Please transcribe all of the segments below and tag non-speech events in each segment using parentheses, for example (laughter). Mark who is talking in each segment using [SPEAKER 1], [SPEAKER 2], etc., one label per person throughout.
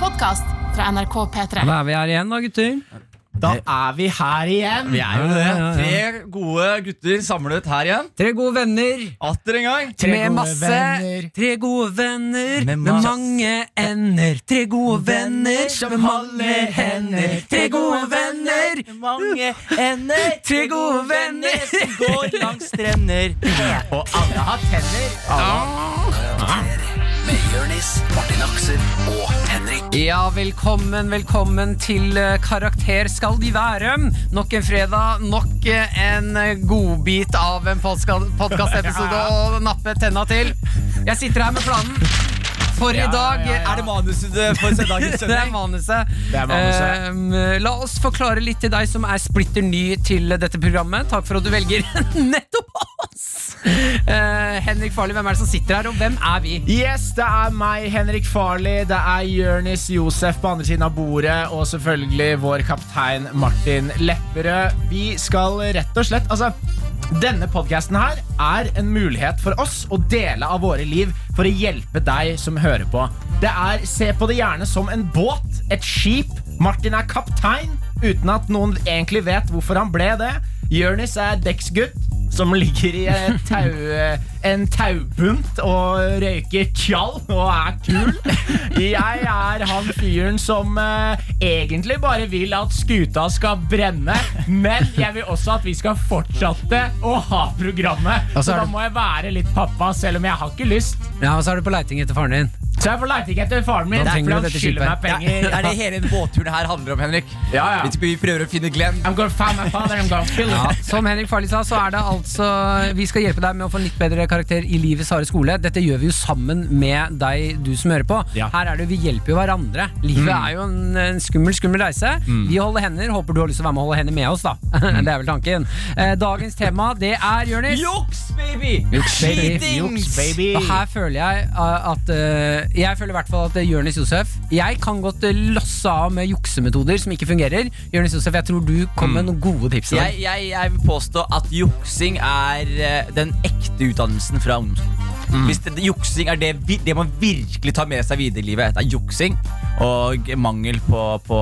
[SPEAKER 1] podkast fra NRK P3.
[SPEAKER 2] Da er vi her igjen, da, gutter.
[SPEAKER 3] Da er vi her igjen.
[SPEAKER 4] Vi er jo det.
[SPEAKER 2] Ja, ja, ja.
[SPEAKER 4] Tre gode gutter samlet her igjen.
[SPEAKER 2] Tre gode venner.
[SPEAKER 4] Atter en gang.
[SPEAKER 3] Tre gode
[SPEAKER 2] med masse
[SPEAKER 3] venner.
[SPEAKER 2] Tre gode venner
[SPEAKER 4] Med
[SPEAKER 2] med,
[SPEAKER 4] ma-
[SPEAKER 2] mange ender. Tre gode venner med mange hender. Tre gode venner.
[SPEAKER 4] Mange ender.
[SPEAKER 2] (laughs) Tre gode venner.
[SPEAKER 4] som går langs
[SPEAKER 2] (laughs)
[SPEAKER 4] strender.
[SPEAKER 3] Og alle har tenner.
[SPEAKER 5] Med Jørnis, Martin Aksel og Henrik.
[SPEAKER 2] Ja, velkommen, velkommen til eh, Karakter skal de være. Nok en fredag, nok eh, en eh, godbit av en
[SPEAKER 3] (laughs)
[SPEAKER 2] podkastepisode å nappe tenna til. Jeg sitter her med planen. For i dag
[SPEAKER 4] Er det manuset du får se dagens
[SPEAKER 2] Det er
[SPEAKER 4] sending?
[SPEAKER 2] manuset.
[SPEAKER 3] Det er manuset.
[SPEAKER 2] Eh, la oss forklare litt til deg som er splitter ny til dette programmet. Takk for at du velger (laughs) nettopp oss! Eh, Henrik Farley, hvem er det som sitter her, og hvem er vi?
[SPEAKER 3] Yes, det er meg, Henrik Farley. Det er Jørnis Josef på andre siden av bordet. Og selvfølgelig vår kaptein Martin Lepperød. Vi skal rett og slett Altså, denne podkasten her er en mulighet for oss å dele av våre liv for å hjelpe deg som hører på. Det er Se på det gjerne som en båt, et skip. Martin er kaptein, uten at noen egentlig vet hvorfor han ble det. Jørnis er dekksgutt. som ligger i et tau, en taubunt og røyker tjall og er kul. Jeg er han fyren som eh, egentlig bare vil at skuta skal brenne, men jeg vil også at vi skal fortsette å ha programmet.
[SPEAKER 2] Og så
[SPEAKER 3] Så
[SPEAKER 2] Altså, er
[SPEAKER 3] da
[SPEAKER 2] det-
[SPEAKER 3] må jeg være litt pappa, selv om jeg har ikke lyst.
[SPEAKER 2] Ja, og så er du på leiting etter faren din.
[SPEAKER 3] Så jeg får leite ikke etter faren min,
[SPEAKER 2] Da trenger
[SPEAKER 3] for
[SPEAKER 2] du
[SPEAKER 3] han
[SPEAKER 2] dette
[SPEAKER 3] skylder meg
[SPEAKER 2] skipet.
[SPEAKER 4] Ja,
[SPEAKER 3] penger.
[SPEAKER 4] er det hele båtturen her handler om, Henrik?
[SPEAKER 3] Ja, ja.
[SPEAKER 4] Vi- Vi prøver å finne Glenn.
[SPEAKER 3] (laughs) I'm gonna find my father, I'm gonna kill him.
[SPEAKER 2] Ja, som Henrik Farley sa, så er det altså Vi skal hjelpe deg med å få en litt bedre karakter i livets harde skole. Dette gjør vi jo sammen med deg, du som hører på.
[SPEAKER 3] Ja.
[SPEAKER 2] Her er det Vi hjelper jo hverandre. Livet er jo en, en skummel, skummel reise. Vi holder hender. Håper du har lyst til å være med og holde hender med oss, da. (laughs) det er vel tanken. Eh, dagens tema, det er Jonis.
[SPEAKER 4] Juks, baby!
[SPEAKER 2] baby.
[SPEAKER 4] Cheatings!
[SPEAKER 3] Juks, baby.
[SPEAKER 2] Og her føler jeg eh, at eh, Jeg føler i hvert fall at uh, Jonis Josef Jeg kan godt eh, losse av med juksemetoder som ikke fungerer. Jonis Josef, jeg tror du kom med noen gode tips. i dag.
[SPEAKER 4] Jeg, jeg, jeg vil påstå at juksing er eh, den ekte utdannelsen fra ungdomsskolen. Hvis det, juksing er det, vi- det man virkelig tar med seg videre i livet, det er juksing og mangel på, på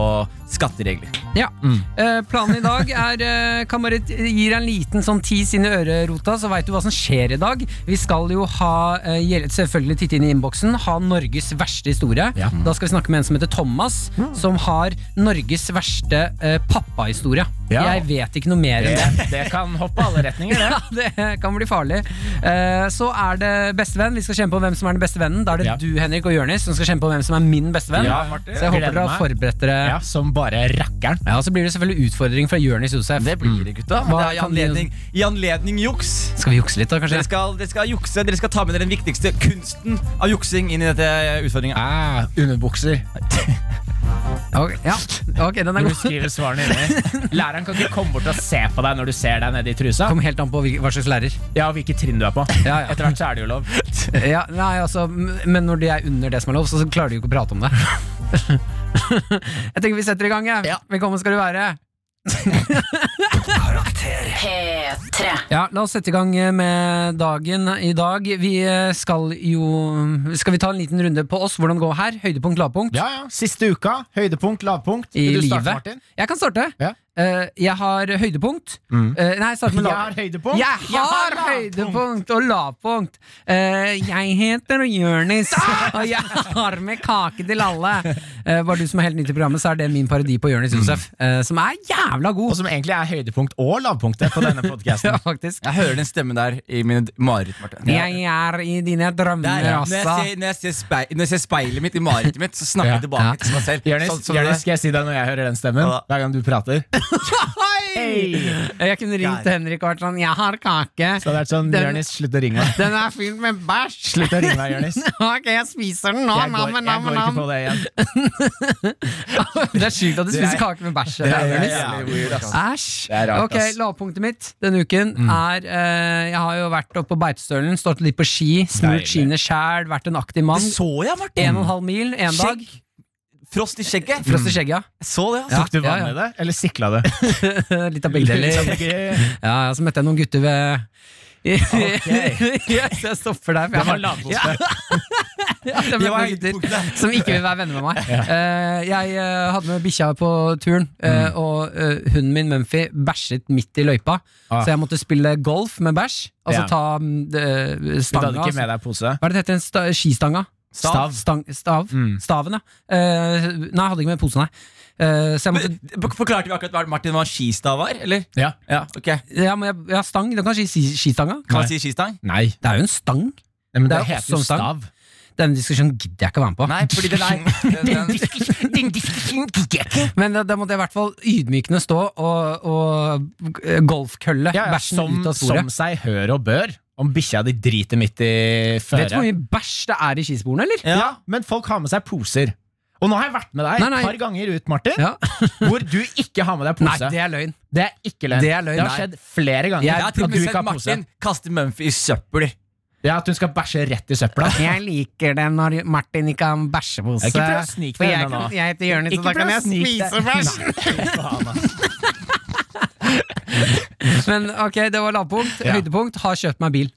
[SPEAKER 4] skatteregler.
[SPEAKER 2] Ja.
[SPEAKER 3] Mm.
[SPEAKER 2] Eh, planen i dag er eh, Kan bare t- gi deg en liten sånn tis inn i ørerota, så veit du hva som skjer i dag. Vi skal jo ha eh, gjel- selvfølgelig titte inn i innboksen, ha Norges verste historie. Da skal vi snakke med en som heter Thomas,
[SPEAKER 3] Mm.
[SPEAKER 2] som har Norges verste eh, pappahistorie.
[SPEAKER 3] Ja.
[SPEAKER 2] Jeg vet ikke noe mer enn det. (laughs)
[SPEAKER 3] Det, det kan hoppe alle retninger, det.
[SPEAKER 2] Ja, det kan bli farlig. Eh, så er det bestevenn. Vi skal kjempe om hvem som er den beste vennen. Da er det
[SPEAKER 3] Ja.
[SPEAKER 2] du, Henrik og Jørnis, som skal kjempe om hvem som er min bestevenn.
[SPEAKER 3] Ja, Martin.
[SPEAKER 2] så jeg håper
[SPEAKER 3] Gleder
[SPEAKER 2] dere
[SPEAKER 3] meg.
[SPEAKER 2] har forberedt dere.
[SPEAKER 3] Ja, som bare rakkeren.
[SPEAKER 2] Ja, Så blir det selvfølgelig utfordring fra Jørnis Josef.
[SPEAKER 4] Det blir det, gutta. Men
[SPEAKER 2] Hva
[SPEAKER 4] det er i
[SPEAKER 2] kan vi-
[SPEAKER 4] anledning, i anledning juks.
[SPEAKER 2] Skal vi jukse litt da, kanskje?
[SPEAKER 4] Dere skal, dere skal jukse, dere skal ta med dere den viktigste kunsten av juksing inn i dette utfordringa.
[SPEAKER 3] Ah, underbukser.
[SPEAKER 2] Ok, ja. ok, den er
[SPEAKER 3] Når du
[SPEAKER 2] god.
[SPEAKER 3] skriver svarene inni. Læreren kan ikke komme bort og se på deg når du ser deg nede i trusa.
[SPEAKER 2] Kom helt an på hvil- hva slags lærer.
[SPEAKER 3] Ja, og hvilket trinn du er på.
[SPEAKER 2] Ja, ja.
[SPEAKER 3] Etter hvert så er det jo lov.
[SPEAKER 2] (laughs) Ja, nei, altså, m- men når de er under det som er lov, så så klarer de jo ikke å prate om det. (laughs) Jeg tenker vi setter i gang. jeg. Velkommen skal du være.
[SPEAKER 1] P3.
[SPEAKER 2] Ja, La oss sette i gang eh, med dagen i dag. Vi eh, skal jo Skal vi ta en liten runde på oss? Hvordan det går her? Høydepunkt, lavpunkt?
[SPEAKER 3] Ja, ja. Siste uka. Høydepunkt, lavpunkt.
[SPEAKER 2] I
[SPEAKER 3] Vil du starte,
[SPEAKER 2] livet.
[SPEAKER 3] Martin?
[SPEAKER 2] Jeg kan starte.
[SPEAKER 3] Ja.
[SPEAKER 2] Eh, jeg har høydepunkt.
[SPEAKER 3] Mm.
[SPEAKER 2] Eh, nei, jeg starter med
[SPEAKER 3] (laughs) Jeg
[SPEAKER 2] lav.
[SPEAKER 3] har høydepunkt.
[SPEAKER 2] Jeg har høydepunkt og lavpunkt. Eh, jeg heter Jørnis,
[SPEAKER 3] (laughs)
[SPEAKER 2] og jeg har med kake til alle. Eh, bare du som er helt ny til programmet, så er det min parodi på
[SPEAKER 3] Mm.
[SPEAKER 2] Jørnis Josef. eh, som er jævla
[SPEAKER 3] Og
[SPEAKER 2] god.
[SPEAKER 3] som egentlig er høydepunkt og lavpunktet på denne podkasten. (laughs)
[SPEAKER 2] Ja, (laughs) faktisk.
[SPEAKER 4] (laughs) Jeg hører den stemmen der i mine d- mareritt, Martin.
[SPEAKER 2] Jeg er i dine
[SPEAKER 4] Der,
[SPEAKER 2] drømmer altså.
[SPEAKER 4] når, jeg
[SPEAKER 2] også.
[SPEAKER 4] ser, når, jeg ser speil, når jeg ser speilet mitt i marerittet mitt, så snakker jeg tilbake
[SPEAKER 2] Ja.
[SPEAKER 4] til meg selv.
[SPEAKER 3] Jørnis,
[SPEAKER 4] Sånn som
[SPEAKER 3] Jørnis,
[SPEAKER 4] det-
[SPEAKER 3] skal jeg si deg når jeg hører den stemmen?
[SPEAKER 4] Ja.
[SPEAKER 3] Hver gang du prater?
[SPEAKER 2] Jeg kunne ringt
[SPEAKER 4] Der.
[SPEAKER 2] Henrik og vært sånn Jeg har kake.
[SPEAKER 3] Så det er sånn,
[SPEAKER 2] Den-
[SPEAKER 3] Jørnis, slutt å ringe meg.
[SPEAKER 2] Den er fylt med bæsj.
[SPEAKER 3] Slutt å ringe meg, Jørnis. Jeg
[SPEAKER 2] (laughs) Ok, jeg spiser den nå.
[SPEAKER 3] går,
[SPEAKER 2] Nam,
[SPEAKER 3] jeg
[SPEAKER 2] nam,
[SPEAKER 3] går ikke
[SPEAKER 2] nam.
[SPEAKER 3] på det igjen.
[SPEAKER 2] (laughs) Det er sjukt at du spiser
[SPEAKER 3] er-
[SPEAKER 2] kake med bæsj.
[SPEAKER 3] er-
[SPEAKER 2] Jonis.
[SPEAKER 3] det er-
[SPEAKER 4] jævlig weird, ass.
[SPEAKER 2] Æsj.
[SPEAKER 3] Det er rart,
[SPEAKER 2] ok,
[SPEAKER 3] ass. Mm.
[SPEAKER 2] Lavpunktet mitt denne uken er eh, Jeg har jo vært oppe på Beitostølen, stått litt på ski, smurt
[SPEAKER 3] Deilig.
[SPEAKER 2] skiene sjæl, vært en aktiv mann.
[SPEAKER 4] Det så jeg, Martin!
[SPEAKER 2] En og en halv mil en dag.
[SPEAKER 4] Skjegg. Frost i skjegget.
[SPEAKER 2] Frost i skjegget.
[SPEAKER 4] Jeg så det, altså.
[SPEAKER 2] Ja,
[SPEAKER 3] Tok du vann
[SPEAKER 2] ja, ja.
[SPEAKER 3] i det, eller sikla det?
[SPEAKER 2] (laughs) Litt av begge deler.
[SPEAKER 3] Sånn, ikke-
[SPEAKER 2] Ja, ja, så møtte jeg noen gutter ved (laughs) yes, jeg stopper der. for jeg
[SPEAKER 3] Det var
[SPEAKER 2] har-
[SPEAKER 3] lavpose.
[SPEAKER 2] (laughs) Ja, det er
[SPEAKER 4] Det var
[SPEAKER 2] mange gutter
[SPEAKER 4] høydepunktet.
[SPEAKER 2] som ikke vil være venner med meg. Eh, jeg eh, hadde med bikkja på turen,
[SPEAKER 3] Mm.
[SPEAKER 2] eh, og eh, hunden min Mumphy bæsjet midt i løypa.
[SPEAKER 3] Ah.
[SPEAKER 2] Så jeg måtte spille golf med bæsj. Altså
[SPEAKER 3] Ja.
[SPEAKER 2] ta mm, det-
[SPEAKER 3] Du hadde
[SPEAKER 2] stanga.
[SPEAKER 3] ikke
[SPEAKER 2] Altså.
[SPEAKER 3] med deg pose?
[SPEAKER 2] Hva er det det heter? En sta skistanga?
[SPEAKER 3] Stav. Mm.
[SPEAKER 2] Stang, stav. Staven, ja. Eh, nei, jeg hadde ikke med posen, nei. Eh, så jeg måtte
[SPEAKER 4] Men, forklarte vi akkurat hva Martin hva skistang var? eller?
[SPEAKER 3] Ja.
[SPEAKER 4] Ja, ok
[SPEAKER 2] ja, men jeg, ja, stang. Du kan si si skistanga.
[SPEAKER 4] Kan man
[SPEAKER 3] Nei.
[SPEAKER 4] si skistang?
[SPEAKER 3] Nei.
[SPEAKER 2] Det er jo en stang.
[SPEAKER 3] Nei, men
[SPEAKER 2] Det
[SPEAKER 3] det,
[SPEAKER 2] er
[SPEAKER 3] heter jo
[SPEAKER 2] også en stang.
[SPEAKER 3] stav.
[SPEAKER 2] Den diskusjonen gidder jeg ikke å være med på.
[SPEAKER 4] Nei, fordi den
[SPEAKER 2] (laughs)
[SPEAKER 4] er den, den,
[SPEAKER 2] Men da, da måtte jeg i hvert fall ydmykende stå og, og eh, golfkølle
[SPEAKER 3] Ja, ja,
[SPEAKER 2] bæsjen
[SPEAKER 3] som,
[SPEAKER 2] ut av
[SPEAKER 3] som
[SPEAKER 2] sporet.
[SPEAKER 3] seg hør og bør. Om bikkja di driter midt i
[SPEAKER 2] Vet du hvor
[SPEAKER 3] føret.
[SPEAKER 2] mye bæsj det er i skisporene, eller?
[SPEAKER 3] Ja, men folk har med seg poser. Og nå har jeg vært med deg
[SPEAKER 2] Nei, nei.
[SPEAKER 3] et par ganger ut, Martin,
[SPEAKER 2] Ja.
[SPEAKER 3] (laughs) hvor du ikke har med deg
[SPEAKER 2] Nei,
[SPEAKER 3] pose.
[SPEAKER 2] det er løgn.
[SPEAKER 3] Det er ikke løgn.
[SPEAKER 2] Det er løgn,
[SPEAKER 3] Det har
[SPEAKER 2] nei.
[SPEAKER 3] skjedd flere ganger.
[SPEAKER 2] Jeg
[SPEAKER 4] Jeg har
[SPEAKER 3] at
[SPEAKER 4] til
[SPEAKER 3] du
[SPEAKER 4] og med
[SPEAKER 3] ikke
[SPEAKER 4] sett
[SPEAKER 3] har pose.
[SPEAKER 4] Martin kaste Mumphy i søppel.
[SPEAKER 3] Ja, At hun skal bæsje rett i søpla.
[SPEAKER 2] Jeg liker det når Martin ikke har en bæsjepose.
[SPEAKER 3] Ikke prøv å snike deg unna nå.
[SPEAKER 2] jeg heter Jonis, Men ok, det var lavpunkt.
[SPEAKER 3] Ja.
[SPEAKER 2] Høydepunkt har kjøpt meg bil.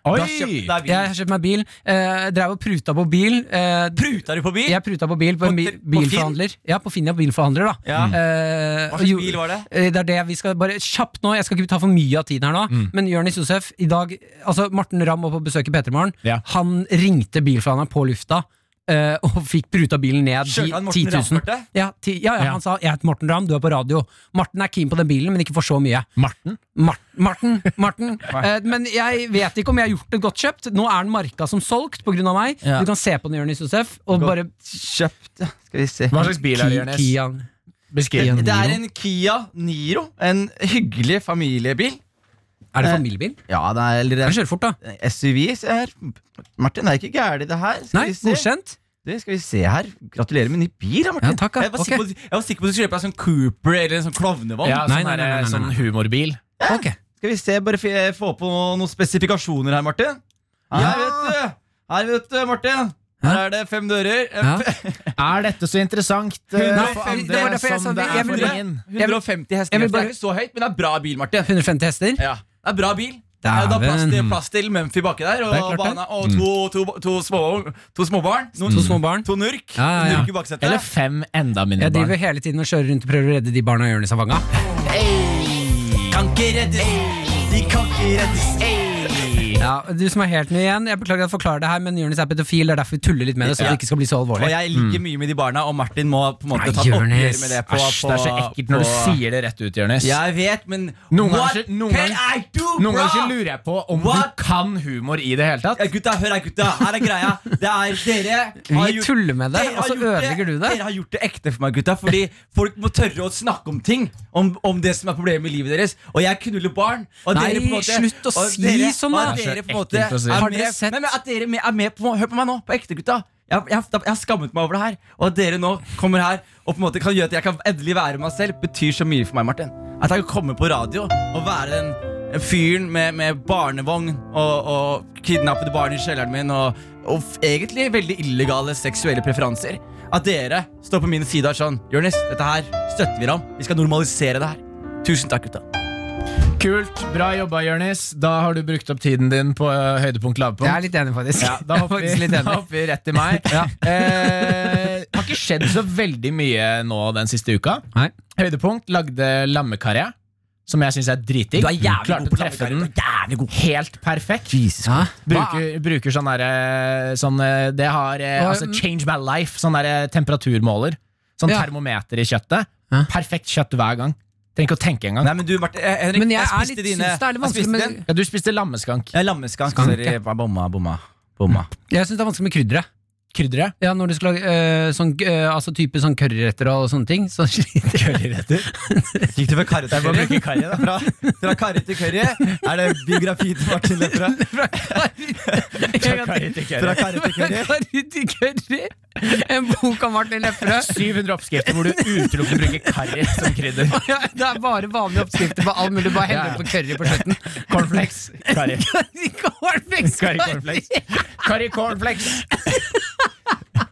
[SPEAKER 4] Da kjøpte
[SPEAKER 3] Oi!
[SPEAKER 4] deg bil.
[SPEAKER 2] Jeg har kjøpt meg bil. Eh, drev og pruta på bil. Eh,
[SPEAKER 4] Pruta du på bil?
[SPEAKER 2] jeg pruta på bil på en bi
[SPEAKER 4] På- på Finn?
[SPEAKER 2] bilforhandler. Ja, på Finn, ja, bilforhandler, da.
[SPEAKER 4] Ja.
[SPEAKER 2] Eh,
[SPEAKER 4] Hva
[SPEAKER 2] og
[SPEAKER 4] slags
[SPEAKER 2] jo-
[SPEAKER 4] bil var det?
[SPEAKER 2] Eh, Det er det vi skal bare kjapt nå Jeg skal ikke ta for mye av tiden her nå Men Jørnis Josef, i dag Altså Morten Ramm var på besøk i Petermorgen
[SPEAKER 3] Ja.
[SPEAKER 2] Han ringte bilforhandleren på lufta eh, Og fikk pruta bilen ned
[SPEAKER 4] Kjørte
[SPEAKER 2] ti-
[SPEAKER 4] han Morten
[SPEAKER 2] 10 000.
[SPEAKER 4] Ramm-kortet?
[SPEAKER 2] Ja, ti, ja, ja,
[SPEAKER 3] Ja.
[SPEAKER 2] han sa Jeg heter Morten Ramm, du er på radio Morten er keen på den bilen, men ikke for så mye
[SPEAKER 3] Marten?
[SPEAKER 2] Mar- Marten, Marten. Eh, Men jeg vet ikke om jeg har gjort det godt kjøpt Nå er den marka som solgt på grunn av meg
[SPEAKER 4] Ja.
[SPEAKER 2] Du kan se på den Jørnis Josef Og bare
[SPEAKER 4] Kjøpt, skal vi se.
[SPEAKER 3] Hva slags bil er det, Jonis?
[SPEAKER 2] Kia
[SPEAKER 3] Beskriv.
[SPEAKER 4] Det er en Kia Niro. En hyggelig familiebil.
[SPEAKER 2] Er
[SPEAKER 4] Eh,
[SPEAKER 2] det familiebil?
[SPEAKER 4] Ja, det er, eller det
[SPEAKER 2] Kan kjøre fort da
[SPEAKER 4] er en SUV. Se her. Martin, det er ikke gærent, det her. Skal,
[SPEAKER 2] Nei,
[SPEAKER 4] vi se.
[SPEAKER 2] godkjent
[SPEAKER 4] Du, skal vi se her. Gratulerer med ny bil, da, Martin.
[SPEAKER 2] Ja, takk, ja.
[SPEAKER 4] Jeg, var sikker
[SPEAKER 2] Ok.
[SPEAKER 4] på, jeg var sikker på at du skulle kjøpe deg sånn Cooper eller en sånn klovnevogn.
[SPEAKER 3] Ja, sånn,
[SPEAKER 2] Nei, nei, nei, nei,
[SPEAKER 3] der,
[SPEAKER 2] nei,
[SPEAKER 3] sånn
[SPEAKER 2] nei.
[SPEAKER 3] humorbil.
[SPEAKER 2] Ok
[SPEAKER 4] Skal vi se, bare f- eh, få på noen spesifikasjoner her, Martin. Her, vet du. Her, vet du, Martin. Her er det fem dører. (laughs)
[SPEAKER 2] Ja.
[SPEAKER 3] Er dette så interessant eh,
[SPEAKER 2] Hundre- det
[SPEAKER 3] for
[SPEAKER 2] var
[SPEAKER 3] andre
[SPEAKER 2] derfor jeg sa
[SPEAKER 3] som det
[SPEAKER 2] vi- jeg
[SPEAKER 3] er for
[SPEAKER 2] ville-
[SPEAKER 3] ingen?
[SPEAKER 4] 150
[SPEAKER 2] jeg
[SPEAKER 4] hester.
[SPEAKER 2] vil
[SPEAKER 4] Det
[SPEAKER 2] bare-
[SPEAKER 4] er ikke så høyt, men det er bra bil, Martin.
[SPEAKER 2] 150 hester?
[SPEAKER 4] Ja, det er bra bil. Det er da plass til,
[SPEAKER 2] Dæven.
[SPEAKER 4] plass til Mumphy baki der,
[SPEAKER 2] Det er klart
[SPEAKER 4] og,
[SPEAKER 2] det.
[SPEAKER 4] bana, og to, to, to, små, to småbarn. Noen,
[SPEAKER 2] To små barn.
[SPEAKER 4] To nurk.
[SPEAKER 2] Ja, ja, ja.
[SPEAKER 4] Nurk i baksetet.
[SPEAKER 3] Eller fem enda mindre
[SPEAKER 2] Jeg
[SPEAKER 3] barn.
[SPEAKER 2] driver hele tiden og kjører rundt og prøver å redde de barna Jonis har fanga.
[SPEAKER 4] kan ikke reddes. De kan ikke reddes.
[SPEAKER 2] Ja, du som er helt ny igjen, jeg beklager at jeg forklarer det her, men Jonis er pedofil, det er derfor vi tuller litt med det, så
[SPEAKER 4] Ja.
[SPEAKER 2] det ikke skal bli så
[SPEAKER 4] Og
[SPEAKER 2] alvorlig.
[SPEAKER 4] jeg ligger mye med de barna, og Martin må på en måte
[SPEAKER 2] Nei,
[SPEAKER 4] ta et oppgjør
[SPEAKER 2] Jonis.
[SPEAKER 4] med det. På,
[SPEAKER 3] Æsj,
[SPEAKER 4] på,
[SPEAKER 3] Mm. det er så ekkelt når du
[SPEAKER 4] på-
[SPEAKER 3] sier det rett ut, Jonis.
[SPEAKER 4] Jeg vet, men
[SPEAKER 3] Noen ganger
[SPEAKER 4] What
[SPEAKER 3] så- noen
[SPEAKER 4] can
[SPEAKER 3] ganger-
[SPEAKER 4] I do,
[SPEAKER 3] Noen
[SPEAKER 4] bro?
[SPEAKER 3] ganger så lurer jeg på om
[SPEAKER 4] What?
[SPEAKER 3] du kan humor i det hele tatt.
[SPEAKER 4] Ja, gutta, hør her, gutta. Her er greia. Det er dere har
[SPEAKER 2] Vi tuller med det,
[SPEAKER 4] dere
[SPEAKER 2] og
[SPEAKER 4] har
[SPEAKER 2] så
[SPEAKER 4] gjort
[SPEAKER 2] ødelegger du det.
[SPEAKER 4] Dere har gjort det ekte for meg, gutta. Fordi folk må tørre å snakke om ting. Om, om det som er problemet i livet deres. Og jeg knuller barn. Og
[SPEAKER 2] Nei,
[SPEAKER 4] dere på en måte,
[SPEAKER 2] slutt å
[SPEAKER 4] og
[SPEAKER 2] si
[SPEAKER 4] dere,
[SPEAKER 2] sånn,
[SPEAKER 4] og
[SPEAKER 2] da.
[SPEAKER 4] at dere på en
[SPEAKER 3] Det
[SPEAKER 4] måte
[SPEAKER 3] er så ekkelt å si.
[SPEAKER 4] er
[SPEAKER 2] Har dere
[SPEAKER 4] med-
[SPEAKER 2] sett-
[SPEAKER 4] Nei, men At dere me- er med på Hør på meg nå, på ekte, gutta. Jeg, jeg, jeg har skammet meg over det her. Og at dere nå kommer her og på en måte kan gjøre at jeg kan endelig være meg selv, betyr så mye for meg, Martin. At jeg kan komme på radio og være den fyren med, med barnevogn og, og kidnappede barn i kjelleren min og, og f- egentlig veldig illegale seksuelle preferanser. At dere står på min side og er sånn Jonis, dette her støtter vi deg om. Vi skal normalisere det her. Tusen takk, gutta.
[SPEAKER 3] Kult. Bra jobba, Jonis. Da har du brukt opp tiden din på eh, høydepunkt
[SPEAKER 2] Jeg
[SPEAKER 3] lavpunkt.
[SPEAKER 2] er litt enig, (laughs) faktisk.
[SPEAKER 3] Ja, da
[SPEAKER 2] Jeg er
[SPEAKER 3] hopper
[SPEAKER 2] faktisk
[SPEAKER 3] vi,
[SPEAKER 2] litt
[SPEAKER 3] da
[SPEAKER 2] enig.
[SPEAKER 3] hopper vi rett til meg. (laughs) Eh, har ikke skjedd så veldig mye nå den siste uka.
[SPEAKER 2] Nei.
[SPEAKER 3] Høydepunkt lagde lammekarri, som jeg syns er dritdigg.
[SPEAKER 4] Du er jævlig
[SPEAKER 3] Klarte
[SPEAKER 4] god på
[SPEAKER 3] å treffe
[SPEAKER 4] lammekarri.
[SPEAKER 3] den
[SPEAKER 4] Du er jævlig god.
[SPEAKER 3] Helt perfekt.
[SPEAKER 2] Ja.
[SPEAKER 3] Bruker, bruker sånn derre sånn, eh, Det har eh,
[SPEAKER 2] Og,
[SPEAKER 3] altså,
[SPEAKER 2] mm.
[SPEAKER 3] Change my life. Sånn derre temperaturmåler. Sånn
[SPEAKER 2] Ja.
[SPEAKER 3] termometer i kjøttet.
[SPEAKER 2] Ja.
[SPEAKER 3] Perfekt kjøtt hver gang. Trenger ikke å tenke engang.
[SPEAKER 4] Nei, men du, Martin, eh, Henrik,
[SPEAKER 2] Men jeg
[SPEAKER 4] jeg
[SPEAKER 2] er
[SPEAKER 4] spiste
[SPEAKER 2] litt-
[SPEAKER 4] dine.
[SPEAKER 2] synes det er litt
[SPEAKER 4] jeg spiste
[SPEAKER 2] vanskelig
[SPEAKER 4] den.
[SPEAKER 2] med
[SPEAKER 3] Ja, du spiste lammeskank.
[SPEAKER 4] Jeg er lammeskank.
[SPEAKER 2] Skank,
[SPEAKER 4] Sorry,
[SPEAKER 2] ja.
[SPEAKER 4] jeg bomma, bomma. bomma.
[SPEAKER 2] Jeg syns det er vanskelig med krydderet.
[SPEAKER 3] Krydderet.
[SPEAKER 2] Ja, når du skal lage eh, sånn, eh, altså type sånn curryretter og sånne ting, så (laughs) sliter jeg.
[SPEAKER 3] (laughs)
[SPEAKER 4] Gikk du fra karri til curry? Fra, fra karri til curry? Er det biografi til Martin Lepperød? (laughs)
[SPEAKER 2] Curry
[SPEAKER 4] Fra karri til curry?
[SPEAKER 2] (laughs) til curry! En bok av Martin Lepperød. (laughs)
[SPEAKER 3] 700 oppskrifter hvor du utelukkende bruker karri som krydder.
[SPEAKER 2] Ja, Det er bare vanlige oppskrifter på alt mulig. Bare hell
[SPEAKER 3] Ja, ja.
[SPEAKER 2] på curry på slutten. (laughs)
[SPEAKER 3] Cornflakes. Karri. (laughs)
[SPEAKER 2] Cornflakes,
[SPEAKER 3] Karri
[SPEAKER 2] curry.
[SPEAKER 3] cornflakes. Karri cornflakes.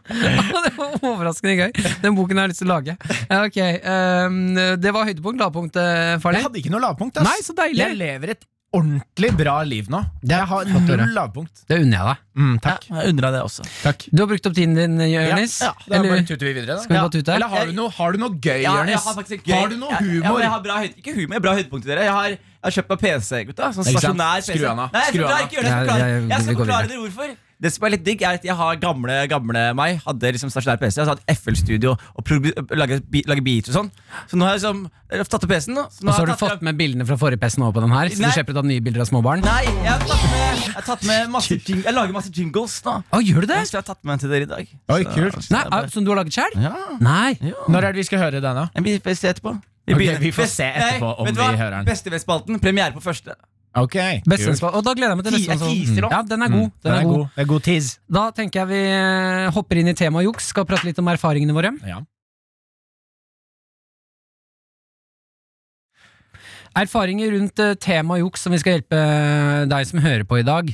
[SPEAKER 2] Ja, det var overraskende gøy. Den boken har jeg lyst til å lage. Ja, ok, ehm, Det var høydepunkt, lavpunkt, eh, Farley.
[SPEAKER 3] Jeg hadde ikke noe lavpunkt.
[SPEAKER 2] Nei, så deilig.
[SPEAKER 3] Jeg lever et ordentlig bra liv nå.
[SPEAKER 2] Det er
[SPEAKER 3] Jeg har
[SPEAKER 2] flott å høre.
[SPEAKER 3] null lavpunkt.
[SPEAKER 2] Det unner jeg deg.
[SPEAKER 3] Mm, takk.
[SPEAKER 4] Jeg undra det også.
[SPEAKER 3] takk.
[SPEAKER 2] Du har brukt opp tiden din, eh, Jonis.
[SPEAKER 3] Ja, ja, da bare tuter vi videre, da.
[SPEAKER 2] Skal vi bare tute?
[SPEAKER 3] Eller har du noe, har du noe gøy,
[SPEAKER 4] Ja, jeg
[SPEAKER 3] Jonis?
[SPEAKER 4] har faktisk et gøy
[SPEAKER 3] Har du noe humor?
[SPEAKER 4] Ja, ja, jeg har bra høyde, ikke humor, jeg har bra høydepunkt til dere. Jeg har, jeg har kjøpt meg PC, gutta. Sånn
[SPEAKER 3] Ikke sant?
[SPEAKER 4] stasjonær PC.
[SPEAKER 3] Skru han av,
[SPEAKER 4] Nei, jeg
[SPEAKER 3] skru han
[SPEAKER 4] skal forklare,
[SPEAKER 3] av.
[SPEAKER 4] ikke gjør
[SPEAKER 2] Nei,
[SPEAKER 4] det. Jeg skal forklare,
[SPEAKER 2] jeg-
[SPEAKER 4] jeg
[SPEAKER 2] vi
[SPEAKER 4] skal
[SPEAKER 2] går
[SPEAKER 4] forklare
[SPEAKER 2] videre.
[SPEAKER 4] dere hvorfor. Det som er litt digg, er at jeg har gamle gamle meg hadde liksom stasjonær PC. Jeg hadde FL-studio og produ- lage, bi- lage beats og sånn. Så nå har jeg liksom jeg har tatt opp PC-en. da. Så nå
[SPEAKER 2] Og så har du
[SPEAKER 4] jeg tatt
[SPEAKER 2] fått med bildene fra forrige PC-en over på den her, så
[SPEAKER 4] Nei.
[SPEAKER 2] du slipper å ta nye bilder av små barn.
[SPEAKER 4] Nei, jeg har tatt med, jeg har tatt med masse jing Jeg lager masse jingles nå.
[SPEAKER 2] Å, gjør du det?
[SPEAKER 4] Ja, Så jeg har tatt med en til dere i dag.
[SPEAKER 3] Oi,
[SPEAKER 4] Så-
[SPEAKER 3] kult.
[SPEAKER 4] så
[SPEAKER 2] Nei, ah,
[SPEAKER 4] jeg bare-
[SPEAKER 2] Som du har laget sjøl?
[SPEAKER 4] Ja.
[SPEAKER 2] Nei.
[SPEAKER 3] Når er det vi skal høre den, da?
[SPEAKER 4] Jeg blir PC etterpå.
[SPEAKER 3] Ok, vi får se etterpå om vi hører den.
[SPEAKER 4] Bestevennspalten, premiere på første.
[SPEAKER 3] Ok
[SPEAKER 2] Bestens, og da gleder jeg meg til
[SPEAKER 4] Ti-
[SPEAKER 2] neste gang.
[SPEAKER 4] jeg teaser
[SPEAKER 2] så-
[SPEAKER 4] opp.
[SPEAKER 2] Ja, den er god. Den er god.
[SPEAKER 3] Det er god tids.
[SPEAKER 2] Da tenker jeg vi eh, hopper inn i temaet juks, skal prate litt om erfaringene våre.
[SPEAKER 3] Ja.
[SPEAKER 2] Erfaringer rundt eh, temaet juks som vi skal hjelpe eh, deg som hører på i dag.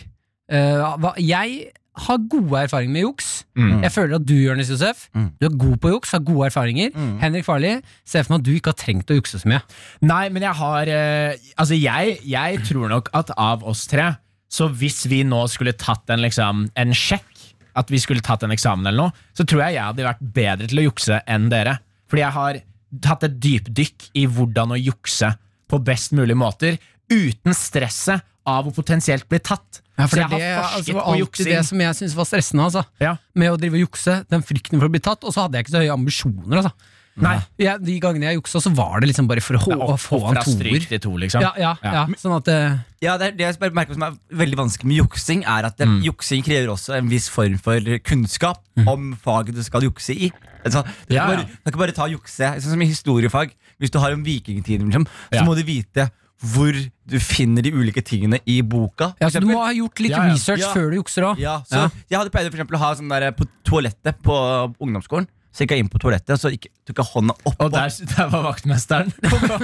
[SPEAKER 2] Eh, hva- Jeg har gode erfaringer med juks.
[SPEAKER 3] Mm.
[SPEAKER 2] Jeg føler at du, Jonis Josef,
[SPEAKER 4] Mm.
[SPEAKER 2] du er god på juks, har gode erfaringer.
[SPEAKER 4] Mm.
[SPEAKER 2] Henrik Farli, ser for meg at du ikke har trengt å jukse så mye.
[SPEAKER 3] Nei, men jeg har eh, Altså, jeg, jeg tror nok at av oss tre Så hvis vi nå skulle tatt en, liksom, en sjekk At vi skulle tatt en eksamen eller noe Så tror jeg jeg hadde vært bedre til å jukse enn dere Fordi jeg har tatt et dypdykk i hvordan å jukse På best mulig måter Uten stresset av å potensielt bli tatt Så jeg har forsket på
[SPEAKER 2] altså,
[SPEAKER 3] juksing
[SPEAKER 2] det som jeg syntes var stressende, altså.
[SPEAKER 3] ja.
[SPEAKER 2] Med å drive og jukse, den frykten for å bli tatt, og så hadde jeg ikke så høye ambisjoner, altså.
[SPEAKER 3] Nei,
[SPEAKER 2] Jeg, de gangene jeg juksa, så var det liksom bare for å hå- å få
[SPEAKER 3] fra
[SPEAKER 2] han toer.
[SPEAKER 3] stryk til to liksom
[SPEAKER 2] Ja, ja, ja, sånn at eh,
[SPEAKER 4] Ja, det, er, det jeg bare merker som er veldig vanskelig med juksing, er at det,
[SPEAKER 3] Mm.
[SPEAKER 4] juksing krever også en viss form for kunnskap om faget du skal jukse i. Altså, du,
[SPEAKER 3] Ja,
[SPEAKER 4] kan
[SPEAKER 3] ja.
[SPEAKER 4] bare, du kan ikke bare ta jukse Sånn som i historiefag. Hvis du har om vikingtiden, liksom, så
[SPEAKER 3] Ja.
[SPEAKER 4] må du vite hvor du finner de ulike tingene i boka.
[SPEAKER 2] ja,
[SPEAKER 4] for
[SPEAKER 2] så Du
[SPEAKER 4] eksempel.
[SPEAKER 2] må ha gjort litt
[SPEAKER 3] Ja, ja.
[SPEAKER 2] research
[SPEAKER 4] Ja.
[SPEAKER 2] før du jukser òg.
[SPEAKER 4] Ja, så Jeg hadde pleid for eksempel å ha sånn der på toalettet på ungdomsskolen. Så gikk jeg inn på toalettet og så gikk, tok jeg hånda opp.
[SPEAKER 3] Og der, der var vaktmesteren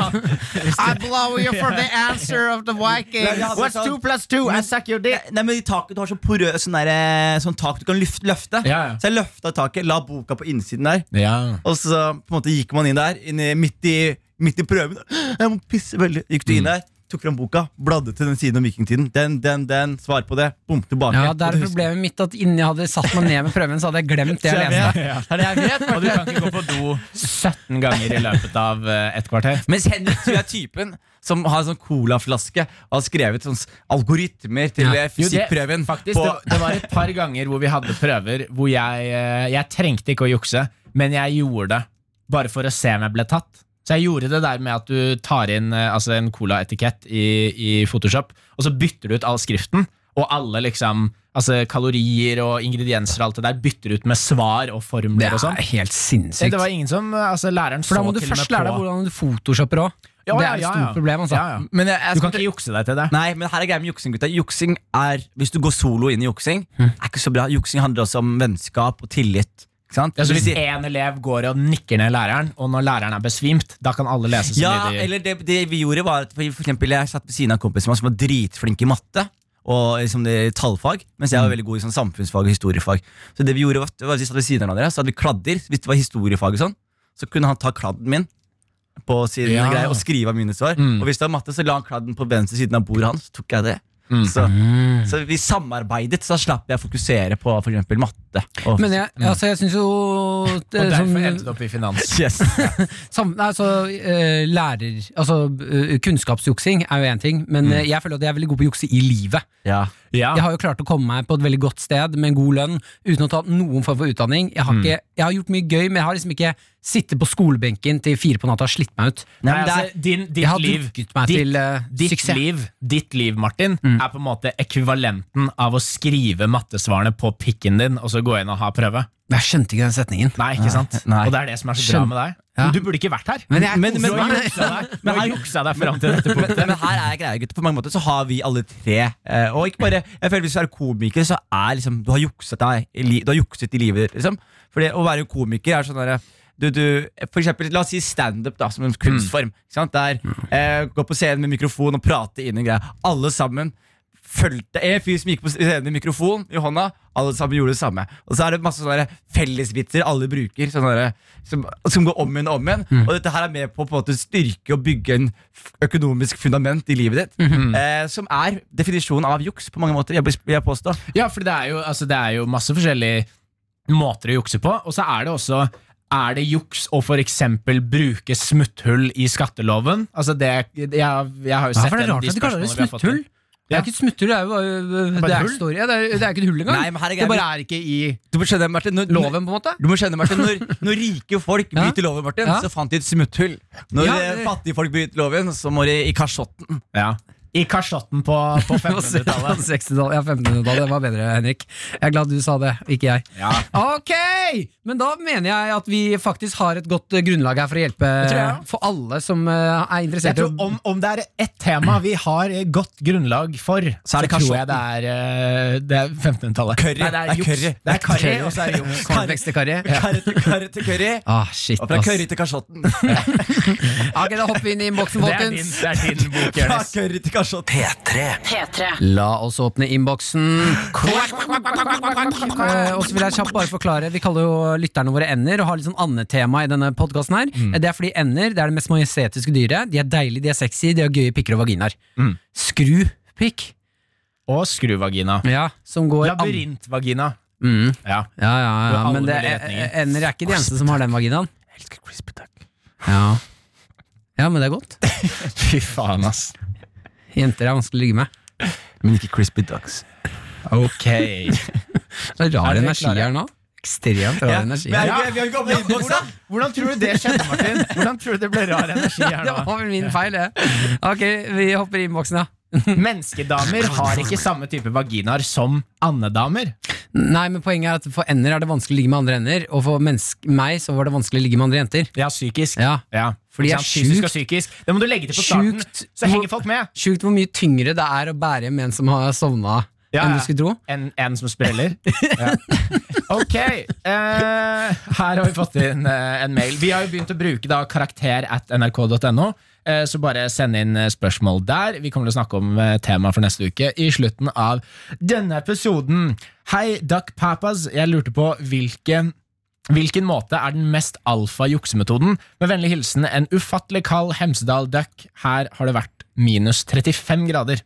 [SPEAKER 6] I blow you for the answer of the
[SPEAKER 4] Nei,
[SPEAKER 6] Vikings.
[SPEAKER 4] vi hadde
[SPEAKER 6] What's
[SPEAKER 4] sånn-
[SPEAKER 6] two plus two? I suck your dick.
[SPEAKER 4] Nei, men i taket Du har sånn porø- sånn, der, sånn tak du kan luft, løfte.
[SPEAKER 3] Ja, ja.
[SPEAKER 4] Så jeg løfta taket, la boka på innsiden der,
[SPEAKER 3] Ja
[SPEAKER 4] og så på en måte gikk man inn der inn i, midt, i, midt i prøven. Jeg må pisse veldig Gikk du inn der, tok fram boka, bladde til den siden om vikingtiden. Den, den, den. Svar på det. Bom, tilbake.
[SPEAKER 2] Ja, der
[SPEAKER 4] Og
[SPEAKER 2] er
[SPEAKER 4] du husker-
[SPEAKER 2] problemet mitt at innen jeg hadde satt meg ned med prøven, så hadde jeg glemt det jeg leste.
[SPEAKER 3] Ja. Og du kan ikke gå på do 17 ganger i løpet av eh, et kvarter.
[SPEAKER 4] Mens Henrik tror jeg er typen som har sånn colaflaske og har skrevet sånn s- algoritmer til
[SPEAKER 3] Jo,
[SPEAKER 4] eh,
[SPEAKER 3] det-
[SPEAKER 4] fysikkprøven.
[SPEAKER 3] Faktisk,
[SPEAKER 4] på,
[SPEAKER 3] det, det var et par ganger hvor vi hadde prøver hvor jeg, eh, jeg trengte ikke å jukse, men jeg gjorde det bare for å se om jeg ble tatt. Så jeg gjorde det der med at du tar inn eh, altså en colaetikett i, i Photoshop, og så bytter du ut all skriften, og alle liksom Altså kalorier og ingredienser og alt det der bytter ut med svar og
[SPEAKER 2] Det
[SPEAKER 3] formler og sånn.
[SPEAKER 2] er helt
[SPEAKER 3] Så
[SPEAKER 2] sinnssykt.
[SPEAKER 3] Det var ingen som eh, Altså, læreren så
[SPEAKER 2] For da må du
[SPEAKER 3] til og med
[SPEAKER 2] først lære
[SPEAKER 3] på-
[SPEAKER 2] deg hvordan du photoshopper òg.
[SPEAKER 3] Ja,
[SPEAKER 2] Det
[SPEAKER 3] ja,
[SPEAKER 2] er et
[SPEAKER 3] ja, ja.
[SPEAKER 2] stort problem, altså.
[SPEAKER 3] Ja, ja.
[SPEAKER 4] men jeg, jeg,
[SPEAKER 3] Du kan
[SPEAKER 4] skal-
[SPEAKER 3] ikke jukse deg til det.
[SPEAKER 4] Nei, men her er greia med juksing, gutta. Juksing er, Hvis du går solo inn i juksing,
[SPEAKER 3] Hm.
[SPEAKER 4] er ikke så bra. Juksing handler også om vennskap og tillit. Ikke sant?
[SPEAKER 3] Ja, så Altså,
[SPEAKER 4] Det
[SPEAKER 3] hvis
[SPEAKER 4] vil si-
[SPEAKER 3] én elev går og nikker ned læreren, og når læreren er besvimt, da kan alle lese så
[SPEAKER 4] ja,
[SPEAKER 3] mye de
[SPEAKER 4] eller det, det vi gjorde, var at for for eksempel jeg satt ved siden av en kompis som var- som var dritflink i matte. Og liksom det i tallfag Mens jeg var veldig god i sånn samfunnsfag og historiefag. Så det vi gjorde var, at- var at vi satt ved siden av dere Så hadde vi kladder. Hvis det var historiefag, og sånn så kunne han ta kladden min På siden
[SPEAKER 3] Ja.
[SPEAKER 4] og, greier, og skrive av mine svar. Og hvis det var matte, så la han kladden på venstre siden av bordet hans. Så tok jeg det så, så vi samarbeidet, så da slapp jeg å fokusere på for eksempel matte. Og,
[SPEAKER 2] Men jeg, altså, jeg syns jo det,
[SPEAKER 3] Og derfor
[SPEAKER 2] sånn-
[SPEAKER 3] endte det opp i finans.
[SPEAKER 4] yes.
[SPEAKER 2] Sam, nei, altså, eh, lærer, altså eh, Kunnskapsjuksing er jo én ting, men
[SPEAKER 3] Mm.
[SPEAKER 2] eh, jeg føler at jeg er veldig god på å jukse i livet.
[SPEAKER 4] ja.
[SPEAKER 3] Ja.
[SPEAKER 2] Jeg har jo klart å komme meg på et veldig godt sted med en god lønn uten å ta noen form for utdanning. Jeg har,
[SPEAKER 3] Mm.
[SPEAKER 2] ikke, jeg har gjort mye gøy, men jeg har liksom ikke sittet på skolebenken til fire på natta og slitt meg ut.
[SPEAKER 3] Nei,
[SPEAKER 4] men det er-
[SPEAKER 3] altså, din, ditt
[SPEAKER 2] Jeg har
[SPEAKER 3] liv,
[SPEAKER 2] drukket meg
[SPEAKER 3] ditt,
[SPEAKER 2] til eh,
[SPEAKER 3] ditt
[SPEAKER 2] suksess. Mm.
[SPEAKER 3] liv, ditt liv, Martin, er på en måte ekvivalenten av å skrive mattesvarene på pikken din, og så gå inn og ha prøve.
[SPEAKER 2] Jeg skjønte ikke den setningen.
[SPEAKER 3] Nei, ikke sant?
[SPEAKER 4] nei.
[SPEAKER 3] Og det er det som er så bra
[SPEAKER 2] Skjønn-
[SPEAKER 3] med deg.
[SPEAKER 2] Ja.
[SPEAKER 3] Du burde ikke vært her.
[SPEAKER 2] Men jeg-
[SPEAKER 3] du har
[SPEAKER 2] men-
[SPEAKER 3] juksa deg, du har juksa deg fram til dette punktet.
[SPEAKER 4] men, men her er greia, gutter. På mange måter så har vi alle tre eh, Og ikke bare, jeg føler Hvis du er komiker, så er liksom Du har jukset deg i, li, du har jukset i livet ditt. Liksom. For det å være komiker er sånn derre du, du, for eksempel, La oss si standup da, som en kunstform. Ikke sant? Der, eh, gå på scenen med mikrofon og prate inn en greie. Alle sammen fulgte en fyr som gikk på scenen med mikrofon i hånda. Alle sammen gjorde det samme. Og så er det masse sånne der fellesvitser alle bruker, sånne der, som, som går om igjen og om igjen.
[SPEAKER 2] Mm.
[SPEAKER 4] Og dette her er med på å på en måte styrke og bygge en f- økonomisk fundament i livet ditt.
[SPEAKER 2] Mhm.
[SPEAKER 4] eh, som er definisjonen av juks på mange måter, jeg vil vil jeg påstå.
[SPEAKER 2] Mm.
[SPEAKER 3] Ja, for det er jo, altså, det er jo masse forskjellige måter å jukse på, og så er det også er det juks å for eksempel bruke smutthull i skatteloven? Altså det, jeg, jeg har jo
[SPEAKER 2] Ja,
[SPEAKER 3] sett
[SPEAKER 2] for det er
[SPEAKER 3] gjennom
[SPEAKER 2] rart
[SPEAKER 3] de
[SPEAKER 2] at de kaller det
[SPEAKER 3] spørsmålene vi har fått
[SPEAKER 2] smutthull.
[SPEAKER 3] inn.
[SPEAKER 2] Det
[SPEAKER 3] Ja.
[SPEAKER 2] er ikke et smutthull, det er jo bare,
[SPEAKER 3] bare
[SPEAKER 2] det er
[SPEAKER 3] et hull.
[SPEAKER 2] ikke story, det er, det er ikke et hull engang.
[SPEAKER 4] Nei, men
[SPEAKER 2] det
[SPEAKER 4] herregud,
[SPEAKER 2] bare
[SPEAKER 4] vi-
[SPEAKER 2] er ikke i
[SPEAKER 4] Du må skjønne, Martin, når,
[SPEAKER 2] loven, på en måte.
[SPEAKER 4] Du må skjønne, Martin,
[SPEAKER 2] (laughs)
[SPEAKER 4] Når, når rike folk
[SPEAKER 2] Ja.
[SPEAKER 4] bryter loven, Martin,
[SPEAKER 2] Ja.
[SPEAKER 4] så fant de et smutthull. Når
[SPEAKER 2] Ja,
[SPEAKER 4] eh,
[SPEAKER 2] det-
[SPEAKER 4] fattige folk bryter loven, så må de i kasjotten.
[SPEAKER 3] Ja. I kasjotten på, på
[SPEAKER 2] På
[SPEAKER 3] 1500-tallet.
[SPEAKER 2] 60-tallet. Ja, 1500-tallet var bedre, Henrik. Jeg er glad du sa det, ikke jeg.
[SPEAKER 3] Ja.
[SPEAKER 2] Ok! Men da mener jeg at vi faktisk har et godt eh, grunnlag her for å hjelpe
[SPEAKER 3] tror jeg, ja.
[SPEAKER 2] for alle som eh, er
[SPEAKER 3] Jeg
[SPEAKER 2] interessert. i
[SPEAKER 3] tror
[SPEAKER 2] å-
[SPEAKER 3] om, om det er ett tema vi har eh, godt grunnlag for, så,
[SPEAKER 4] er det
[SPEAKER 3] tror jeg det er, eh, det er 1500-tallet.
[SPEAKER 4] Curry.
[SPEAKER 3] Nei, det er
[SPEAKER 4] Det er
[SPEAKER 3] juks.
[SPEAKER 4] curry.
[SPEAKER 3] Det er curry,
[SPEAKER 2] Curry.
[SPEAKER 3] og så er det juks.
[SPEAKER 2] Cornflakes til karri. Ja.
[SPEAKER 4] Karre til karre til curry.
[SPEAKER 2] Ah, shit,
[SPEAKER 4] Og fra
[SPEAKER 2] ass.
[SPEAKER 4] curry til kasjotten.
[SPEAKER 2] Ok, da hopper vi inn i innboksen,
[SPEAKER 3] Det er din,
[SPEAKER 2] folkens.
[SPEAKER 3] det er din
[SPEAKER 4] (laughs)
[SPEAKER 3] bok,
[SPEAKER 4] Fra
[SPEAKER 3] Jonis.
[SPEAKER 4] curry til kasjotten.
[SPEAKER 5] P3
[SPEAKER 1] P3.
[SPEAKER 2] La oss åpne innboksen. Eh, Og så vil jeg kjapt bare forklare Vi kaller jo lytterne våre ender og har litt sånn andetema i denne podkasten her. Eh, Det er fordi ender det er det mest majestetiske dyret. De er deilige, de er sexy, de har gøye pikker og vaginaer. Skrupikk,
[SPEAKER 3] Og skruvagina.
[SPEAKER 2] ja, som går an-
[SPEAKER 3] Labyrintvagina.
[SPEAKER 2] Mm.
[SPEAKER 3] Ja.
[SPEAKER 2] Ja, ja, ja,
[SPEAKER 3] alle
[SPEAKER 2] men det,
[SPEAKER 3] mulige retninger.
[SPEAKER 2] eh, ender er ikke de eneste som har den vaginaen.
[SPEAKER 4] Jeg elsker crispy duck.
[SPEAKER 2] Ja. ja, men det er godt.
[SPEAKER 3] Fy faen, ass.
[SPEAKER 2] Jenter er vanskelig å ligge med.
[SPEAKER 4] Men ikke crispy ducks.
[SPEAKER 3] Ok.
[SPEAKER 2] Det er rar
[SPEAKER 3] Er dere
[SPEAKER 2] energi
[SPEAKER 3] klare?
[SPEAKER 2] her nå. Ekstremt rar
[SPEAKER 4] Ja. Men
[SPEAKER 2] energi.
[SPEAKER 4] er
[SPEAKER 2] her.
[SPEAKER 4] vi, er vi har ikke åpnet innboksen!
[SPEAKER 3] Hvordan, hvordan tror du det skjedde, Martin? Hvordan tror du det ble rar energi (laughs) her
[SPEAKER 2] Det
[SPEAKER 3] nå?
[SPEAKER 2] var vel min feil, det. Ok, vi hopper i innboksen, ja.
[SPEAKER 3] Menneskedamer har ikke samme type vaginaer som andedamer.
[SPEAKER 2] Nei, men poenget er at for ender er det vanskelig å ligge med andre ender, og for mennesk- meg så var det vanskelig å ligge med andre jenter.
[SPEAKER 3] Ja, psykisk.
[SPEAKER 2] Ja.
[SPEAKER 3] Ja.
[SPEAKER 2] Fordi
[SPEAKER 3] Ikke
[SPEAKER 2] jeg er
[SPEAKER 3] sant? Fysisk
[SPEAKER 2] sjukt-
[SPEAKER 3] og psykisk. Det må du legge til på starten,
[SPEAKER 2] Sjukt-
[SPEAKER 3] så henger folk med.
[SPEAKER 2] Sjukt hvor mye tyngre det er å bære hjem en som har sovna,
[SPEAKER 3] Ja,
[SPEAKER 2] enn
[SPEAKER 3] ja.
[SPEAKER 2] du skulle tro.
[SPEAKER 3] En, en som
[SPEAKER 2] (laughs)
[SPEAKER 3] spreller. Ja. (laughs) Ok, eh, her har vi fått inn eh, en mail. Vi har jo begynt å bruke da, karakter at nrk.no, eh, så bare send inn eh, spørsmål der. Vi kommer til å snakke om eh, temaet for neste uke i slutten av denne episoden. Hei, Duck Papas. Jeg lurte på hvilken Hvilken måte er den mest alfa juksemetoden? Med vennlig hilsen en ufattelig kald Hemsedal Duck. Her har det vært minus 35 grader.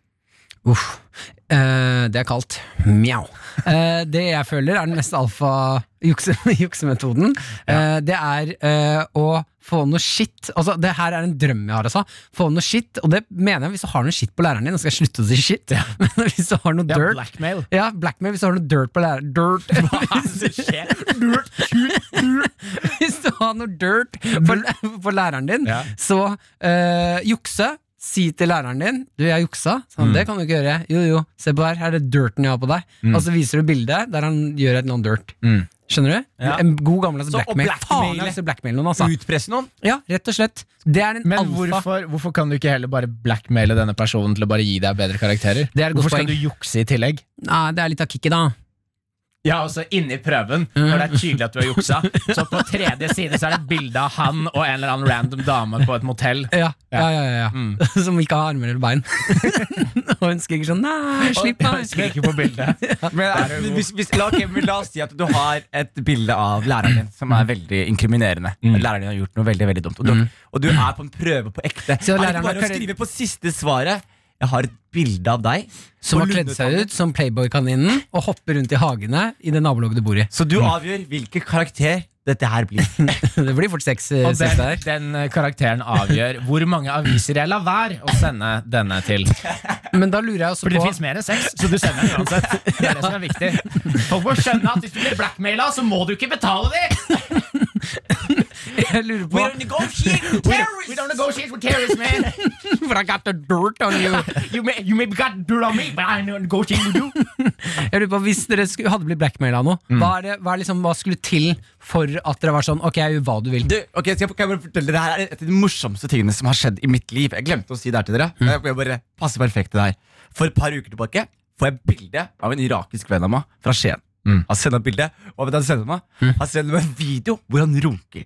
[SPEAKER 2] Uff. Eh, det er kaldt. Mjau. Eh, det jeg føler er den mest alfa jukse- (laughs) juksemetoden, eh, det er eh, å få noe skitt. Altså, det her er en drøm jeg har, altså. Få noe skitt, og det mener jeg hvis du har noe skitt på læreren din, nå skal jeg slutte å si skitt, (laughs) men hvis du har noe
[SPEAKER 3] Ja,
[SPEAKER 2] dirt
[SPEAKER 3] blackmail.
[SPEAKER 2] Ja, blackmail hvis du har noe dirt på læreren. Dirt.
[SPEAKER 3] (laughs)
[SPEAKER 2] (laughs) hvis du har noe dirt på, (laughs) på læreren din,
[SPEAKER 3] Ja.
[SPEAKER 2] så eh, jukse. Si til læreren din Du, jeg juksa. Så han, Det kan du ikke gjøre. Jo, jo, se på her, her er det dirten jeg har på deg. Og så viser du bildet der han gjør et eller annet dirt.
[SPEAKER 3] Mm.
[SPEAKER 2] Skjønner du?
[SPEAKER 4] Ja.
[SPEAKER 2] En god gammeldags
[SPEAKER 4] Så å
[SPEAKER 2] blackmail.
[SPEAKER 4] blackmaile-
[SPEAKER 2] Faen, jeg har lyst til å blackmaile noen, altså.
[SPEAKER 4] Utpresse noen.
[SPEAKER 2] Ja, rett og slett. Det er en
[SPEAKER 3] Men
[SPEAKER 2] alfa.
[SPEAKER 3] hvorfor, hvorfor kan du ikke heller bare blackmaile denne personen til å bare gi deg bedre karakterer?
[SPEAKER 2] Det er et godt
[SPEAKER 3] hvorfor skal
[SPEAKER 2] poeng.
[SPEAKER 3] du jukse i tillegg?
[SPEAKER 2] Nei, det er litt av kicket, da.
[SPEAKER 3] Ja, også inni prøven, når det er tydelig at du har juksa. Så på tredje side så er det et bilde av han og en eller annen random dame på et motell.
[SPEAKER 2] Ja, ja, ja, ja, ja. (laughs) Som ikke har armer eller bein. og hun skriker sånn Nei, slipp
[SPEAKER 3] Jeg (laughs)
[SPEAKER 2] meg!
[SPEAKER 3] husker ikke på
[SPEAKER 2] (laughs)
[SPEAKER 3] bildet.
[SPEAKER 4] Men, eh,
[SPEAKER 3] er jo
[SPEAKER 4] hvis, hvis, la, ok, men la oss si at du har et bilde av læreren din som er veldig inkriminerende. Læreren din har gjort noe veldig veldig dumt, og du, og du er på en prøve på ekte.
[SPEAKER 2] Så
[SPEAKER 4] er det
[SPEAKER 2] læreren
[SPEAKER 4] ikke
[SPEAKER 2] har
[SPEAKER 4] bare å
[SPEAKER 2] kledd-
[SPEAKER 4] skrive på siste svaret 'Jeg har et bilde av deg'
[SPEAKER 2] Som
[SPEAKER 4] på
[SPEAKER 2] har kledd seg
[SPEAKER 4] Lundetangen».
[SPEAKER 2] ut som Playboy-kaninen og hopper rundt i hagene i det nabolaget du bor i.
[SPEAKER 4] Så du avgjør hvilken karakter dette her blir.
[SPEAKER 2] (laughs) Det blir fort seks eh,
[SPEAKER 3] Og
[SPEAKER 2] siste
[SPEAKER 3] den,
[SPEAKER 2] her.
[SPEAKER 3] den eh, karakteren avgjør hvor mange aviser jeg lar være å sende denne til.
[SPEAKER 2] Men da lurer jeg også
[SPEAKER 3] For det
[SPEAKER 2] på
[SPEAKER 3] fins mer enn seks, så du sender den uansett. Det er det som er viktig. Folk må skjønne at hvis du blir blackmaila, så må du ikke betale dem!
[SPEAKER 2] (laughs) Jeg lurer på
[SPEAKER 3] We don't negotiate with terrorists, man!
[SPEAKER 2] For I got the dirt on (laughs) you.
[SPEAKER 3] You may, you may got dirt on me, but I know negotiating with you.
[SPEAKER 2] Jeg lurer på Hvis dere skulle, hadde blitt blackmaila nå, hva, er det, hva, er liksom, hva skulle til for at dere var sånn Ok, jeg gjør hva du vil?
[SPEAKER 4] Du, ok, skal jeg, kan jeg bare fortelle dere her er et av de morsomste tingene som har skjedd i mitt liv. Jeg glemte å si det her til dere.
[SPEAKER 3] Mm.
[SPEAKER 4] Jeg jeg bare passer perfekt til det her For et par uker tilbake får jeg bilde av en irakisk venn av meg fra Skien.
[SPEAKER 3] Mm.
[SPEAKER 4] Han sender et bilde, og vet du hva han sender meg? Han sender meg en video hvor han runker.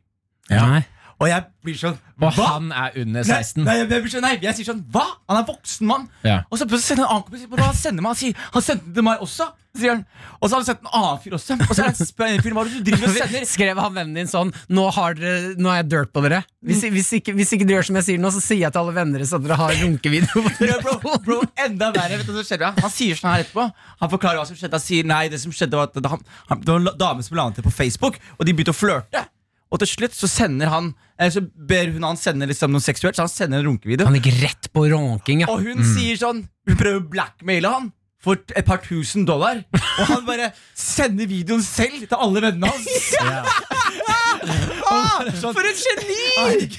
[SPEAKER 2] Nei.
[SPEAKER 4] Og jeg blir sånn
[SPEAKER 3] Og
[SPEAKER 4] hva?
[SPEAKER 3] han er under
[SPEAKER 4] Nei,
[SPEAKER 3] 16.
[SPEAKER 4] Nei, jeg, blir sånn, nei, jeg sier sånn Hva? Han er voksen mann.
[SPEAKER 3] Ja.
[SPEAKER 4] Og så plutselig sender en annen kompis Hva sender han meg? Han sier Han sendte det til meg også. sier han. Og så har han sett en annen fyr også. Og så er det en spennende fyr. Hva er det du
[SPEAKER 3] (laughs)
[SPEAKER 4] driver og sender?
[SPEAKER 2] (laughs) Skrev han vennen din sånn Nå, har dere, nå er jeg dirt på dere. Hvis, hvis, ikke, hvis ikke dere gjør som jeg sier nå, så sier jeg til alle venner deres at dere har (laughs) runkevideo. på
[SPEAKER 4] Bro,
[SPEAKER 2] dere.
[SPEAKER 4] bro, bro, enda verre. Vet du hva som skjedde? Han sier sånn her etterpå. Han forklarer hva som skjedde. Han sier nei, det som skjedde var at han, han, det var en dame som la han til på Facebook, og de begynte å flørte. Og til slutt så sender han eh, Så ber hun han sende liksom noe seksuelt, så han sender en runkevideo.
[SPEAKER 2] Han Mm. gikk rett på ronking, ja.
[SPEAKER 4] Og hun sier sånn Hun prøver å blackmaile han for et par tusen dollar. Og han bare sender videoen selv til alle
[SPEAKER 2] (laughs)
[SPEAKER 4] vennene hans. Ah, for et geni!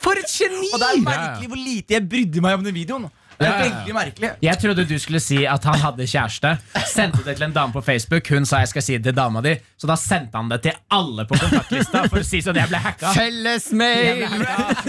[SPEAKER 2] For et geni!
[SPEAKER 4] Og det er merkelig hvor lite jeg brydde meg om den videoen. Det er veldig merkelig
[SPEAKER 3] Jeg trodde du skulle si at han hadde kjæreste. Sendte det til en dame på Facebook. Hun sa jeg skal si det til dama di. Så da sendte han det til alle på kontaktlista for å si sånn jeg ble hacka.
[SPEAKER 2] Fellesmail!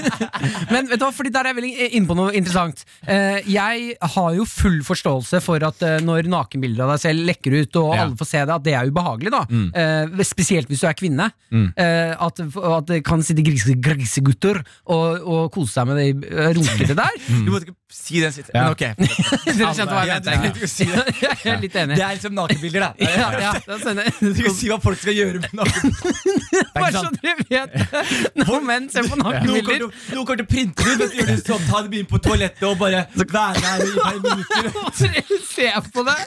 [SPEAKER 2] (laughs) Men vet du hva, fordi der er jeg veldig inne på noe interessant. Eh, Jeg har jo full forståelse for at eh, når nakenbilder av deg selv lekker ut, og
[SPEAKER 3] Ja.
[SPEAKER 2] alle får se det, at det er ubehagelig. da
[SPEAKER 4] Mm.
[SPEAKER 2] Eh, Spesielt hvis du er kvinne. Eh, At, at det kan sitte grise, grisegutter og, og kose seg med de eh, runkete
[SPEAKER 4] (laughs)
[SPEAKER 2] der.
[SPEAKER 4] Du måtte ikke si
[SPEAKER 3] Ja.
[SPEAKER 4] den siste. Men Mm. ok
[SPEAKER 2] (laughs) Dere skjønte hva
[SPEAKER 4] Ja,
[SPEAKER 2] jeg mente?
[SPEAKER 4] du trenger ikke å si det.
[SPEAKER 2] (laughs) Jeg er litt enig.
[SPEAKER 4] Det er liksom nakenbilder, da. Det er-
[SPEAKER 2] Ja, ja, da sender
[SPEAKER 4] Du skal ikke si hva folk skal gjøre med nakenbilder.
[SPEAKER 2] Bare så dere vet det! Når menn ser på
[SPEAKER 4] Noen kommer,
[SPEAKER 2] nakenbilder
[SPEAKER 4] til å- noen kommer til å printe det ut, og så gjør det sånn, ta det med inn på toalettet og bare være her i et par minutter.
[SPEAKER 2] Og så ser jeg på det,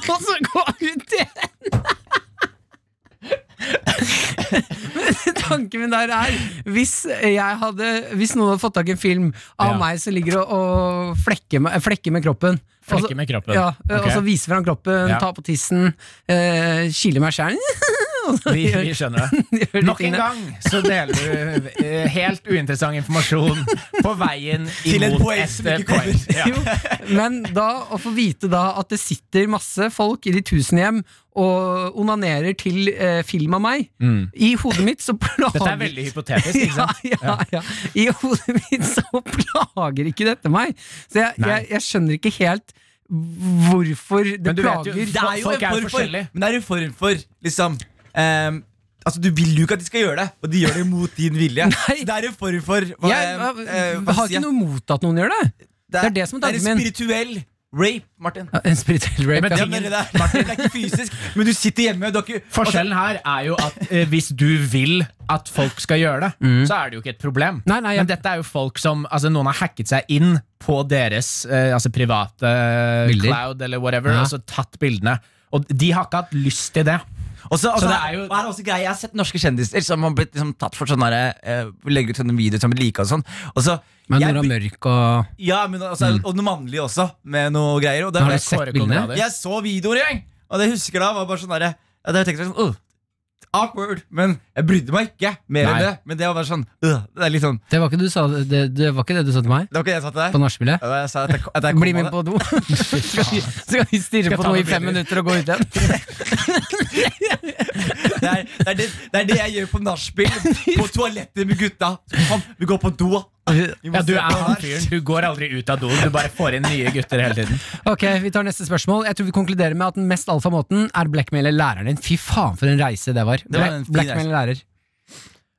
[SPEAKER 2] og så går ut igjen. Men tanken min der er hvis, jeg hadde, hvis noen hadde fått tak i en film av
[SPEAKER 3] Ja.
[SPEAKER 2] meg som ligger og, og flekker, med, flekker med kroppen og så-
[SPEAKER 3] Flekker med kroppen.
[SPEAKER 2] Ja,
[SPEAKER 3] Ok.
[SPEAKER 2] Og så viser fram kroppen,
[SPEAKER 3] Ja.
[SPEAKER 2] tar på tissen, eh, kiler meg (laughs) sjæl
[SPEAKER 3] Vi, vi (laughs) skjønner sånn- det. Nok en gang så deler du eh, helt uinteressant informasjon på veien
[SPEAKER 4] Til et
[SPEAKER 3] imot
[SPEAKER 4] poeng som
[SPEAKER 3] et
[SPEAKER 4] ikke kommer.
[SPEAKER 3] poeng. (laughs) Ja.
[SPEAKER 2] Jo, men da å få vite da at det sitter masse folk i de tusen hjem og onanerer til eh, film av meg, i hodet mitt så plager
[SPEAKER 3] Dette er veldig hypotetisk, ikke sant?
[SPEAKER 2] Ja, ja, ja. I hodet mitt så plager ikke dette meg. Så jeg,
[SPEAKER 3] Nei.
[SPEAKER 2] jeg, jeg skjønner ikke helt hvorfor det
[SPEAKER 3] Men du vet jo-
[SPEAKER 2] plager.
[SPEAKER 4] Det er jo
[SPEAKER 3] Folk er
[SPEAKER 4] en form for,
[SPEAKER 3] forskjellige.
[SPEAKER 4] men det er en form for liksom ehm, Altså, Du vil jo ikke at de skal gjøre det, og de gjør det mot din vilje.
[SPEAKER 2] Nei.
[SPEAKER 4] Så Det er en form for hva,
[SPEAKER 2] jeg
[SPEAKER 4] ehm, eh, hva
[SPEAKER 2] har
[SPEAKER 4] sier jeg?
[SPEAKER 2] ikke noe imot at noen gjør det. det er det som er
[SPEAKER 4] det
[SPEAKER 2] tanken
[SPEAKER 4] er en
[SPEAKER 2] min.
[SPEAKER 4] spirituell rape, Martin.
[SPEAKER 2] En spirituell rape.
[SPEAKER 3] men
[SPEAKER 2] ja.
[SPEAKER 4] Ja, men det, der, Martin, det er ikke fysisk, men du sitter hjemme. og Du har ikke,
[SPEAKER 3] Forskjellen her er jo at eh, hvis du vil at folk skal gjøre det, så er det jo ikke et problem.
[SPEAKER 2] Mm. Nei, nei, ja.
[SPEAKER 3] Men dette er jo folk som altså, Noen har hacket seg inn på deres eh, altså, private eh,
[SPEAKER 2] Bilder.
[SPEAKER 3] cloud eller whatever,
[SPEAKER 2] Ja.
[SPEAKER 3] og så tatt bildene. Og de har ikke hatt lyst til det.
[SPEAKER 4] Og så, og
[SPEAKER 3] Så
[SPEAKER 4] så
[SPEAKER 3] det
[SPEAKER 4] er
[SPEAKER 3] er jo-
[SPEAKER 4] og her er også greia, Jeg har sett norske kjendiser som har blitt liksom, tatt for sånne der, eh, legge ut sånne videoer som blir like og sånn. Og så,
[SPEAKER 2] Men
[SPEAKER 4] jeg-
[SPEAKER 2] Nora Mørk og
[SPEAKER 4] ja, men altså, og noe mannlig også, med noe greier. Og det,
[SPEAKER 2] Har du
[SPEAKER 4] jeg,
[SPEAKER 2] sett
[SPEAKER 3] Kåre
[SPEAKER 2] bildene?
[SPEAKER 3] Conradi.
[SPEAKER 4] jeg så videoer i gang, og det jeg husker da var bare sånn derre ja, det tenkte jeg sånn, «Åh, Awkward, men jeg brydde meg ikke mer
[SPEAKER 3] Nei.
[SPEAKER 4] enn det. Men det var bare sånn «Åh», Det er litt sånn
[SPEAKER 2] Det var ikke, du sa, det, det var ikke det du sa til meg
[SPEAKER 4] Det var ikke det jeg sa
[SPEAKER 2] på
[SPEAKER 4] til deg.
[SPEAKER 2] nachspielet?
[SPEAKER 4] Og jeg sa at jeg, at jeg kom
[SPEAKER 2] Bli
[SPEAKER 4] av
[SPEAKER 2] med
[SPEAKER 4] det. (laughs)
[SPEAKER 2] på do. Skal vi- Skal vi stirre på
[SPEAKER 3] ta
[SPEAKER 2] noe i
[SPEAKER 3] noen
[SPEAKER 2] fem
[SPEAKER 3] bilder.
[SPEAKER 2] minutter og gå ut igjen?
[SPEAKER 4] (laughs) Det er det, er det, det, er det jeg gjør på nachspiel. På toalettet med gutta. Kom, vi går på do. Vi må
[SPEAKER 3] Ja, du
[SPEAKER 4] se
[SPEAKER 3] er
[SPEAKER 4] på det
[SPEAKER 3] han
[SPEAKER 4] her.
[SPEAKER 3] fyren. Du går aldri ut av doen. Du bare får inn nye gutter hele tiden.
[SPEAKER 2] Ok, Vi tar neste spørsmål. Jeg tror vi konkluderer med at den mest alfa måten er blackmail læreren din. Fy faen, for en reise det var.
[SPEAKER 4] var en
[SPEAKER 2] Black,
[SPEAKER 4] fin
[SPEAKER 2] blackmail lærer.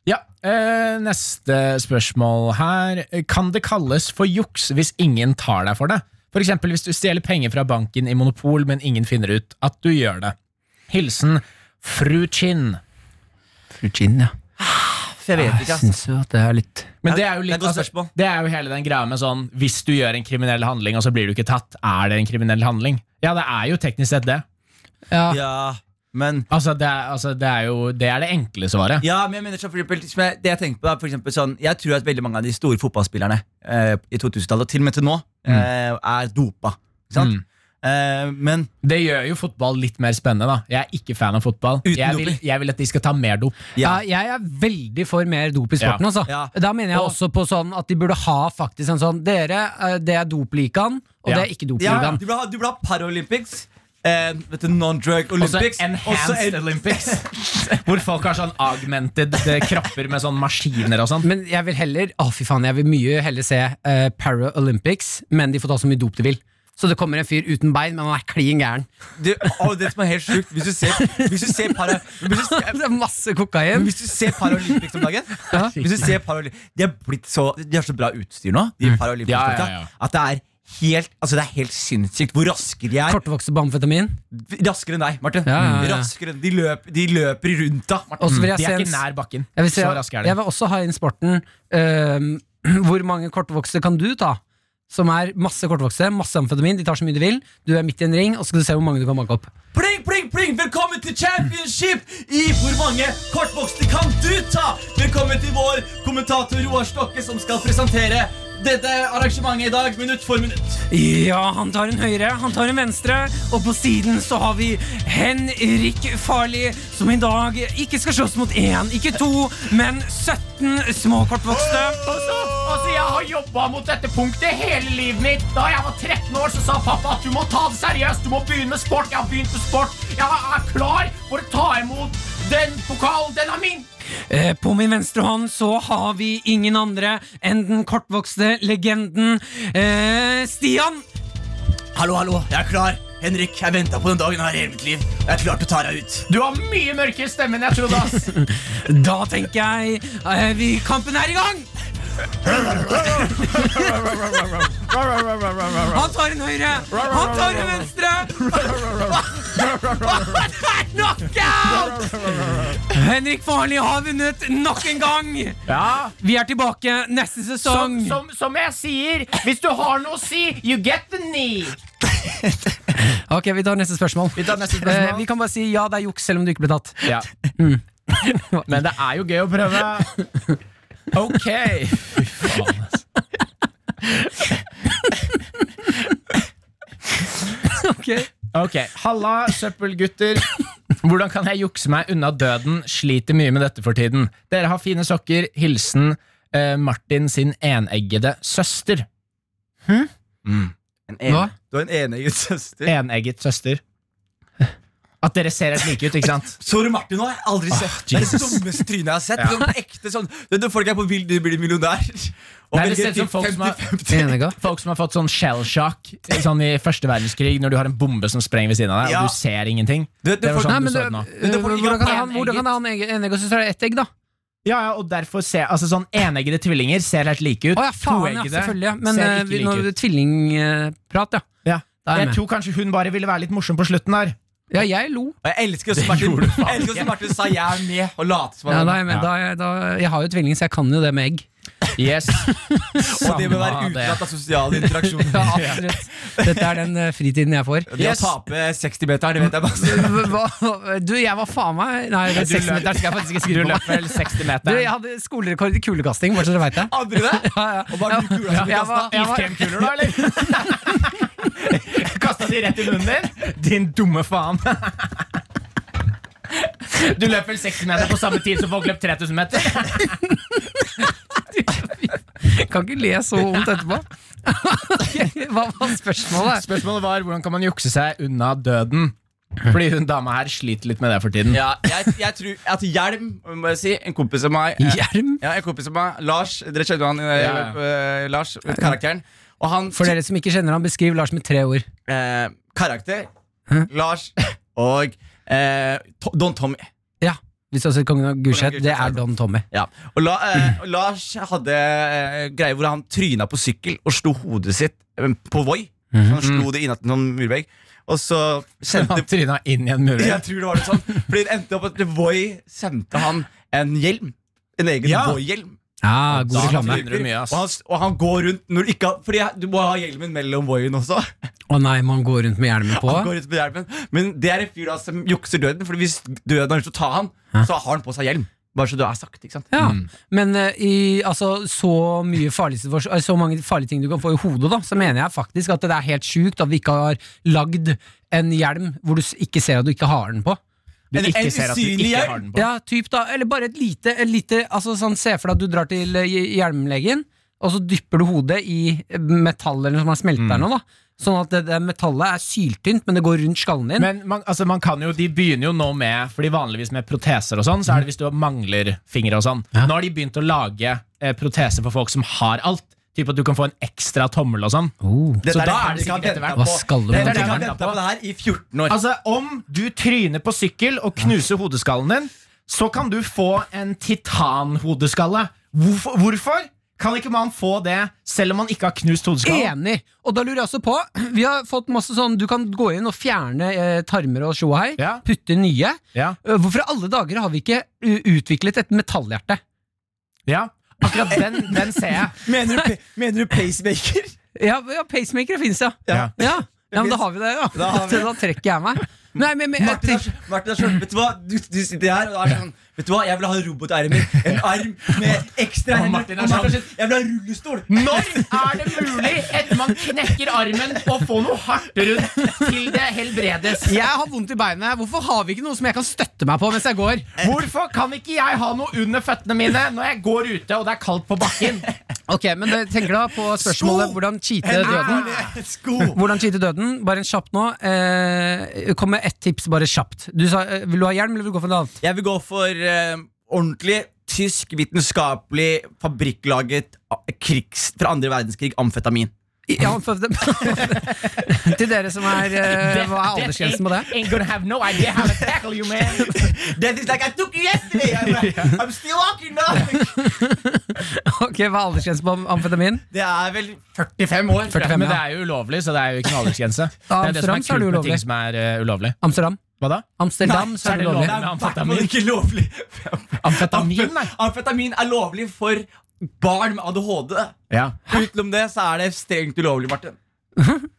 [SPEAKER 3] Ja, eh, Neste spørsmål her. Kan det kalles for juks hvis ingen tar deg for det? F.eks. hvis du stjeler penger fra banken i Monopol, men ingen finner ut at du gjør det. Hilsen fru Chin.
[SPEAKER 2] Fru Chin, ja.
[SPEAKER 4] Jeg vet
[SPEAKER 2] Ah, Jeg
[SPEAKER 4] ikke, altså. ass.
[SPEAKER 2] syns jo at det er litt
[SPEAKER 3] Men det er jo litt
[SPEAKER 4] Det er
[SPEAKER 3] altså,
[SPEAKER 4] et godt spørsmål.
[SPEAKER 3] det er jo hele den greia med sånn Hvis du gjør en kriminell handling, og så blir du ikke tatt, er det en kriminell handling? Ja, det er jo teknisk sett det.
[SPEAKER 2] Ja,
[SPEAKER 4] (laughs) Ja, men
[SPEAKER 3] Altså, det er, altså, det er jo Det er det enkle svaret.
[SPEAKER 4] ja, men jeg mener så for eksempel, som jeg- Det jeg tenker på da, for eksempel, sånn, Jeg tror at veldig mange av de store fotballspillerne eh, i 2000-tallet, og til og med til nå, eh, er dopa. Ikke sant? Eh, men
[SPEAKER 3] Det gjør jo fotball litt mer spennende, da. Jeg er ikke fan av fotball.
[SPEAKER 4] Uten
[SPEAKER 3] Jeg vil,
[SPEAKER 4] doping.
[SPEAKER 3] jeg vil at de skal ta mer dop.
[SPEAKER 2] ja.
[SPEAKER 4] ja,
[SPEAKER 2] jeg er veldig for mer dop i sporten,
[SPEAKER 3] Ja.
[SPEAKER 2] altså.
[SPEAKER 4] Ja.
[SPEAKER 2] Da mener jeg
[SPEAKER 3] Og-
[SPEAKER 2] også på sånn at de burde ha faktisk en sånn Dere, eh, det er dopligaen, og
[SPEAKER 3] Ja.
[SPEAKER 2] det er ikke
[SPEAKER 4] ja,
[SPEAKER 2] dopligaen.
[SPEAKER 4] du burde ha, du burde ha Paralympics. Eh, vet du, Non-drug Olympics. og så
[SPEAKER 3] Enhanced
[SPEAKER 4] en-
[SPEAKER 3] Olympics. (laughs) Hvor folk har sånn augmented eh, kropper med sånn maskiner og sånn.
[SPEAKER 2] Men jeg vil heller Å fy faen, jeg vil mye heller se eh, Paralympics, men de får ta så mye dop de vil. Så det kommer en fyr uten bein, men han er klin gæren.
[SPEAKER 4] Du, å, det som er helt sjukt Hvis du ser, hvis du ser para, hvis du ser,
[SPEAKER 2] (laughs) Det er masse
[SPEAKER 4] Men
[SPEAKER 2] kokain.
[SPEAKER 4] hvis du ser Paralympics om dagen
[SPEAKER 2] Mm.
[SPEAKER 4] Hvis du ser Paralympics De har blitt så De har så bra utstyr nå De Paralympics
[SPEAKER 3] Ja, ja, ja.
[SPEAKER 4] At det er helt, altså det er helt sinnssykt hvor raske de er.
[SPEAKER 2] Kortvokste på amfetamin.
[SPEAKER 4] Raskere enn deg, Martin.
[SPEAKER 2] Ja, ja, ja.
[SPEAKER 4] Raskere, enn- de, løp, de løper rundt deg. Martin.
[SPEAKER 2] Og så vil jeg
[SPEAKER 3] De
[SPEAKER 2] se
[SPEAKER 3] Mm, er
[SPEAKER 2] en-
[SPEAKER 3] ikke nær bakken.
[SPEAKER 2] Jeg vil, se,
[SPEAKER 3] Så raske er de.
[SPEAKER 2] jeg vil også ha inn sporten øhm, (clears throat) Hvor mange kortvokste kan du ta? Som er masse kortvokste, masse amfetamin, de tar så mye de vil. Du er midt i en ring, og så skal du se hvor mange du kan banke opp.
[SPEAKER 4] Pling, pling, pling! Velkommen til championship! I hvor mange kortvokste kan du ta? Velkommen til vår kommentator Roar Stokke, som skal presentere dette arrangementet i dag, minutt for minutt.
[SPEAKER 2] Ja, han tar en høyre, han tar en venstre, og på siden så har vi Henrik Farli, som i dag ikke skal slåss mot én, ikke to, men 17 små kortvokste.
[SPEAKER 3] Altså, altså, jeg har jobba mot dette punktet hele livet mitt. Da jeg var 13 år, så sa pappa at du må ta det seriøst. Du må begynne med sport. Jeg har begynt med sport. Jeg er klar for å ta imot den pokalen. Den er min.
[SPEAKER 2] Eh, På min venstre hånd så har vi ingen andre enn den kortvokste legenden eh, Stian.
[SPEAKER 4] Hallo, hallo. Jeg er klar. Henrik, jeg venta på den dagen her hele mitt liv. Jeg er klar til å ta deg ut.
[SPEAKER 3] Du har mye mørkere stemme enn jeg trodde. ass
[SPEAKER 2] Da tenker jeg eh, vi, Kampen er i gang! Han tar en høyre, han tar en venstre. Det er knockout! Henrik Farli har vunnet nok en gang.
[SPEAKER 3] (laughs) Ja,
[SPEAKER 2] Vi er tilbake neste
[SPEAKER 3] som,
[SPEAKER 2] sesong.
[SPEAKER 3] som, som jeg sier, hvis du har noe å si, you get the knee.
[SPEAKER 2] Ok, Vi tar neste spørsmål.
[SPEAKER 3] Vi tar neste
[SPEAKER 2] Eh,
[SPEAKER 3] spørsmål.
[SPEAKER 2] vi kan bare si ja, det er juks, selv om du ikke ble tatt.
[SPEAKER 3] Ja. (laughs) Men det er jo gøy å prøve. Ok. Fy faen, ass.
[SPEAKER 2] Ok.
[SPEAKER 3] Ok, Halla, søppelgutter. Hvordan kan jeg jukse meg unna døden? Sliter mye med dette for tiden. Dere har fine sokker. Hilsen eh, Martin sin eneggede søster.
[SPEAKER 2] Hva?
[SPEAKER 4] Du har en enegget søster.
[SPEAKER 3] Enegget søster. At dere ser helt like ut, ikke sant?
[SPEAKER 4] Sorry, Martin. nå har jeg aldri sett Det er det
[SPEAKER 3] Jesus.
[SPEAKER 4] dummeste trynet jeg har sett. Sånn ekte sånn Det er folk er på vill, du blir millionær. Og
[SPEAKER 3] Nei, det ser ut som
[SPEAKER 4] velger
[SPEAKER 3] folk som har-
[SPEAKER 4] 50-50.
[SPEAKER 2] Enega?
[SPEAKER 3] Folk som har fått sånn shell shock sånn i første verdenskrig, når du har en bombe som sprenger ved siden av deg,
[SPEAKER 4] Ja.
[SPEAKER 3] og du ser ingenting.
[SPEAKER 4] Du vet, det
[SPEAKER 3] Det var
[SPEAKER 4] folk-
[SPEAKER 2] Nei,
[SPEAKER 3] sånn du
[SPEAKER 2] men
[SPEAKER 3] så
[SPEAKER 2] det,
[SPEAKER 3] det nå.
[SPEAKER 4] det får-
[SPEAKER 2] hvordan kan det ha
[SPEAKER 4] en
[SPEAKER 2] hvordan kan det ha en egen- enegg og søster? Er det ett egg, da?
[SPEAKER 3] Ja, ja, og derfor ser altså sånn Eneggede tvillinger ser helt like ut.
[SPEAKER 2] Å ja, faen, ja,
[SPEAKER 3] Toeggede
[SPEAKER 2] selvfølgelig. Ja. Men
[SPEAKER 3] ser
[SPEAKER 2] eh,
[SPEAKER 3] ikke
[SPEAKER 2] vi,
[SPEAKER 3] like
[SPEAKER 2] nå-
[SPEAKER 3] ut.
[SPEAKER 2] tvillingprat, ja.
[SPEAKER 3] Ja.
[SPEAKER 2] Da er jeg
[SPEAKER 3] Jeg
[SPEAKER 2] med.
[SPEAKER 3] tror kanskje hun bare ville være litt morsom på slutten der.
[SPEAKER 2] Ja, jeg lo.
[SPEAKER 4] Og jeg elsker også Martin,
[SPEAKER 3] gjorde du faen
[SPEAKER 4] jeg elsker også Martin sa 'jeg er med' og late som
[SPEAKER 2] Ja,
[SPEAKER 4] han
[SPEAKER 2] da
[SPEAKER 4] var
[SPEAKER 2] er jeg,
[SPEAKER 4] med.
[SPEAKER 2] med. Da, er jeg, da, jeg har jo tvilling, så jeg kan jo det med egg.
[SPEAKER 3] (laughs) Yes.
[SPEAKER 4] Og det må være
[SPEAKER 3] Samme det.
[SPEAKER 4] utelatt av sosiale
[SPEAKER 2] (laughs)
[SPEAKER 4] interaksjoner.
[SPEAKER 2] Ja, absolutt. Dette er den eh, fritiden jeg får.
[SPEAKER 4] Det å tape 60-meteren, det vet jeg
[SPEAKER 2] (laughs)
[SPEAKER 4] bare.
[SPEAKER 2] Hva- Du, jeg var faen meg Nei, det er
[SPEAKER 3] Du
[SPEAKER 2] seks
[SPEAKER 3] løp-
[SPEAKER 2] meter skal jeg faktisk ikke
[SPEAKER 3] Du
[SPEAKER 2] skru på.
[SPEAKER 3] løp vel 60
[SPEAKER 2] Du,
[SPEAKER 3] meter.
[SPEAKER 2] jeg hadde skolerekord i kulekasting, bare så dere veit (laughs) det.
[SPEAKER 4] Andre det?
[SPEAKER 2] Ja, ja.
[SPEAKER 4] Og var du kula som ble
[SPEAKER 2] Jeg
[SPEAKER 4] kastet?
[SPEAKER 2] var- jeg var-
[SPEAKER 3] Iskremkuler, da, (laughs) eller? Kasta de rett i munnen din? Din dumme faen. (laughs) Du løp vel 60 meter på samme tid som folk løp 3000 meter?
[SPEAKER 2] Kan ikke le så vondt etterpå. (laughs) Ok, Hva var spørsmålet?
[SPEAKER 3] Spørsmålet var hvordan kan man jukse seg unna døden? Fordi hun dama her sliter litt med det for tiden.
[SPEAKER 4] Ja, jeg, jeg tror at Hjelm, må jeg si, en kompis av meg eh,
[SPEAKER 2] Hjelm?
[SPEAKER 4] Ja, en kompis av meg, Lars, dere kjenner han, eh,
[SPEAKER 3] Ja, ja.
[SPEAKER 4] eh, Lars, karakteren. Og han
[SPEAKER 2] For dere som ikke kjenner ham, beskriv Lars med tre ord.
[SPEAKER 4] eh, Karakter, Lars og eh, To- Don Tommy.
[SPEAKER 2] Ja, Hvis du har sett Kongen av Gulset, det er Don Tommy.
[SPEAKER 4] Ja. Og, la, eh, og Lars hadde eh, greier hvor han tryna på sykkel og slo hodet sitt eh, på Voi.
[SPEAKER 2] Mhm.
[SPEAKER 4] Så Han slo det innatt i noen murvegg. Og så sendte
[SPEAKER 3] Han tryna inn i en mur.
[SPEAKER 4] (laughs) Jeg tror det var det sånn Fordi det endte opp at Voi sendte han en hjelm. En egen
[SPEAKER 3] Ja.
[SPEAKER 4] Voi-hjelm.
[SPEAKER 2] Ja, god
[SPEAKER 3] Da
[SPEAKER 2] reklame.
[SPEAKER 3] tryner du mye, ass.
[SPEAKER 4] Og, han- og han går rundt når du ikke har Fordi du må ha hjelmen mellom Voien også.
[SPEAKER 2] Å nei, man går rundt med hjelmen på.
[SPEAKER 4] Han går rundt med hjelmen Men det er en fyr da som jukser døden, Fordi hvis døden har lyst til å ta han, så har han på seg hjelm. Bare så det er sagt. ikke sant?
[SPEAKER 2] Ja, Men eh, i altså, så, mye farlig situasjon- eh, så mange farlige ting du kan få i hodet, da, så mener jeg faktisk at det er helt sjukt at vi ikke har lagd en hjelm hvor du s- ikke ser at du ikke har den på.
[SPEAKER 3] Du
[SPEAKER 4] En-
[SPEAKER 3] ikke
[SPEAKER 4] en
[SPEAKER 3] ser at du
[SPEAKER 4] usynlig
[SPEAKER 3] ikke
[SPEAKER 4] hjelm.
[SPEAKER 3] har den på.
[SPEAKER 2] Ja, typ da, Eller bare et lite, et lite altså, sånn, Se for deg at du drar til eh, hj- hjelmlegen, og så dypper du hodet i eh, metallet eller noe som har smeltet der nå. da Sånn at det, det metallet er syltynt, men det går rundt skallen din.
[SPEAKER 3] Men man, altså man kan jo, de begynner jo nå med Fordi vanligvis med proteser og sånn, så er det hvis du mangler fingre og sånn. Nå har de begynt å lage eh, proteser for folk som har alt. Typ at du kan få en ekstra tommel og sånn.
[SPEAKER 2] oh.
[SPEAKER 4] Dette
[SPEAKER 3] Så
[SPEAKER 4] er
[SPEAKER 3] da
[SPEAKER 4] han
[SPEAKER 3] er det
[SPEAKER 4] de har
[SPEAKER 3] sikkert
[SPEAKER 4] ventet
[SPEAKER 3] etter hvert.
[SPEAKER 4] på.
[SPEAKER 2] Hva skal du med
[SPEAKER 4] Dette er
[SPEAKER 3] det?
[SPEAKER 4] de har ventet på det her i 14 år.
[SPEAKER 3] Altså, om du tryner på sykkel og knuser hodeskallen din, så kan du få en titanhodeskalle. Hvorfor? hvorfor? Kan ikke man få det selv om man ikke har knust hodeskallen?
[SPEAKER 2] Enig! Og da lurer jeg også på Vi har fått masse sånn Du kan gå inn og fjerne eh, tarmer og tjohei.
[SPEAKER 3] Ja.
[SPEAKER 2] Putte nye.
[SPEAKER 3] Ja.
[SPEAKER 2] Eh, Hvorfor i alle dager har vi ikke eh, utviklet et metallhjerte?
[SPEAKER 3] ja. Akkurat den, den ser jeg.
[SPEAKER 7] Mener du, pa- mener du pacemaker?
[SPEAKER 2] Ja, ja pacemakere fins, ja.
[SPEAKER 3] Ja.
[SPEAKER 2] ja. Ja, men da har vi det, da. (laughs) Da,
[SPEAKER 7] Da har vi det.
[SPEAKER 2] trekker jeg meg. Nei, men, men, eh, jeg
[SPEAKER 7] Martin,
[SPEAKER 2] tenker-
[SPEAKER 7] er, Martin er sånn, vet du hva? Du, du sitter her og er sånn Vet du hva, jeg vil ha robotarmer. En arm med ekstra
[SPEAKER 3] Og
[SPEAKER 7] hender.
[SPEAKER 3] Martin
[SPEAKER 7] Og Martin
[SPEAKER 3] er
[SPEAKER 7] er
[SPEAKER 3] sånn-
[SPEAKER 7] sånn, Jeg vil ha rullestol!
[SPEAKER 3] Når er det mulig etter man knekker armen å få noe hardt rundt til det helbredes?
[SPEAKER 2] Jeg har vondt i beinet. Hvorfor har vi ikke noe som jeg kan støtte meg på mens jeg går?
[SPEAKER 3] Hvorfor kan ikke jeg ha noe under føttene mine når jeg går ute og det er kaldt på bakken?
[SPEAKER 2] Ok, men det- tenker da på spørsmålet hvordan cheate døden.
[SPEAKER 7] Sko!
[SPEAKER 2] Hvordan cheate døden? Bare en kjapt nå. Eh, kom med ett tips, bare kjapt. Du sa, eh, Vil du ha hjelm, eller vil du gå for noe annet?
[SPEAKER 4] Jeg vil gå for eh, ordentlig tysk, vitenskapelig, fabrikklaget a- krigs fra andre verdenskrig amfetamin.
[SPEAKER 2] Ja, for, (laughs) til dere som er eh, Hva er aldersgrensen på det?
[SPEAKER 3] Ain't gonna have no idea how to tackle you, man.
[SPEAKER 4] That is like I took you yesterday!
[SPEAKER 2] (laughs)
[SPEAKER 4] I'm, I'm still walking now! (laughs)
[SPEAKER 2] Ok, Hva er aldersgrensen på am- amfetamin?
[SPEAKER 4] Det er vel
[SPEAKER 3] 45 år.
[SPEAKER 2] 45,
[SPEAKER 3] Men
[SPEAKER 2] ja.
[SPEAKER 3] det er jo ulovlig, så det er jo ikke noen
[SPEAKER 2] (laughs)
[SPEAKER 3] aldersgrense. Det er det som
[SPEAKER 2] Amsterdam,
[SPEAKER 3] er
[SPEAKER 2] så er det
[SPEAKER 3] kult med
[SPEAKER 2] ulovlig.
[SPEAKER 3] ting som er eh, ulovlig.
[SPEAKER 2] Amsterdam?
[SPEAKER 3] Hva da?
[SPEAKER 2] Amsterdam, så er det lovlig.
[SPEAKER 3] Med
[SPEAKER 4] Det er i hvert
[SPEAKER 3] amfetamin.
[SPEAKER 4] fall ikke lovlig.
[SPEAKER 3] Amfetamin, nei.
[SPEAKER 4] Amfetamin er lovlig for barn med ADHD.
[SPEAKER 3] Ja.
[SPEAKER 4] Utenom det så er det strengt ulovlig, Martin.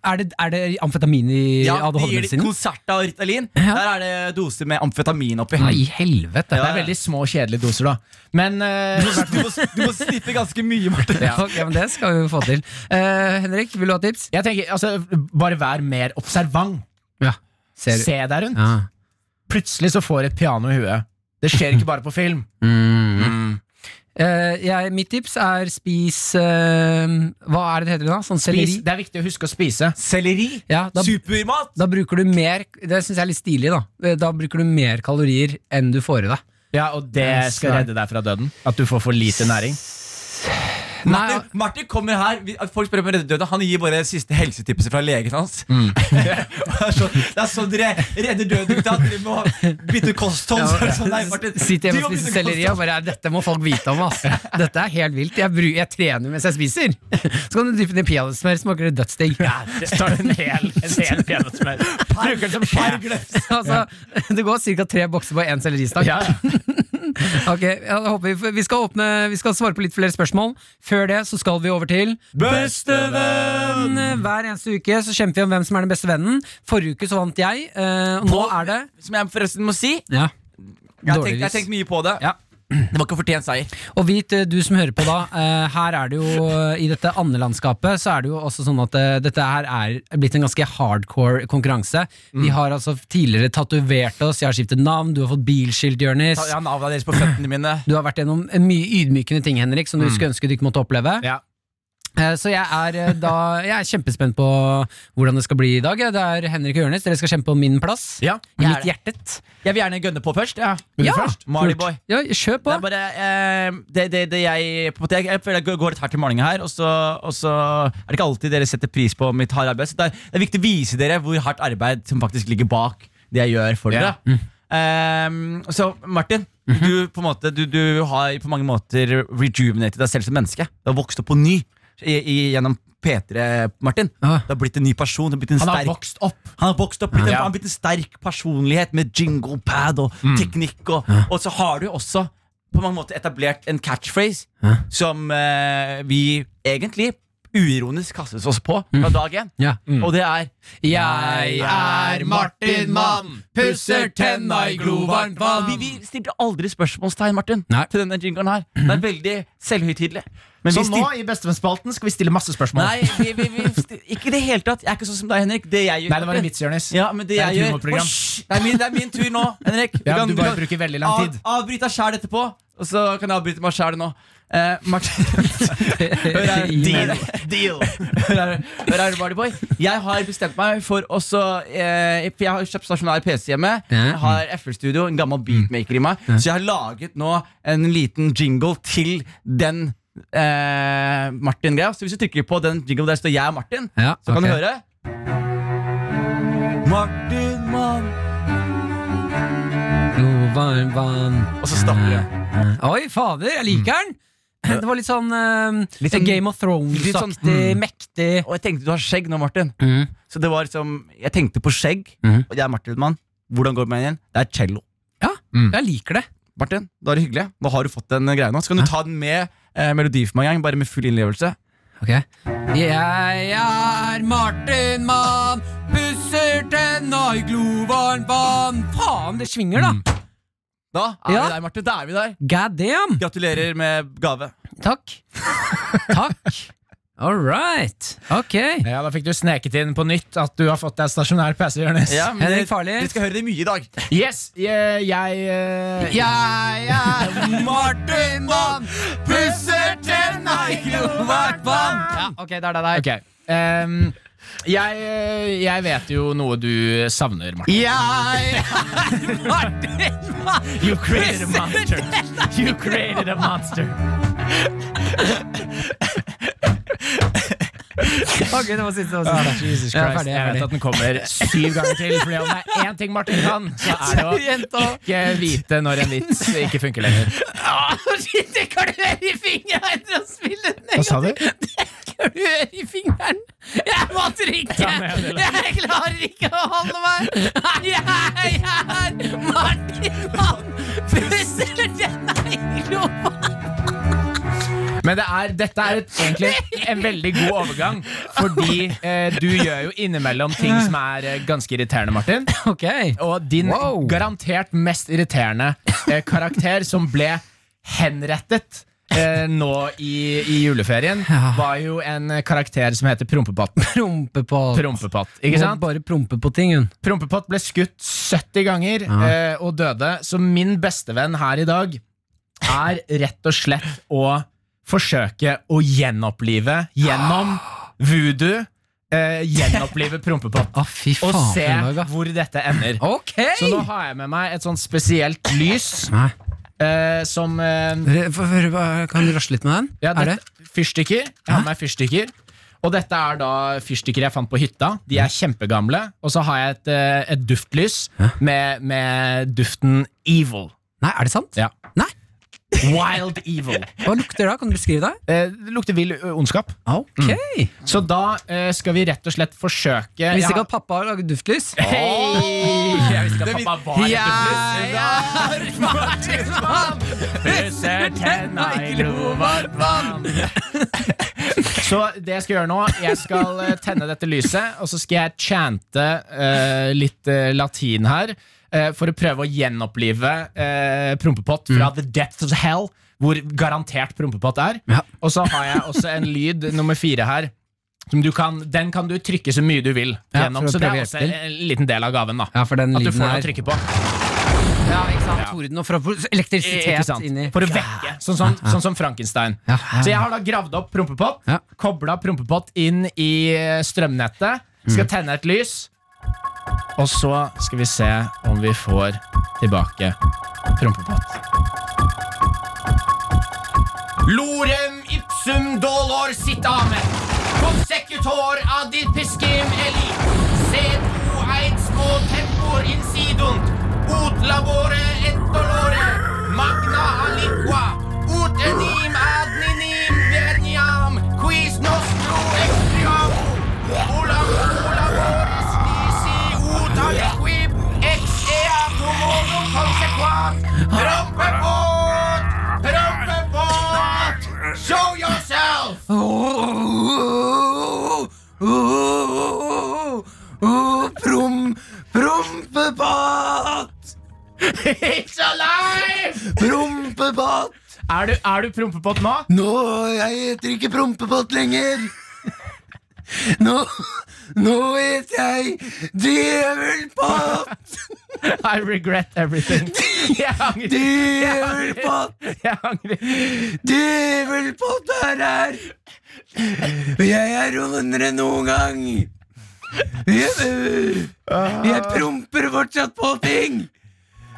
[SPEAKER 2] Er det, er det amfetamin i
[SPEAKER 4] Ja, de gir det
[SPEAKER 2] ADHD-medisinen?
[SPEAKER 4] Concerta og Ritalin.
[SPEAKER 2] Ja.
[SPEAKER 4] Der er det doser med amfetamin oppi.
[SPEAKER 2] Nei, i helvete.
[SPEAKER 3] Det
[SPEAKER 4] Ja,
[SPEAKER 3] er
[SPEAKER 4] ja.
[SPEAKER 3] veldig små, kjedelige doser, da. Men eh,
[SPEAKER 4] Du må, du må snippe ganske mye, Martin.
[SPEAKER 3] Ja.
[SPEAKER 2] Ok, men det skal vi jo få til. Eh, Henrik, vil du ha tips?
[SPEAKER 3] jeg tenker, altså, bare vær mer observant.
[SPEAKER 2] Ja. Ser du?
[SPEAKER 3] Se deg rundt.
[SPEAKER 2] Ja.
[SPEAKER 3] Plutselig så får et piano i huet. Det skjer ikke bare på film.
[SPEAKER 2] Eh, jeg, mitt tips er spis eh, Hva er det (clears throat) det heter da? Sånn
[SPEAKER 3] Spis,
[SPEAKER 2] selleri?
[SPEAKER 3] det er viktig å huske å spise.
[SPEAKER 4] Selleri.
[SPEAKER 2] Ja, da,
[SPEAKER 4] Supermat.
[SPEAKER 2] da bruker du mer Det syns jeg er litt stilig, da. Eh, Da bruker du mer kalorier enn du får i deg.
[SPEAKER 3] Ja, Og det skal redde deg fra døden. At du får for lite næring.
[SPEAKER 2] Nei,
[SPEAKER 4] Martin, Martin kommer her vi- Folk spør om redde døde. Han gir bare siste helsetipset fra legen hans. (laughs) det, er sånn, det er sånn dere redder døde gutta. Dere må bytte kosthold. Så er det sånn, nei, Martin,
[SPEAKER 2] Sitt hjemme
[SPEAKER 4] du må
[SPEAKER 2] og spise
[SPEAKER 4] bytte
[SPEAKER 2] selleri og bare Dette må folk vite om, ass. Dette er helt vilt. Jeg, bru, jeg trener mens jeg spiser. Så kan du dyppe den i peanøttsmør, smaker det dødsdigg.
[SPEAKER 3] Så tar du en hel, en hel peanøttsmør. Bruker den som skje.
[SPEAKER 2] (laughs) Altså, det går ca. tre bokser på én selleristang.
[SPEAKER 3] Ja, ja.
[SPEAKER 2] Ok, ja, da håper vi, vi, skal åpne, vi skal svare på litt flere spørsmål. Før det så skal vi over til Bestevenn! Hver eneste uke så kjemper vi om hvem som er den beste vennen. Forrige uke så vant jeg, eh, og nå
[SPEAKER 4] På-
[SPEAKER 2] er det
[SPEAKER 4] Som jeg forresten må si,
[SPEAKER 2] ja.
[SPEAKER 4] jeg har tenkt- jeg har
[SPEAKER 2] Dårligvis.
[SPEAKER 4] tenkt mye på det.
[SPEAKER 2] Ja.
[SPEAKER 4] Det var ikke fortjent seier.
[SPEAKER 2] Og vit, eh, du som hører på da, eh, her er det jo eh, i dette andelandskapet, så er det jo også sånn at eh, dette her er blitt en ganske hardcore konkurranse. Vi
[SPEAKER 4] Mm.
[SPEAKER 2] har altså tidligere tatovert oss, jeg har skiftet navn, du har fått bilskilt, Jonis.
[SPEAKER 4] Jeg har navnet deres på føttene mine.
[SPEAKER 2] Du har vært gjennom eh, mye ydmykende ting, Henrik, som du
[SPEAKER 4] Mm.
[SPEAKER 2] skulle ønske du ikke måtte oppleve.
[SPEAKER 3] Ja.
[SPEAKER 2] Eh, Så jeg er, eh, da, jeg er kjempespent på hvordan det skal bli i dag. Det er Henrik og Jonis, dere skal kjempe om min plass.
[SPEAKER 3] Ja.
[SPEAKER 4] Jeg er
[SPEAKER 2] Mitt hjertet.
[SPEAKER 4] Jeg vil gjerne gønne på først. Ja.
[SPEAKER 3] Vil du
[SPEAKER 2] Ja,
[SPEAKER 3] først?
[SPEAKER 4] Marley
[SPEAKER 2] Kult.
[SPEAKER 4] Boy.
[SPEAKER 2] Ja, kjør på.
[SPEAKER 4] Det er bare eh, det, det, det jeg, på en måte, jeg, jeg føler jeg går- går litt hardt i malinga her, og så, og så er det ikke alltid dere setter pris på mitt harde arbeid. Så det er, det er viktig å vise dere hvor hardt arbeid som faktisk ligger bak det jeg gjør for
[SPEAKER 3] Ja. Mm. Mhm.
[SPEAKER 4] dere. Eh, så Martin, du, på en måte, du, du har på mange måter rejuvenated deg selv som menneske. Du har vokst opp på ny i, i, gjennom P3, Martin.
[SPEAKER 2] Ah.
[SPEAKER 4] Du har blitt en ny person. Du har blitt en
[SPEAKER 3] Han har
[SPEAKER 4] sterk
[SPEAKER 3] vokst opp.
[SPEAKER 4] han har vokst opp blitt en,
[SPEAKER 3] Ja. Mm.
[SPEAKER 4] han har blitt en sterk personlighet med jinglepad og teknikk. Og, og så har du også på mange måter etablert en catchphrase som eh, vi egentlig uironisk kastes oss på
[SPEAKER 3] Mm.
[SPEAKER 4] fra dag én.
[SPEAKER 2] Ja.
[SPEAKER 4] Og det er
[SPEAKER 2] Jeg er
[SPEAKER 3] Martin Mann, pusser tenna i glovarmt vann.
[SPEAKER 4] Vi, vi stilte aldri spørsmålstegn Martin
[SPEAKER 2] Nei.
[SPEAKER 4] til denne jinglen her. Det er veldig selvhøytidelig. Men
[SPEAKER 3] Mm. Så
[SPEAKER 4] vi
[SPEAKER 3] nå
[SPEAKER 4] stil-
[SPEAKER 3] i Bestevennsspalten skal vi stille masse spørsmål.
[SPEAKER 4] Nei, vi, vi, vi stil- ikke i det hele tatt. Jeg er ikke sånn som deg, Henrik. Det jeg gjør
[SPEAKER 3] Nei, det var en vits, Jonis.
[SPEAKER 4] Ja, men det,
[SPEAKER 3] Det er et
[SPEAKER 4] jeg gjør
[SPEAKER 3] humorprogram.
[SPEAKER 4] Hysj! det, er min, det er min tur nå, Henrik.
[SPEAKER 3] Ja, du bare bruker veldig lang tid.
[SPEAKER 4] Av, avbryt deg sjæl etterpå, og så kan jeg avbryte meg sjæl nå. Eh, Martin
[SPEAKER 2] (laughs)
[SPEAKER 4] Ah, Hør her. Deal. Deal. Hør her, hør her Barley Boy. Jeg har bestemt meg for også eh, For jeg har kjøpt stasjonær PC hjemme.
[SPEAKER 2] Ja. Mm.
[SPEAKER 4] Jeg har FL-studio, en gammel beatmaker i meg. Så jeg har laget nå en liten jingle til den eh, Martin-greia. Så hvis du trykker på den jinglen der står jeg og Martin,
[SPEAKER 2] Ja,
[SPEAKER 4] så kan
[SPEAKER 2] ok.
[SPEAKER 4] du høre. Martin Mann
[SPEAKER 2] Glovarmt vann.
[SPEAKER 4] Og så stopper det.
[SPEAKER 2] Oi, fader, jeg liker den! Det var litt sånn, eh,
[SPEAKER 4] Mm. Litt sånn-
[SPEAKER 2] Game of
[SPEAKER 4] litt sånn-
[SPEAKER 2] Thrones-aktig, mektig.
[SPEAKER 4] Og jeg tenkte du har skjegg nå, Martin.
[SPEAKER 2] Mm.
[SPEAKER 4] Så det var liksom Jeg tenkte på skjegg,
[SPEAKER 2] Mhm.
[SPEAKER 4] og jeg er Martin Mann. Hvordan går det med meg igjen? Det er cello. Mm.
[SPEAKER 2] Jeg liker det.
[SPEAKER 4] Martin, da er det hyggelig. Nå har du fått den eh, greia nå. Så kan du ta den med eh, melodi for meg en gang, bare med full innlevelse.
[SPEAKER 2] Jeg er Martin Mann, pusser tenna i glovarmt vann. Faen, det svinger,
[SPEAKER 4] Mm.
[SPEAKER 2] da.
[SPEAKER 4] Da er
[SPEAKER 2] Ja.
[SPEAKER 4] vi der, Martin. Da er vi der.
[SPEAKER 2] God damn.
[SPEAKER 4] Gratulerer med gave.
[SPEAKER 2] Takk. Takk. All right. Ok.
[SPEAKER 3] Ja, Da fikk du sneket inn på nytt at du har fått deg stasjonær PC, Jonis.
[SPEAKER 4] Ja, men
[SPEAKER 2] Henrik
[SPEAKER 4] dere-
[SPEAKER 2] Farley.
[SPEAKER 4] Dere skal høre det mye i dag.
[SPEAKER 3] Yes, jeg, jeg eh,
[SPEAKER 4] Jeg er Martin Mann, pusser tenna i grovart vann.
[SPEAKER 2] Ja, ok, det er det der. (laughs)
[SPEAKER 3] Ok. Ehm, jeg, eh, jeg vet jo noe du savner, Martin.
[SPEAKER 4] Jeg er Martin Mann.
[SPEAKER 3] You created a monster. You created a monster.
[SPEAKER 2] Ok, det var siste. Det var siste.
[SPEAKER 3] Jesus
[SPEAKER 2] Jeg er
[SPEAKER 3] Christ.
[SPEAKER 2] ferdig, jeg er
[SPEAKER 3] Jeg vet
[SPEAKER 2] ferdig.
[SPEAKER 3] at den kommer syv ganger til. Fordi om det er én ting Martin kan, så er det å
[SPEAKER 2] Jenta.
[SPEAKER 3] ikke vite når en vits ikke funker lenger.
[SPEAKER 2] Ah, Det klør i fingeren å spille den en
[SPEAKER 3] Hva sa du?
[SPEAKER 2] Det klør i fingeren. Jeg må trykke. Jeg klarer ikke å holde meg. Jeg er Martin Mann. Pusser denne i gropa.
[SPEAKER 3] Men det er, dette er et, egentlig en veldig god overgang, fordi eh, du gjør jo innimellom ting som er eh, ganske irriterende, Martin.
[SPEAKER 2] Ok.
[SPEAKER 3] Og din
[SPEAKER 2] Wow.
[SPEAKER 3] garantert mest irriterende eh, karakter som ble henrettet eh, nå i, i juleferien, var jo en eh, karakter som heter Prompepatt.
[SPEAKER 2] Prompe på
[SPEAKER 3] Prompepatt, ikke sant?
[SPEAKER 2] Bare prompe på ting, hun.
[SPEAKER 3] Prompepott ble skutt 70 ganger eh, og døde, så min bestevenn her i dag er rett og slett å forsøke å gjenopplive gjennom voodoo eh, Gjenopplive Prompepott.
[SPEAKER 2] Å, Ah, fy
[SPEAKER 3] Og
[SPEAKER 2] faen.
[SPEAKER 3] se
[SPEAKER 2] Gunnlaug, ass.
[SPEAKER 3] hvor dette ender.
[SPEAKER 2] Ok!
[SPEAKER 3] Så nå har jeg med meg et sånt spesielt lys
[SPEAKER 2] Nei.
[SPEAKER 3] eh, som eh,
[SPEAKER 2] Dere, få høre, hva- Kan du rasle litt med den?
[SPEAKER 3] ja,
[SPEAKER 2] er det?
[SPEAKER 3] dette- Fyrstikker. Jeg har med meg fyrstikker. Og dette er da fyrstikker jeg fant på hytta. De er kjempegamle. Og så har jeg et, eh, et duftlys med, med duften evil.
[SPEAKER 2] Nei, er det sant?
[SPEAKER 3] Ja.
[SPEAKER 2] Nei?
[SPEAKER 3] Wild
[SPEAKER 2] (laughs)
[SPEAKER 3] evil.
[SPEAKER 2] Hva lukter det da? Kan du beskrive det?
[SPEAKER 3] Eh, det lukter vill ø, ondskap.
[SPEAKER 2] Ok.
[SPEAKER 3] Så da eh, skal vi rett og slett forsøke
[SPEAKER 2] Jeg visste
[SPEAKER 3] Ja.
[SPEAKER 2] ikke at pappa har laget duftlys.
[SPEAKER 3] Hei! Jeg visste ikke at pappa var et duftlys. Pusser tenna i glovarmt vann. (laughs) Så det jeg skal gjøre nå, jeg skal eh, tenne dette lyset, og så skal jeg chante eh, litt eh, latin her. eh, For å prøve å gjenopplive eh, Prompepott fra
[SPEAKER 2] Mm.
[SPEAKER 3] The Depth of Hell, hvor garantert Prompepott er.
[SPEAKER 2] Ja.
[SPEAKER 3] Og så har jeg også en lyd, nummer fire her. Som du kan, den kan du trykke så mye du vil.
[SPEAKER 2] Ja,
[SPEAKER 3] gjennom,
[SPEAKER 2] for å
[SPEAKER 3] så det
[SPEAKER 2] prøve å
[SPEAKER 3] er
[SPEAKER 2] hjelpe
[SPEAKER 3] også en en liten del av gaven. da
[SPEAKER 2] Ja, for den
[SPEAKER 3] At du
[SPEAKER 2] lyden
[SPEAKER 3] får noe å
[SPEAKER 2] her
[SPEAKER 3] trykke på.
[SPEAKER 2] ja, ikke sant?
[SPEAKER 3] Ja.
[SPEAKER 2] Torden og fra
[SPEAKER 3] Ikke
[SPEAKER 2] elektrisitet
[SPEAKER 3] sant?
[SPEAKER 2] inni
[SPEAKER 3] For å vekke. Sånn som, sånn som Frankenstein.
[SPEAKER 2] Ja.
[SPEAKER 3] Så jeg har da gravd opp prompepott,
[SPEAKER 2] Ja.
[SPEAKER 3] kobla prompepott inn i eh, strømnettet,
[SPEAKER 2] Mm.
[SPEAKER 3] skal tenne et lys, og så skal vi se om vi får tilbake prompepott. Lorem ipsum dolor sitt ame. Consecutor adit piskim eli. Sed o eit små tempor insidunt. Ut labore et dolore. Magna aliqua. Ut enim ad ninim verniam. Quis nostro extriamo. Olam olabores nisi ut aliquip. Ex ea comodum consequam. Prompepot! Prompepot! Show yourself!
[SPEAKER 2] Prom... Prompepatt!
[SPEAKER 3] It's alive!
[SPEAKER 2] Prompepatt!
[SPEAKER 3] Er du, er du prompepott nå?
[SPEAKER 2] Nå, jeg heter ikke Prompepatt lenger! Nå, nå heter jeg Djevelpatt!
[SPEAKER 3] (laughs) I regret everything. (laughs) Jeg angrer.
[SPEAKER 2] Djevelpatt!
[SPEAKER 3] Jeg angrer.
[SPEAKER 2] Djevelpott er her! Og jeg er ondere enn noen gang. Jeg, jeg promper fortsatt på ting.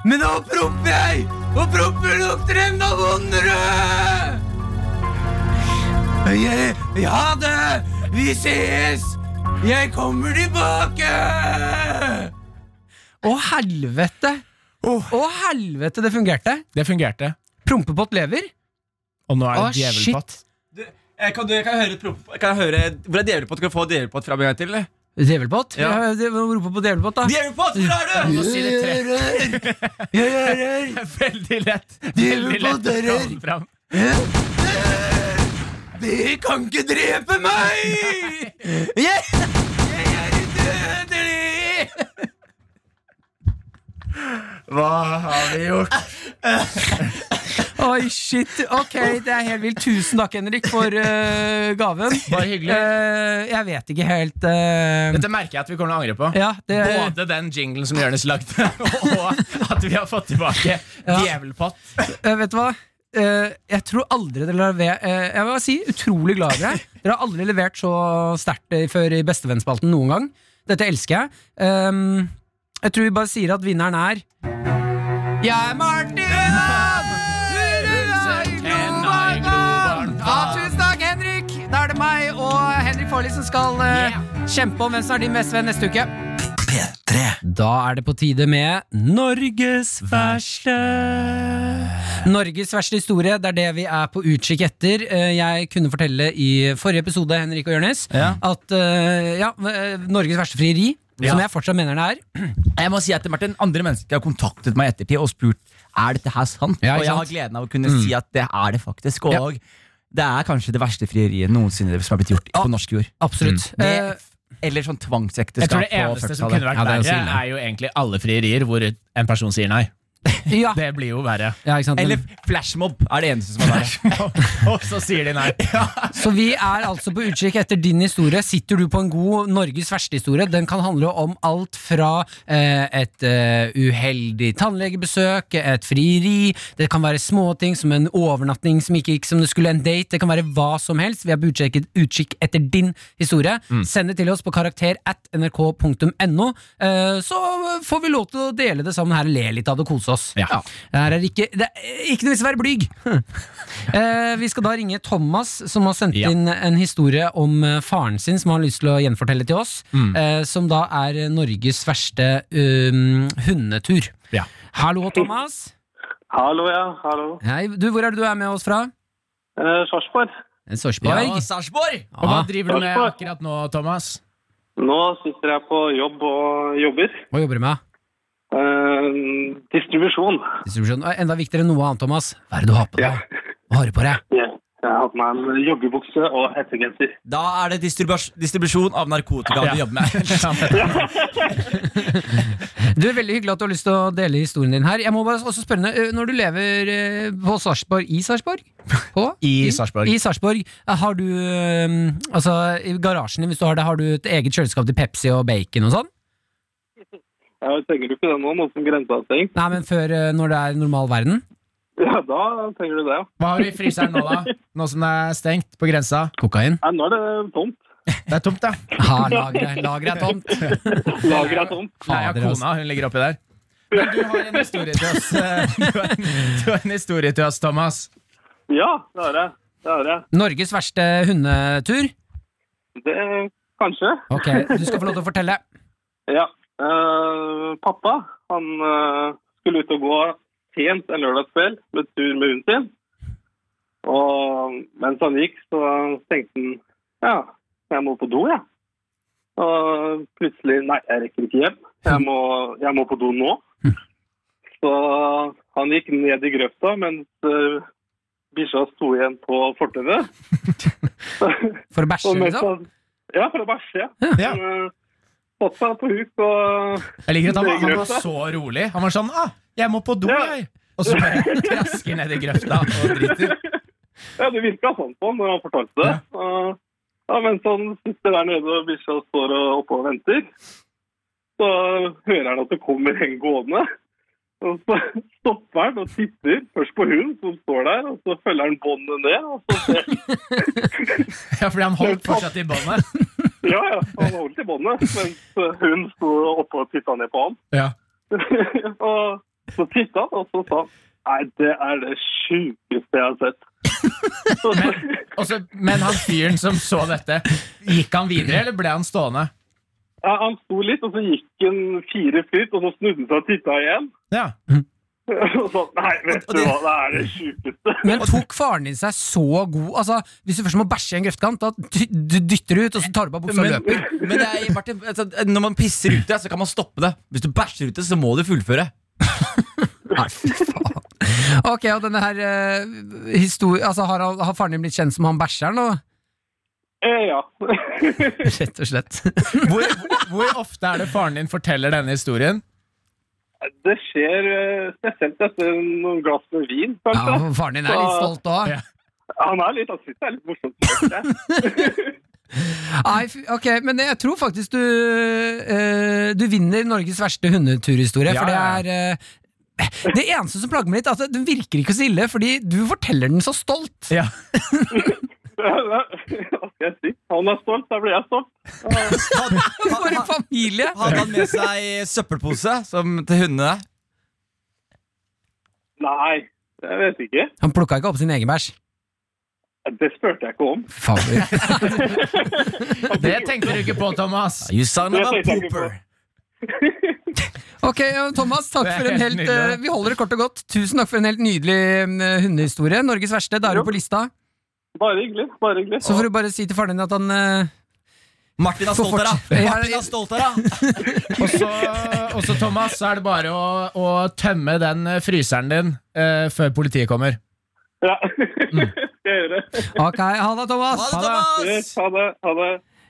[SPEAKER 2] Men nå promper jeg, og promper lukter enda vondere! Jeg, ja det! Vi ses! Jeg kommer tilbake! Å, helvete! Å, helvete, det fungerte.
[SPEAKER 3] Det fungerte.
[SPEAKER 2] Prompepott lever.
[SPEAKER 3] Og nå er det
[SPEAKER 2] Å,
[SPEAKER 3] djevelpott.
[SPEAKER 7] Eh, Kan, du, kan jeg høre, et prop- kan jeg høre Hvor er djevelpott? Kan jeg få djevelpott fra meg en gang til? eller?
[SPEAKER 2] Djevelpott?
[SPEAKER 7] Ja.
[SPEAKER 2] Ja. det- Må rope på djevelpott, da.
[SPEAKER 7] Djevelpott, hvor er du?
[SPEAKER 3] Veldig lett. Veldig lett å dra den fram.
[SPEAKER 7] Dere kan ikke drepe meg!
[SPEAKER 4] (laughs)
[SPEAKER 7] Jeg, jeg er udødelig!
[SPEAKER 3] Hva har vi gjort?
[SPEAKER 2] Oi, shit. Ok, det er helt vilt. Tusen takk, Henrik, for eh, gaven.
[SPEAKER 3] Bare hyggelig.
[SPEAKER 2] Eh, jeg vet ikke helt eh,
[SPEAKER 3] Dette merker jeg at vi kommer til å angre på.
[SPEAKER 2] Ja, det
[SPEAKER 3] Både den jinglen som Jonis lagde, (laughs) og at vi har fått tilbake djevelpott.
[SPEAKER 2] Eh, Vet du hva? Eh, jeg tror aldri dere har levert Jeg vil bare si utrolig glad i dere. Dere har aldri levert så sterkt eh, før i Bestevennspalten noen gang. Dette elsker jeg. Ehm, jeg tror vi bare sier at vinneren er Jeg er Martin!
[SPEAKER 3] Tenna i glovarmt
[SPEAKER 2] Ja, tusen takk, Henrik! Da er det meg og Henrik Farley som skal eh, kjempe om hvem som er din beste venn neste uke. Da er det på tide med Norges verste. Norges verste historie, det er det vi er på utkikk etter. Eh, Jeg kunne fortelle i forrige episode Henrik og Jørnes, at eh, ja, eh, Norges verste frieri, som jeg fortsatt mener det er.
[SPEAKER 4] Jeg må si at Martin, Andre mennesker har kontaktet meg i ettertid og spurt er dette her sant.
[SPEAKER 2] Ja, ikke
[SPEAKER 4] og jeg har
[SPEAKER 2] sant?
[SPEAKER 4] gleden av å
[SPEAKER 3] Mm.
[SPEAKER 4] kunne si at det er det faktisk. Og det er kanskje det verste frieriet noensinne som har blitt
[SPEAKER 3] Ah.
[SPEAKER 4] gjort på norsk jord.
[SPEAKER 2] Absolutt.
[SPEAKER 3] Mm.
[SPEAKER 4] Det,
[SPEAKER 2] Eh,
[SPEAKER 4] eller sånn
[SPEAKER 3] Jeg tror
[SPEAKER 4] tvangsekteskap
[SPEAKER 3] det eneste som kunne vært
[SPEAKER 4] tallet
[SPEAKER 2] Ja, det er jo så
[SPEAKER 3] verre,
[SPEAKER 2] ille.
[SPEAKER 3] er jo egentlig alle frierier hvor en person sier nei.
[SPEAKER 2] ja.
[SPEAKER 3] Det blir jo verre.
[SPEAKER 2] ja, ikke sant?
[SPEAKER 4] Eller (laughs) flashmob er det eneste som er verre.
[SPEAKER 3] og så sier de nei.
[SPEAKER 2] Så vi er altså på utkikk etter din historie. Sitter du på en god Norges verste historie? Den kan handle om alt fra eh, et eh, uheldig tannlegebesøk, et frieri, det kan være småting som en overnatting som ikke gikk som det skulle, en date, det kan være hva som helst. Vi er på utkikk, utkikk etter din historie. Send det til oss på karakter at nrk.no, eh, så får vi lov til å dele det sammen her og le litt av det og kose oss.
[SPEAKER 3] Ja.
[SPEAKER 2] Her er det ikke, det er ikke noe vits i å være blyg. (laughs) Eh, vi skal da ringe Thomas, som har sendt
[SPEAKER 3] Ja.
[SPEAKER 2] inn en historie om eh, faren sin, som han har lyst til å gjenfortelle til oss. Eh, som da er eh, Norges verste um, hundetur.
[SPEAKER 3] Ja.
[SPEAKER 2] Hallo, Thomas.
[SPEAKER 8] Hallo, ja. Hallo.
[SPEAKER 2] Hei, du, hvor er det du er med oss fra?
[SPEAKER 8] Eh, Sarpsborg.
[SPEAKER 2] Sarpsborg.
[SPEAKER 3] Og
[SPEAKER 2] Ja,
[SPEAKER 3] hva driver du med akkurat nå, Thomas?
[SPEAKER 8] Nå sitter jeg på jobb og jobber.
[SPEAKER 2] hva jobber du med?
[SPEAKER 8] Eh, distribusjon.
[SPEAKER 2] Distribusjon. Eh, Enda viktigere enn noe annet, Thomas. Hva er det du har på deg? Hva har du på deg?
[SPEAKER 8] Ja, Jeg har på meg en joggebukse og hettegenser.
[SPEAKER 4] Da er det distribus distribusjon av narkotika
[SPEAKER 3] Ja.
[SPEAKER 4] du jobber med.
[SPEAKER 3] (laughs)
[SPEAKER 2] Du, Veldig hyggelig at du har lyst til å dele historien din her. Jeg må bare også spørre, eh, Når du lever eh, på Sarpsborg I Sarpsborg? På?
[SPEAKER 3] (laughs) I Sarpsborg.
[SPEAKER 2] I Sarpsborg. eh, Har du eh, altså, I garasjen din, hvis du har det, har du et eget kjøleskap til Pepsi og bacon og sånn?
[SPEAKER 8] Jeg trenger du ikke det nå, nå som grensa er stengt? (laughs)
[SPEAKER 2] Nei, men før eh, når det er normal verden?
[SPEAKER 8] Ja, da trenger du det, ja.
[SPEAKER 3] Hva har du i fryseren nå, da? Nå som det er stengt på grensa?
[SPEAKER 2] Kokain?
[SPEAKER 8] Nei, nå er det tomt.
[SPEAKER 3] Det er tomt, da.
[SPEAKER 2] Ha, lageret lageret er tomt.
[SPEAKER 8] Lageret er tomt.
[SPEAKER 3] Nei, ja,
[SPEAKER 2] Fader, ass.
[SPEAKER 3] kona hun ligger oppi der. Men du har en historie til oss, eh, du har, du har en historie til oss Thomas.
[SPEAKER 8] Ja, det har jeg. Det har jeg.
[SPEAKER 2] Norges verste hundetur?
[SPEAKER 8] Det kanskje.
[SPEAKER 2] Ok, du skal få lov til å fortelle.
[SPEAKER 8] Ja. Eh, pappa, han eh, skulle ut og gå sent en lørdagskveld med tur med hunden sin. Og mens han gikk, så tenkte han ja, jeg må på do, jeg. Og plutselig nei, jeg rekker ikke hjem. Jeg må, jeg må på do nå. Så han gikk ned i grøfta mens eh, bikkja sto igjen på fortauet.
[SPEAKER 2] For å
[SPEAKER 8] Og
[SPEAKER 2] bæsje,
[SPEAKER 8] mens
[SPEAKER 2] liksom?
[SPEAKER 8] han- Ja, for å bæsje. Ja.
[SPEAKER 3] Ja.
[SPEAKER 8] Han, eh, Satt seg på huk og
[SPEAKER 3] Jeg liker at han, var- han var så rolig. Han var sånn ah, 'Jeg må på do, jeg'. Og så bare trasker ned i grøfta og driter.
[SPEAKER 8] Ja, det virka sånn på han når han fortalte det. Ja. ja, Mens han sitter der nede og bikkja står og oppe og venter, så hører han at det kommer en gående. Og så stopper han og titter først på hunden som står der, og så følger han båndet ned. Og så ser
[SPEAKER 3] (laughs) Ja, fordi han holdt fortsatt i båndet.
[SPEAKER 8] Ja, ja, han holdt i båndet mens hunden sto oppe og titta ned på han.
[SPEAKER 3] (laughs)
[SPEAKER 8] (laughs)
[SPEAKER 3] Ja.
[SPEAKER 8] og så titta han, og så sa han Nei, det er det sjukeste jeg har sett. Så,
[SPEAKER 3] Og så- men han fyren som så dette, gikk han videre, eller ble han stående?
[SPEAKER 8] ja, han sto litt, og så gikk han fire skritt, og så snudde han seg og titta igjen.
[SPEAKER 3] Ja.
[SPEAKER 8] (laughs) Og sånn, Nei, vet du hva, det er det sjukeste. (laughs)
[SPEAKER 2] Men tok faren din seg så god Altså, Hvis du først må bæsje i en grøftkant, da dy- du dytter du ut, og så tar du på buksa og
[SPEAKER 4] Men,
[SPEAKER 2] løper.
[SPEAKER 4] men det er, Martin, altså, når man pisser ute, så kan man stoppe det. Hvis du bæsjer ute, så må du fullføre.
[SPEAKER 2] Nei, fy faen. Ok, og denne her eh, histori- Altså, har, han- har faren din blitt kjent som han bæsjeren, og
[SPEAKER 8] Eh, ja. (laughs)
[SPEAKER 2] Rett og slett.
[SPEAKER 3] Hvor, hvor ofte er det faren din forteller denne historien?
[SPEAKER 8] Det skjer eh, spesielt etter noen glass med vin,
[SPEAKER 2] Ja,
[SPEAKER 8] kanskje.
[SPEAKER 2] faren din er litt stolt òg.
[SPEAKER 3] Ja.
[SPEAKER 8] Han er litt, han synes det er litt morsomt.
[SPEAKER 2] Nei, fy- ok, men jeg tror faktisk du eh, Du vinner Norges verste hundeturhistorie,
[SPEAKER 3] Ja,
[SPEAKER 2] for det
[SPEAKER 3] ja,
[SPEAKER 2] er eh, det eneste som plager meg litt, altså, den virker ikke så ille, fordi du forteller den så stolt.
[SPEAKER 3] Ja.
[SPEAKER 8] (laughs) Hva skal jeg si? Han er stolt, da blir jeg stolt.
[SPEAKER 4] Hadde
[SPEAKER 2] For en familie!
[SPEAKER 4] han med seg søppelpose som til hundene?
[SPEAKER 8] Nei, jeg vet ikke.
[SPEAKER 2] Han plukka ikke opp sin egen bæsj.
[SPEAKER 8] Det spurte jeg ikke om.
[SPEAKER 2] Fader.
[SPEAKER 3] Det tenkte du ikke på, Thomas.
[SPEAKER 4] You son
[SPEAKER 8] Det
[SPEAKER 4] of a
[SPEAKER 8] tenkte jeg ikke
[SPEAKER 4] pooper.
[SPEAKER 2] Ok, ja, Thomas, takk
[SPEAKER 3] Det er
[SPEAKER 2] for en
[SPEAKER 3] helt
[SPEAKER 2] helt
[SPEAKER 3] nydelig.
[SPEAKER 2] eh, Vi holder det kort og godt. Tusen takk for en helt nydelig eh, hundehistorie. Norges verste, da er du
[SPEAKER 8] Jo.
[SPEAKER 2] på lista.
[SPEAKER 8] Bare hyggelig, bare hyggelig.
[SPEAKER 2] Så får du bare si til faren din at han eh,
[SPEAKER 4] Martin er
[SPEAKER 2] Få
[SPEAKER 4] stolt av
[SPEAKER 2] fortsette.
[SPEAKER 4] deg. Martin er stolt av deg.
[SPEAKER 3] Og så, og så, Thomas, så er det bare å, å tømme den eh, fryseren din eh, før politiet kommer.
[SPEAKER 8] Ja, (laughs) skal jeg gjøre.
[SPEAKER 2] Ok, ha det, Thomas!
[SPEAKER 4] Ha det, Thomas!
[SPEAKER 8] Yes, Ha det, ha det.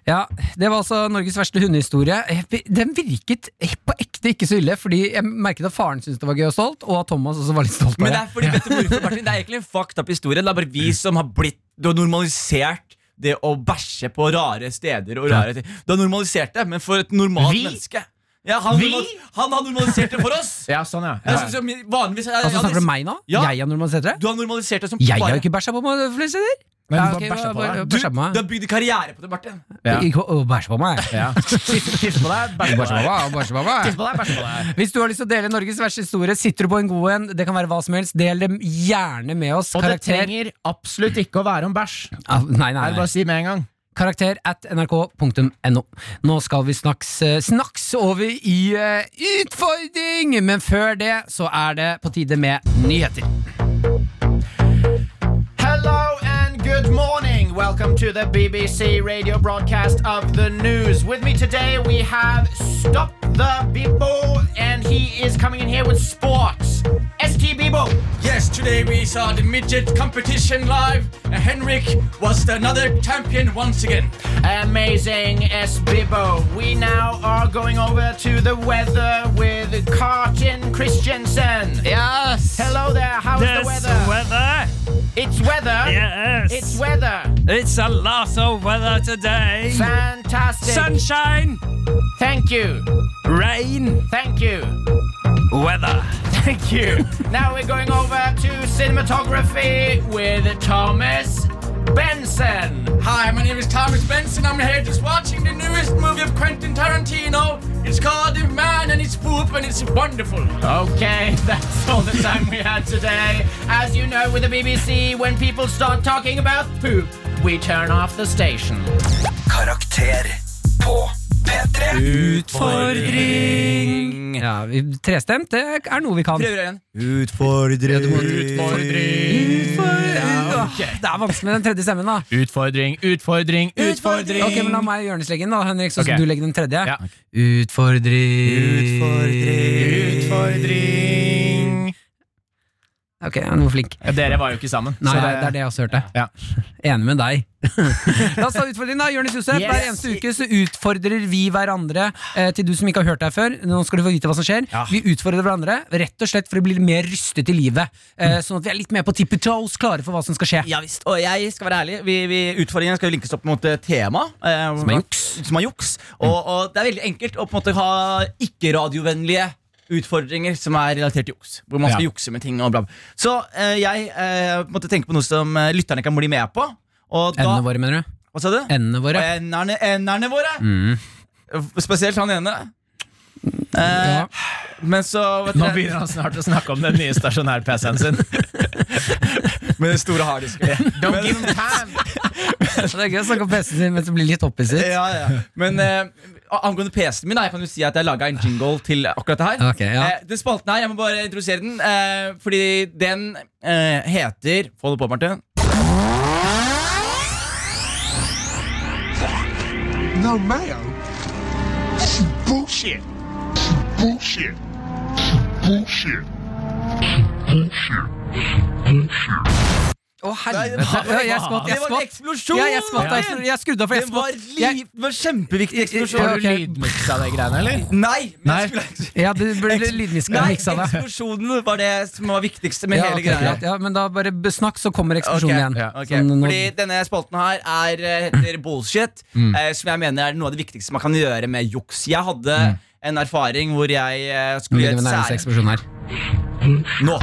[SPEAKER 2] Ja, Det var altså Norges verste hundehistorie. Eh, Den virket eh, på ekte ikke så ille, fordi jeg merket at faren syntes det var gøy og stolt, og at Thomas også var litt stolt.
[SPEAKER 4] Men det
[SPEAKER 2] av
[SPEAKER 4] er fordi, vet du hvorfor, Martin? Det er egentlig en fucked up historie. Det er bare vi som har blitt Du har normalisert det å bæsje på rare steder og rare ting. Du har normalisert det, men for et normalt
[SPEAKER 3] Vi?
[SPEAKER 4] menneske ja, han,
[SPEAKER 3] Vi?
[SPEAKER 4] normal- han har normalisert det for oss!
[SPEAKER 3] Ja, sånn, ja.
[SPEAKER 4] Jeg synes
[SPEAKER 3] ja.
[SPEAKER 4] jo min- vanligvis jeg-
[SPEAKER 2] Altså,
[SPEAKER 4] jeg-
[SPEAKER 2] Snakker du om meg nå?
[SPEAKER 4] Ja.
[SPEAKER 2] Jeg har normalisert det?
[SPEAKER 4] Du har normalisert det som
[SPEAKER 2] Jeg har
[SPEAKER 4] bare
[SPEAKER 2] jo ikke bæsja på meg flere steder!
[SPEAKER 3] Men
[SPEAKER 2] Ja,
[SPEAKER 3] du
[SPEAKER 2] ok,
[SPEAKER 3] bare bæsja
[SPEAKER 2] bare-
[SPEAKER 3] på deg.
[SPEAKER 2] bare-
[SPEAKER 4] du,
[SPEAKER 2] bæsja på meg.
[SPEAKER 4] du har bygd karriere på det, Martin.
[SPEAKER 3] Ja.
[SPEAKER 2] Ikke å bæsje på meg.
[SPEAKER 3] Ja. Tisse tisse på deg, bæsje på
[SPEAKER 2] Bæsje på
[SPEAKER 3] deg.
[SPEAKER 2] meg, bæsje på meg.
[SPEAKER 3] Tisse på deg, bæsje på deg.
[SPEAKER 2] Hvis du har lyst til å dele Norges verste historie, sitter du på en god en, det kan være hva som helst, del dem gjerne med oss.
[SPEAKER 3] Og det
[SPEAKER 2] Karakter
[SPEAKER 3] trenger absolutt ikke å være om bæsj. Det
[SPEAKER 2] Ah, Nei, nei,
[SPEAKER 3] er det
[SPEAKER 2] nei.
[SPEAKER 3] bare å si med en gang.
[SPEAKER 2] Karakter at nrk.no. Nå skal vi snaks, eh, snaks over i eh, utfordring, men før det så er det på tide med nyheter.
[SPEAKER 3] Hello and good morning. Welcome to the BBC radio broadcast of the news. With me today we have Stop the Bebo, and he is coming in here with sports. ST Bebo.
[SPEAKER 4] Yes, today we saw the midget competition live. Henrik was another champion once again.
[SPEAKER 3] Amazing S Bebo. We now are going over to the weather with Carton Christiansen.
[SPEAKER 9] Yes.
[SPEAKER 3] Hello there, how's the weather?
[SPEAKER 9] weather.
[SPEAKER 3] it's weather.
[SPEAKER 9] Yes.
[SPEAKER 3] It's weather.
[SPEAKER 9] It's a lot of weather today.
[SPEAKER 3] Fantastic.
[SPEAKER 9] Sunshine,
[SPEAKER 3] Thank you.
[SPEAKER 9] rain,
[SPEAKER 3] Thank you.
[SPEAKER 9] weather.
[SPEAKER 3] Thank
[SPEAKER 9] (laughs)
[SPEAKER 3] you. now we're going over to cinematography with Thomas Benson.
[SPEAKER 4] Hi, my name is Thomas Benson. I'm here just watching the newest movie of Quentin Tarantino. It's called The Man and His Poop, and it's wonderful.
[SPEAKER 3] Okay, (laughs) that's all the time we had today. As you know, with the BBC, when people start talking about poop, we turn off the station.
[SPEAKER 5] Karakter på P3
[SPEAKER 4] Utfordring.
[SPEAKER 2] Ja, vi, trestemt, det er noe vi kan.
[SPEAKER 4] Prøver igjen. Utfordring.
[SPEAKER 2] Utfordring. Det er vanskelig med den tredje stemmen, da.
[SPEAKER 3] Utfordring, utfordring, utfordring.
[SPEAKER 2] Ok, men La meg gjøre den da, Henrik, så skal
[SPEAKER 3] Ok.
[SPEAKER 2] du legge den tredje.
[SPEAKER 3] Ja.
[SPEAKER 2] Utfordring
[SPEAKER 3] Utfordring.
[SPEAKER 2] Ok, han var flink.
[SPEAKER 3] Dere var jo ikke sammen.
[SPEAKER 2] Nei, det, er det jeg også hørte.
[SPEAKER 3] Ja.
[SPEAKER 2] (laughs) Enig med deg. (laughs) La oss ta utfordringen, da. Jonis Josef,
[SPEAKER 3] Yes.
[SPEAKER 2] hver eneste uke så utfordrer vi hverandre. Eh, til du som ikke har hørt deg før, nå skal du få vite hva som skjer. Vi utfordrer hverandre rett og slett for å bli litt mer rustet i livet. Eh, sånn at vi er litt mer på tippy toes, klare for hva som skal skje.
[SPEAKER 4] Ja visst. Og jeg skal være ærlig. Vi, vi, utfordringen skal jo linkes opp mot eh, tema. eh,
[SPEAKER 2] Som er juks. Mm.
[SPEAKER 4] Som er juks. Og, og det er veldig enkelt å på en måte ha ikke-radiovennlige utfordringer som er relatert til juks. Hvor man skal
[SPEAKER 3] Ja.
[SPEAKER 4] jukse med ting og bla, bla. Så eh, jeg eh, måtte tenke på noe som eh, lytterne kan bli med på. Og da,
[SPEAKER 2] Endene våre, mener du?
[SPEAKER 4] hva sa du?
[SPEAKER 2] Endene våre. Mm.
[SPEAKER 4] Enderne, enderne våre. Spesielt han ene. Eh,
[SPEAKER 2] Ja.
[SPEAKER 4] Men så vet
[SPEAKER 3] Nå
[SPEAKER 4] dere- (laughs)
[SPEAKER 3] begynner han (laughs) snart å snakke om den nye stasjonær-PC-en sin.
[SPEAKER 4] Med den store harddisken.
[SPEAKER 3] Don't give him time.
[SPEAKER 2] Det er gøy å snakke om PC-en sin mens du blir litt opphisset.
[SPEAKER 4] (laughs) Ja, ja. Men eh, angående PC-en min, da, jeg kan jo si at jeg laga en jingle til akkurat det her.
[SPEAKER 2] Ok, ja.
[SPEAKER 4] Eh, den spalten her, Jeg må bare introdusere den, eh, fordi den eh, heter Få det på, Martin.
[SPEAKER 2] Å,
[SPEAKER 4] Nei, det
[SPEAKER 2] helvete.
[SPEAKER 4] var-
[SPEAKER 2] Ja, jeg skvatt.
[SPEAKER 4] Det
[SPEAKER 2] Jeg
[SPEAKER 4] var en
[SPEAKER 2] skvatt.
[SPEAKER 4] eksplosjon!
[SPEAKER 2] Ja, jeg skvatt. da. Jeg- Jeg skrudde av, for
[SPEAKER 4] Det
[SPEAKER 2] jeg
[SPEAKER 4] var,
[SPEAKER 2] skvatt.
[SPEAKER 4] liv,
[SPEAKER 2] Jeg,
[SPEAKER 4] det var kjempeviktig eksplosjon.
[SPEAKER 2] Ja,
[SPEAKER 3] Har
[SPEAKER 2] ok.
[SPEAKER 3] du lydmiksa de greiene, eller?
[SPEAKER 4] Nei! men
[SPEAKER 3] Nei.
[SPEAKER 4] jeg skulle-
[SPEAKER 2] ja, du ble lydmiska.
[SPEAKER 4] Nei,
[SPEAKER 2] miksa deg.
[SPEAKER 4] eksplosjonen var det som var viktigst med
[SPEAKER 2] Ja,
[SPEAKER 4] hele
[SPEAKER 2] ok,
[SPEAKER 4] greia.
[SPEAKER 2] greit. ja, men da bare snakk, så kommer
[SPEAKER 4] Ok,
[SPEAKER 2] eksplosjonen igjen.
[SPEAKER 4] ja, ok.
[SPEAKER 2] Sånn, nå-
[SPEAKER 4] Fordi denne spalten her er, eh, heter bullshit, eh, som jeg mener er noe av det viktigste man kan gjøre med juks. Jeg hadde en erfaring hvor jeg eh,
[SPEAKER 2] nå
[SPEAKER 4] skulle
[SPEAKER 2] begynner vi
[SPEAKER 4] gjøre
[SPEAKER 2] å nærme oss
[SPEAKER 4] et sær...
[SPEAKER 2] eksplosjonen her.
[SPEAKER 4] Nå!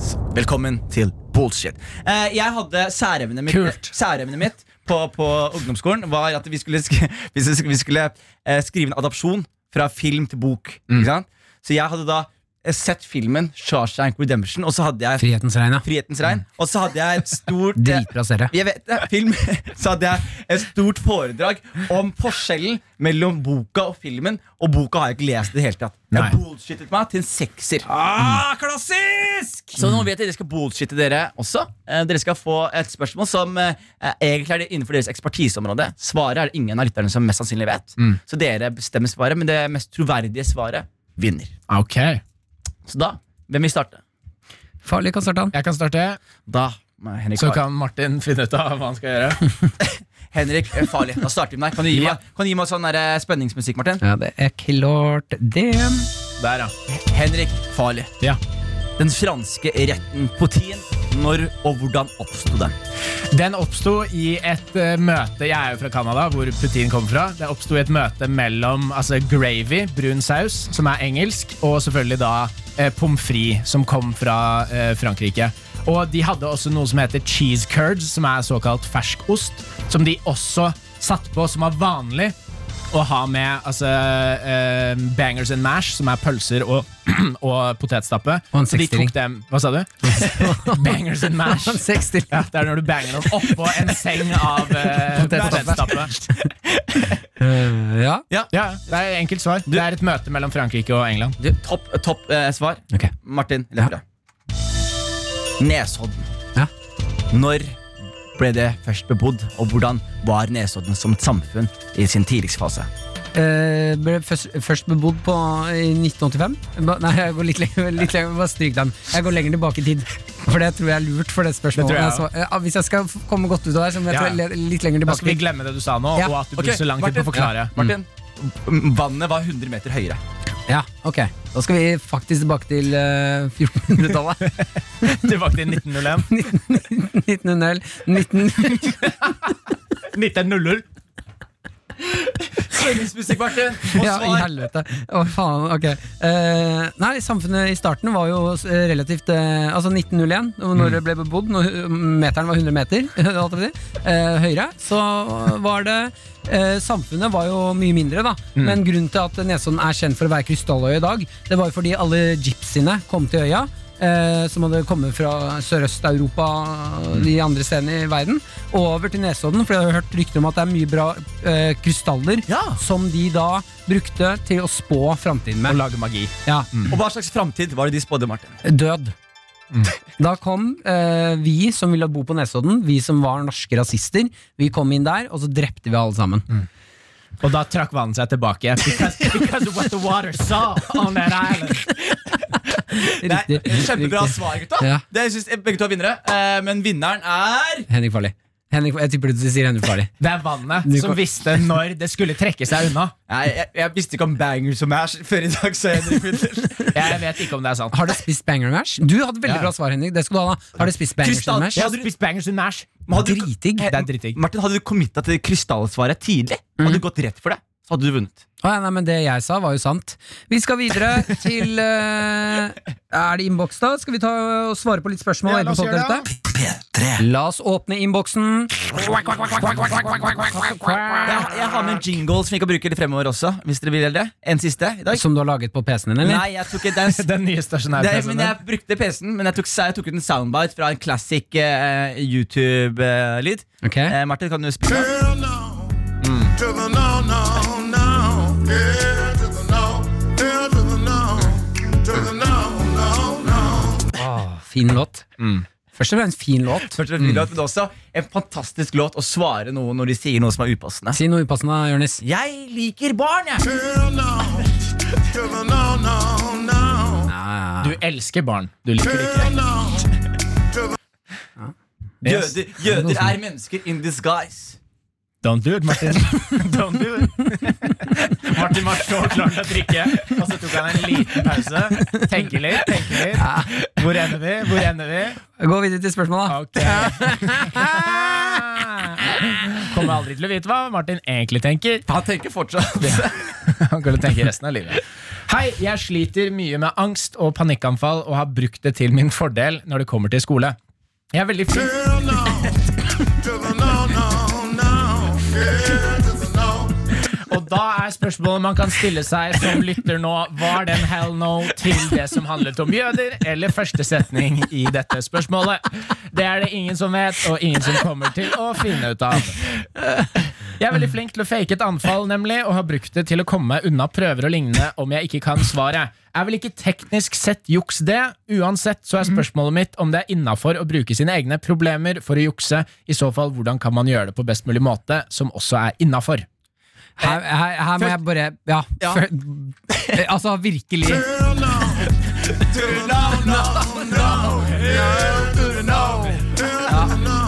[SPEAKER 4] S- Velkommen til bullshit. Eh, jeg hadde særevnet mitt, særevnet mitt på, på ungdomsskolen var at vi skulle, sk (laughs) vi skulle, vi skulle eh, skrive en adopsjon fra film til bok. Ikke sant? Så jeg hadde da eh, sett filmen Shawshank Redemption, og så hadde jeg
[SPEAKER 2] Frihetens regn, ja.
[SPEAKER 4] Frihetens regn. Og så hadde jeg
[SPEAKER 3] (laughs)
[SPEAKER 4] et stort
[SPEAKER 2] Dritbra serie.
[SPEAKER 4] jeg vet det, film Så hadde jeg et stort foredrag om forskjellen mellom boka og filmen, og boka har jeg ikke lest i det hele tatt.
[SPEAKER 3] Nei.
[SPEAKER 4] Jeg bullshittet meg til en sekser.
[SPEAKER 9] Ah, klassisk!
[SPEAKER 4] Så nå vet jeg at dere skal bullshitte dere også. Eh, Dere skal få et spørsmål som eh, egentlig er det innenfor deres ekspertiseområde. Svaret er det ingen av lytterne som mest sannsynlig vet.
[SPEAKER 3] Mm.
[SPEAKER 4] Så dere bestemmer svaret, men det mest troverdige svaret vinner.
[SPEAKER 3] Ok, jeg
[SPEAKER 4] Så da, hvem vil starte?
[SPEAKER 2] Farlig kan starte han.
[SPEAKER 3] kan starte.
[SPEAKER 4] Da må Henrik
[SPEAKER 3] Så
[SPEAKER 4] svare.
[SPEAKER 3] kan Martin finne ut av hva han skal
[SPEAKER 2] (laughs)
[SPEAKER 3] gjøre.
[SPEAKER 4] Henrik, eh, farlig. Da starter vi med deg. Kan du gi meg, kan du gi meg sånn der, eh, spenningsmusikk, Martin?
[SPEAKER 2] Ja, det er klart
[SPEAKER 3] (laughs)
[SPEAKER 2] det.
[SPEAKER 3] Der, ja.
[SPEAKER 4] Henrik, farlig.
[SPEAKER 3] Ja.
[SPEAKER 4] Den franske retten potin. Når og hvordan oppsto den?
[SPEAKER 3] Den oppsto i et eh, møte Jeg er jo fra Canada, hvor Putin kom fra. Det oppsto i et møte mellom altså, gravy, brun saus, som er engelsk, og selvfølgelig da eh, pommes frites, som kom fra eh, Frankrike. Og de hadde også noe som heter cheese curds, som er såkalt fersk ost, som de også satte på, som var vanlig å ha med altså, eh, bangers and mash, som er pølser og, (clears throat) og potetstappe.
[SPEAKER 2] Og en
[SPEAKER 3] Så de
[SPEAKER 2] seksstilling.
[SPEAKER 3] tok dem Hva
[SPEAKER 2] (laughs)
[SPEAKER 3] sa du? bangers and mash.
[SPEAKER 2] Han seks til.
[SPEAKER 3] Ja, det er når du banger noen oppå en seng av uh,
[SPEAKER 2] Potetstappe.
[SPEAKER 3] potetstappe.
[SPEAKER 2] Eh, ja.
[SPEAKER 3] Ja, det er enkelt svar. Det er et møte mellom Frankrike og England.
[SPEAKER 4] Du, topp topp eh, svar.
[SPEAKER 2] Ok.
[SPEAKER 4] Martin Lepperød. Nesodden.
[SPEAKER 2] Ja.
[SPEAKER 4] Når ble det først bebodd, og hvordan var Nesodden som et samfunn i sin tidligste fase?
[SPEAKER 2] Eh, ble først, først bebodd på, i 1985. Ba, nei, jeg går litt lenger, litt lenger. Bare stryk den. Jeg går lenger tilbake i tid. For det tror jeg er lurt for det spørsmålet.
[SPEAKER 3] Det tror jeg
[SPEAKER 2] Altså, eh, hvis jeg skal f- komme godt ut av det, her, så må jeg
[SPEAKER 3] Ja.
[SPEAKER 2] ta le- litt lenger
[SPEAKER 3] Da skal
[SPEAKER 2] tilbake.
[SPEAKER 3] vi glemme det du sa nå,
[SPEAKER 2] Ja.
[SPEAKER 3] og at du
[SPEAKER 4] Ok,
[SPEAKER 3] brukte så lang tid på å forklare. (laughs)
[SPEAKER 4] Martin,
[SPEAKER 2] Mm.
[SPEAKER 4] m- vannet var 100 meter høyere.
[SPEAKER 2] Ja, ok Da skal vi faktisk tilbake til eh, 1400-tallet. (laughs)
[SPEAKER 3] Tilbake til 1901.
[SPEAKER 2] 1900. 19...
[SPEAKER 3] 1900.
[SPEAKER 4] Spenningsmusikk, Martin! Og
[SPEAKER 2] Ja, i
[SPEAKER 4] svar!
[SPEAKER 2] helvete. Å, faen. Ok. Eh, nei, samfunnet i starten var jo s- relativt eh, Altså 1901, og når
[SPEAKER 4] Mm.
[SPEAKER 2] det ble bebodd, når hu- meteren var 100 meter (laughs) holdt jeg på å si, eh, høyere, så var det eh, Samfunnet var jo mye mindre, da.
[SPEAKER 4] Mm.
[SPEAKER 2] Men grunnen til at Nesodden er kjent for å være krystalløy i dag, det var jo fordi alle gypsiene kom til øya. Eh, som hadde kommet fra Sørøst-Europa
[SPEAKER 4] Mm.
[SPEAKER 2] de andre stedene i verden. Over til Nesodden, for jeg har hørt rykter om at det er mye bra eh, krystaller
[SPEAKER 4] Ja.
[SPEAKER 2] som de da brukte til å spå framtiden med.
[SPEAKER 3] Og lage Mm. magi.
[SPEAKER 2] Ja,
[SPEAKER 4] Og hva slags framtid var det de spådde, Martin?
[SPEAKER 2] død.
[SPEAKER 3] Mm.
[SPEAKER 2] Da kom eh, vi som ville bo på Nesodden, vi som var norske rasister, vi kom inn der, og så drepte vi alle sammen.
[SPEAKER 3] Mm. Og da trakk vannet seg tilbake. Because, because of what the water saw on that island.
[SPEAKER 2] (laughs) Riktig.
[SPEAKER 4] Nei, kjempebra
[SPEAKER 2] Riktig.
[SPEAKER 4] svar, gutta.
[SPEAKER 2] Ja.
[SPEAKER 4] Det synes jeg begge to er vinnere. Eh, men vinneren er
[SPEAKER 2] Henrik Farley. Henrik, jeg tipper du sier Henrik Farley.
[SPEAKER 3] Det er vannet
[SPEAKER 2] Du
[SPEAKER 3] som
[SPEAKER 2] kan-
[SPEAKER 3] visste når det skulle trekke seg unna.
[SPEAKER 4] Nei, jeg, jeg visste ikke om bangers og mash før i dag. Så Henrik vinner.
[SPEAKER 3] Jeg vet ikke om det er sant.
[SPEAKER 2] Har du spist banger mash? Du hadde veldig
[SPEAKER 3] Ja.
[SPEAKER 2] bra svar, Henrik. Det skal du ha, da. Har du spist banger
[SPEAKER 4] Krystall-
[SPEAKER 2] mash?
[SPEAKER 3] Jeg har spist bangers and mash.
[SPEAKER 4] Men hadde du-
[SPEAKER 2] Dritdigg.
[SPEAKER 3] Det er dritdigg.
[SPEAKER 2] Mhm.
[SPEAKER 4] Martin, hadde du committa til krystallsvaret tidlig, hadde du gått rett for det. så hadde du vunnet.
[SPEAKER 2] Å, ja, nei, men det jeg sa, var jo sant. Vi skal videre til eh, Er det innboks, da? Skal vi ta og svare på litt spørsmål?
[SPEAKER 3] Ja, la oss
[SPEAKER 2] etterpå,
[SPEAKER 3] gjøre det,
[SPEAKER 2] dette? La oss åpne innboksen.
[SPEAKER 4] Jeg, jeg har med en jingle som vi kan bruke litt fremover også. Hvis dere vil det. En siste i dag.
[SPEAKER 2] Som du har laget på PC-en din, eller?
[SPEAKER 4] Nei, jeg tok
[SPEAKER 2] (laughs)
[SPEAKER 4] ikke den.
[SPEAKER 3] Den nye
[SPEAKER 4] Det,
[SPEAKER 3] stasjonære
[SPEAKER 4] men jeg brukte PC-en, men jeg tok, jeg tok ut en soundbite fra en classic eh, YouTube-lyd.
[SPEAKER 2] Ok.
[SPEAKER 4] Eh, Martin, kan du spille?
[SPEAKER 2] Åh, Ah, fin låt.
[SPEAKER 3] Mm.
[SPEAKER 2] Først og fremst fin låt.
[SPEAKER 4] Først og fremst lyd, men også en fantastisk låt å svare noen når de sier noe som er upassende.
[SPEAKER 2] Si noe upassende, Jonis.
[SPEAKER 4] Jeg liker barn, jeg!
[SPEAKER 3] Du elsker barn. Du liker det ikke. Yes.
[SPEAKER 4] Jøder, jøder er mennesker in disguise.
[SPEAKER 3] Don't do it, Martin. (laughs) Don't do it. (laughs) Martin var så klar til å drikke, og så tok han en liten pause. Tenke litt, tenke litt. Hvor ender vi? Hvor ender vi?
[SPEAKER 2] Gå videre til spørsmålet.
[SPEAKER 3] Ok. (laughs) Kommer aldri til å vite hva Martin egentlig tenker.
[SPEAKER 4] Han tenker fortsatt.
[SPEAKER 3] (laughs) Han kan tenke resten av livet. Hei, jeg sliter mye med angst og panikkanfall og har brukt det til min fordel når det kommer til skole. Jeg er veldig flink Og da er spørsmålet man kan stille seg som lytter nå, var den hell no til det som handlet om jøder, eller første setning i dette spørsmålet? Det er det ingen som vet, og ingen som kommer til å finne ut av. Jeg er veldig flink til å fake et anfall, nemlig, og har brukt det til å komme meg unna prøver og lignende om jeg ikke kan svaret. Er vel ikke teknisk sett juks det? Uansett så er spørsmålet mitt om det er innafor å bruke sine egne problemer for å jukse. I så fall, hvordan kan man gjøre det på best mulig måte, som også er innafor?
[SPEAKER 2] Her, her, her må jeg bare Ja. før- altså, virkelig.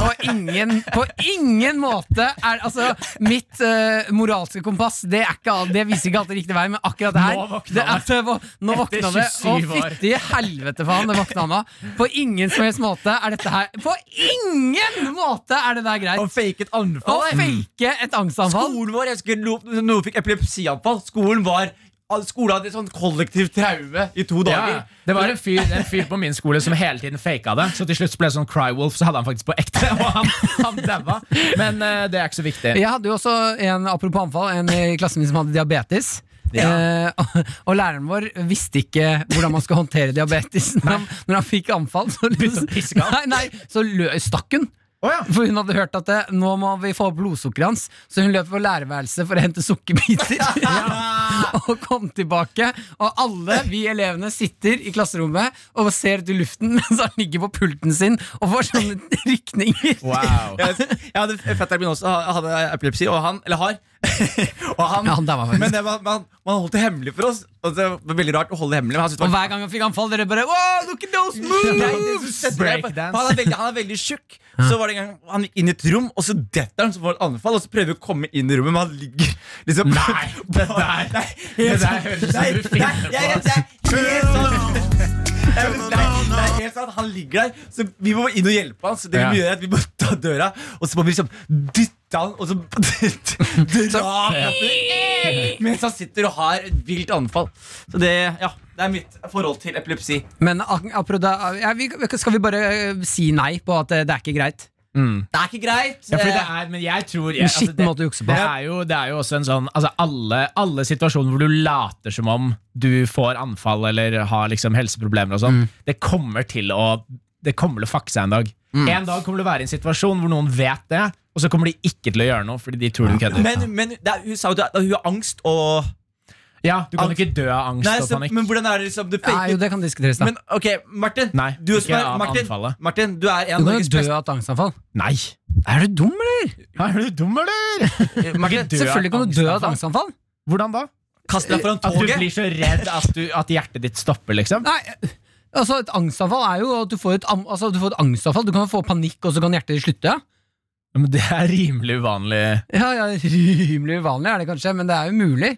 [SPEAKER 2] På ingen, på ingen måte er Altså, mitt eh, moralske kompass Det, er ikke, all- det viser ikke alltid riktig vei, men akkurat det her
[SPEAKER 3] Nå våkna
[SPEAKER 2] det,
[SPEAKER 3] han.
[SPEAKER 2] at, det var- Nå
[SPEAKER 3] Etter
[SPEAKER 2] våkna det. Å,
[SPEAKER 3] 27 år.
[SPEAKER 2] fytti helvete, faen. Det våkna han av. På ingen som helst måte er dette her På ingen måte er det der
[SPEAKER 4] Og
[SPEAKER 2] greit!
[SPEAKER 4] faket
[SPEAKER 2] Å
[SPEAKER 4] anfall. jeg.
[SPEAKER 2] fake et angstanfall.
[SPEAKER 4] Skolen vår, jeg husker no- noen fikk epilepsianfall. Skolen var all- Skolen hadde et sånt kollektivt traume i to dager.
[SPEAKER 3] Ja, det var en fyr, en fyr på min skole som hele tiden faka det. Så til slutt ble det sånn Crywolf, så hadde han faktisk på ekte, og han, han daua. Men eh, det er ikke så viktig.
[SPEAKER 2] Jeg hadde jo også en apropos anfall, en i klassen min som hadde diabetes. Eh, (laughs) og, og læreren vår visste ikke hvordan man skal håndtere diabetes. Når han, når han fikk anfall, så,
[SPEAKER 3] Begynte å piske
[SPEAKER 2] nei,
[SPEAKER 3] han.
[SPEAKER 2] (laughs) nei, så lø, stakk hun.
[SPEAKER 3] Å ja.
[SPEAKER 2] For hun hadde hørt at det, nå må vi få opp blodsukkeret hans, så hun løp på lærerværelset for å hente sukkerbiter. (laughs) og kom tilbake, og alle vi elevene sitter i klasserommet og ser ut i luften (laughs) mens han ligger på pulten sin og får sånne (laughs) rykninger.
[SPEAKER 3] Wow.
[SPEAKER 4] (laughs) Jeg, jeg hadde Fetteren min også ha- hadde epilepsi, og han Eller har. (laughs) og han,
[SPEAKER 2] Ja, han daua faktisk.
[SPEAKER 4] men det var, man, man holdt det hemmelig for oss. Og det var veldig rart å holde det hemmelig. Men han syntes
[SPEAKER 2] (laughs)
[SPEAKER 4] det
[SPEAKER 2] Og
[SPEAKER 4] var (laughs)
[SPEAKER 2] hver gang han fikk anfall, dere bare Wow, look at those
[SPEAKER 4] Nei,
[SPEAKER 2] moves!
[SPEAKER 4] det som setter meg på-
[SPEAKER 3] Breakdance.
[SPEAKER 4] Han er veldig, han er veldig tjukk. Så var det en gang han gikk inn i et rom, og så detter han, så får han et anfall, og så prøver vi å komme inn i rommet, men han ligger liksom Nei, det der
[SPEAKER 3] det
[SPEAKER 4] Nei, helt
[SPEAKER 3] der
[SPEAKER 4] sånn-
[SPEAKER 3] høres ut som
[SPEAKER 4] nei,
[SPEAKER 3] du finner
[SPEAKER 4] nei,
[SPEAKER 3] på,
[SPEAKER 4] jeg- jeg- Det er helt sånn Nei, men nei, det er helt sant, Han ligger der, så vi må inn og hjelpe han. Så det vi må
[SPEAKER 3] Ja.
[SPEAKER 4] gjøre er at vi må ta døra, og så må vi liksom dytte han, og så (laughs) dra han opp, Mens han sitter og har et vilt anfall. Så det, ja, det er mitt forhold til epilepsi.
[SPEAKER 2] Men ak- apropos det, ja, vi- skal vi bare eh, si nei på at eh, det er ikke greit?
[SPEAKER 4] Det er ikke greit.
[SPEAKER 3] Ja, fordi det er, men jeg tror jeg, altså,
[SPEAKER 2] En skitten
[SPEAKER 3] det,
[SPEAKER 2] måte å jukse på.
[SPEAKER 3] Det er jo, det er jo også en sånn altså alle, alle situasjoner hvor du later som om du får anfall eller har liksom helseproblemer og
[SPEAKER 2] Mm.
[SPEAKER 3] sånn, det kommer til å Det kommer til å fucke seg en dag.
[SPEAKER 2] Mm.
[SPEAKER 3] En dag kommer det å være i en situasjon hvor noen vet det, og så kommer de ikke til å gjøre noe fordi de tror du kødder.
[SPEAKER 4] Eh, Men, men det er, hun sa jo at hun har angst og
[SPEAKER 3] Ja, du kan jo ikke dø av angst
[SPEAKER 4] Nei,
[SPEAKER 3] og
[SPEAKER 4] så,
[SPEAKER 3] panikk.
[SPEAKER 4] Men hvordan er det liksom det
[SPEAKER 2] Ja, jo,
[SPEAKER 4] fake
[SPEAKER 2] det kan diskuteres, da.
[SPEAKER 4] Men ok, Martin.
[SPEAKER 3] Nei,
[SPEAKER 4] du,
[SPEAKER 3] ikke
[SPEAKER 4] som er,
[SPEAKER 3] av
[SPEAKER 4] Martin,
[SPEAKER 3] anfallet.
[SPEAKER 4] Martin, du er en
[SPEAKER 2] du
[SPEAKER 4] av
[SPEAKER 2] kan
[SPEAKER 4] Norges
[SPEAKER 2] jo dø
[SPEAKER 4] beste
[SPEAKER 2] av et angstanfall.
[SPEAKER 3] Nei!
[SPEAKER 2] Er du dum, eller?
[SPEAKER 3] Er du dum, eller?
[SPEAKER 4] Martin,
[SPEAKER 3] Dø av
[SPEAKER 2] Selvfølgelig kan du dø av et angstanfall.
[SPEAKER 3] angstanfall. Hvordan da?
[SPEAKER 4] Kast deg foran
[SPEAKER 3] At du
[SPEAKER 4] toget.
[SPEAKER 3] blir så redd at, du, at hjertet ditt stopper, liksom?
[SPEAKER 2] Nei, altså Et angstanfall er jo at du får et, am- altså, du får et angstanfall. Du kan jo få panikk, og så kan hjertet ditt slutte.
[SPEAKER 3] Men det er rimelig uvanlig.
[SPEAKER 2] (laughs) Ja, ja, Rimelig uvanlig er det kanskje, men det er jo mulig.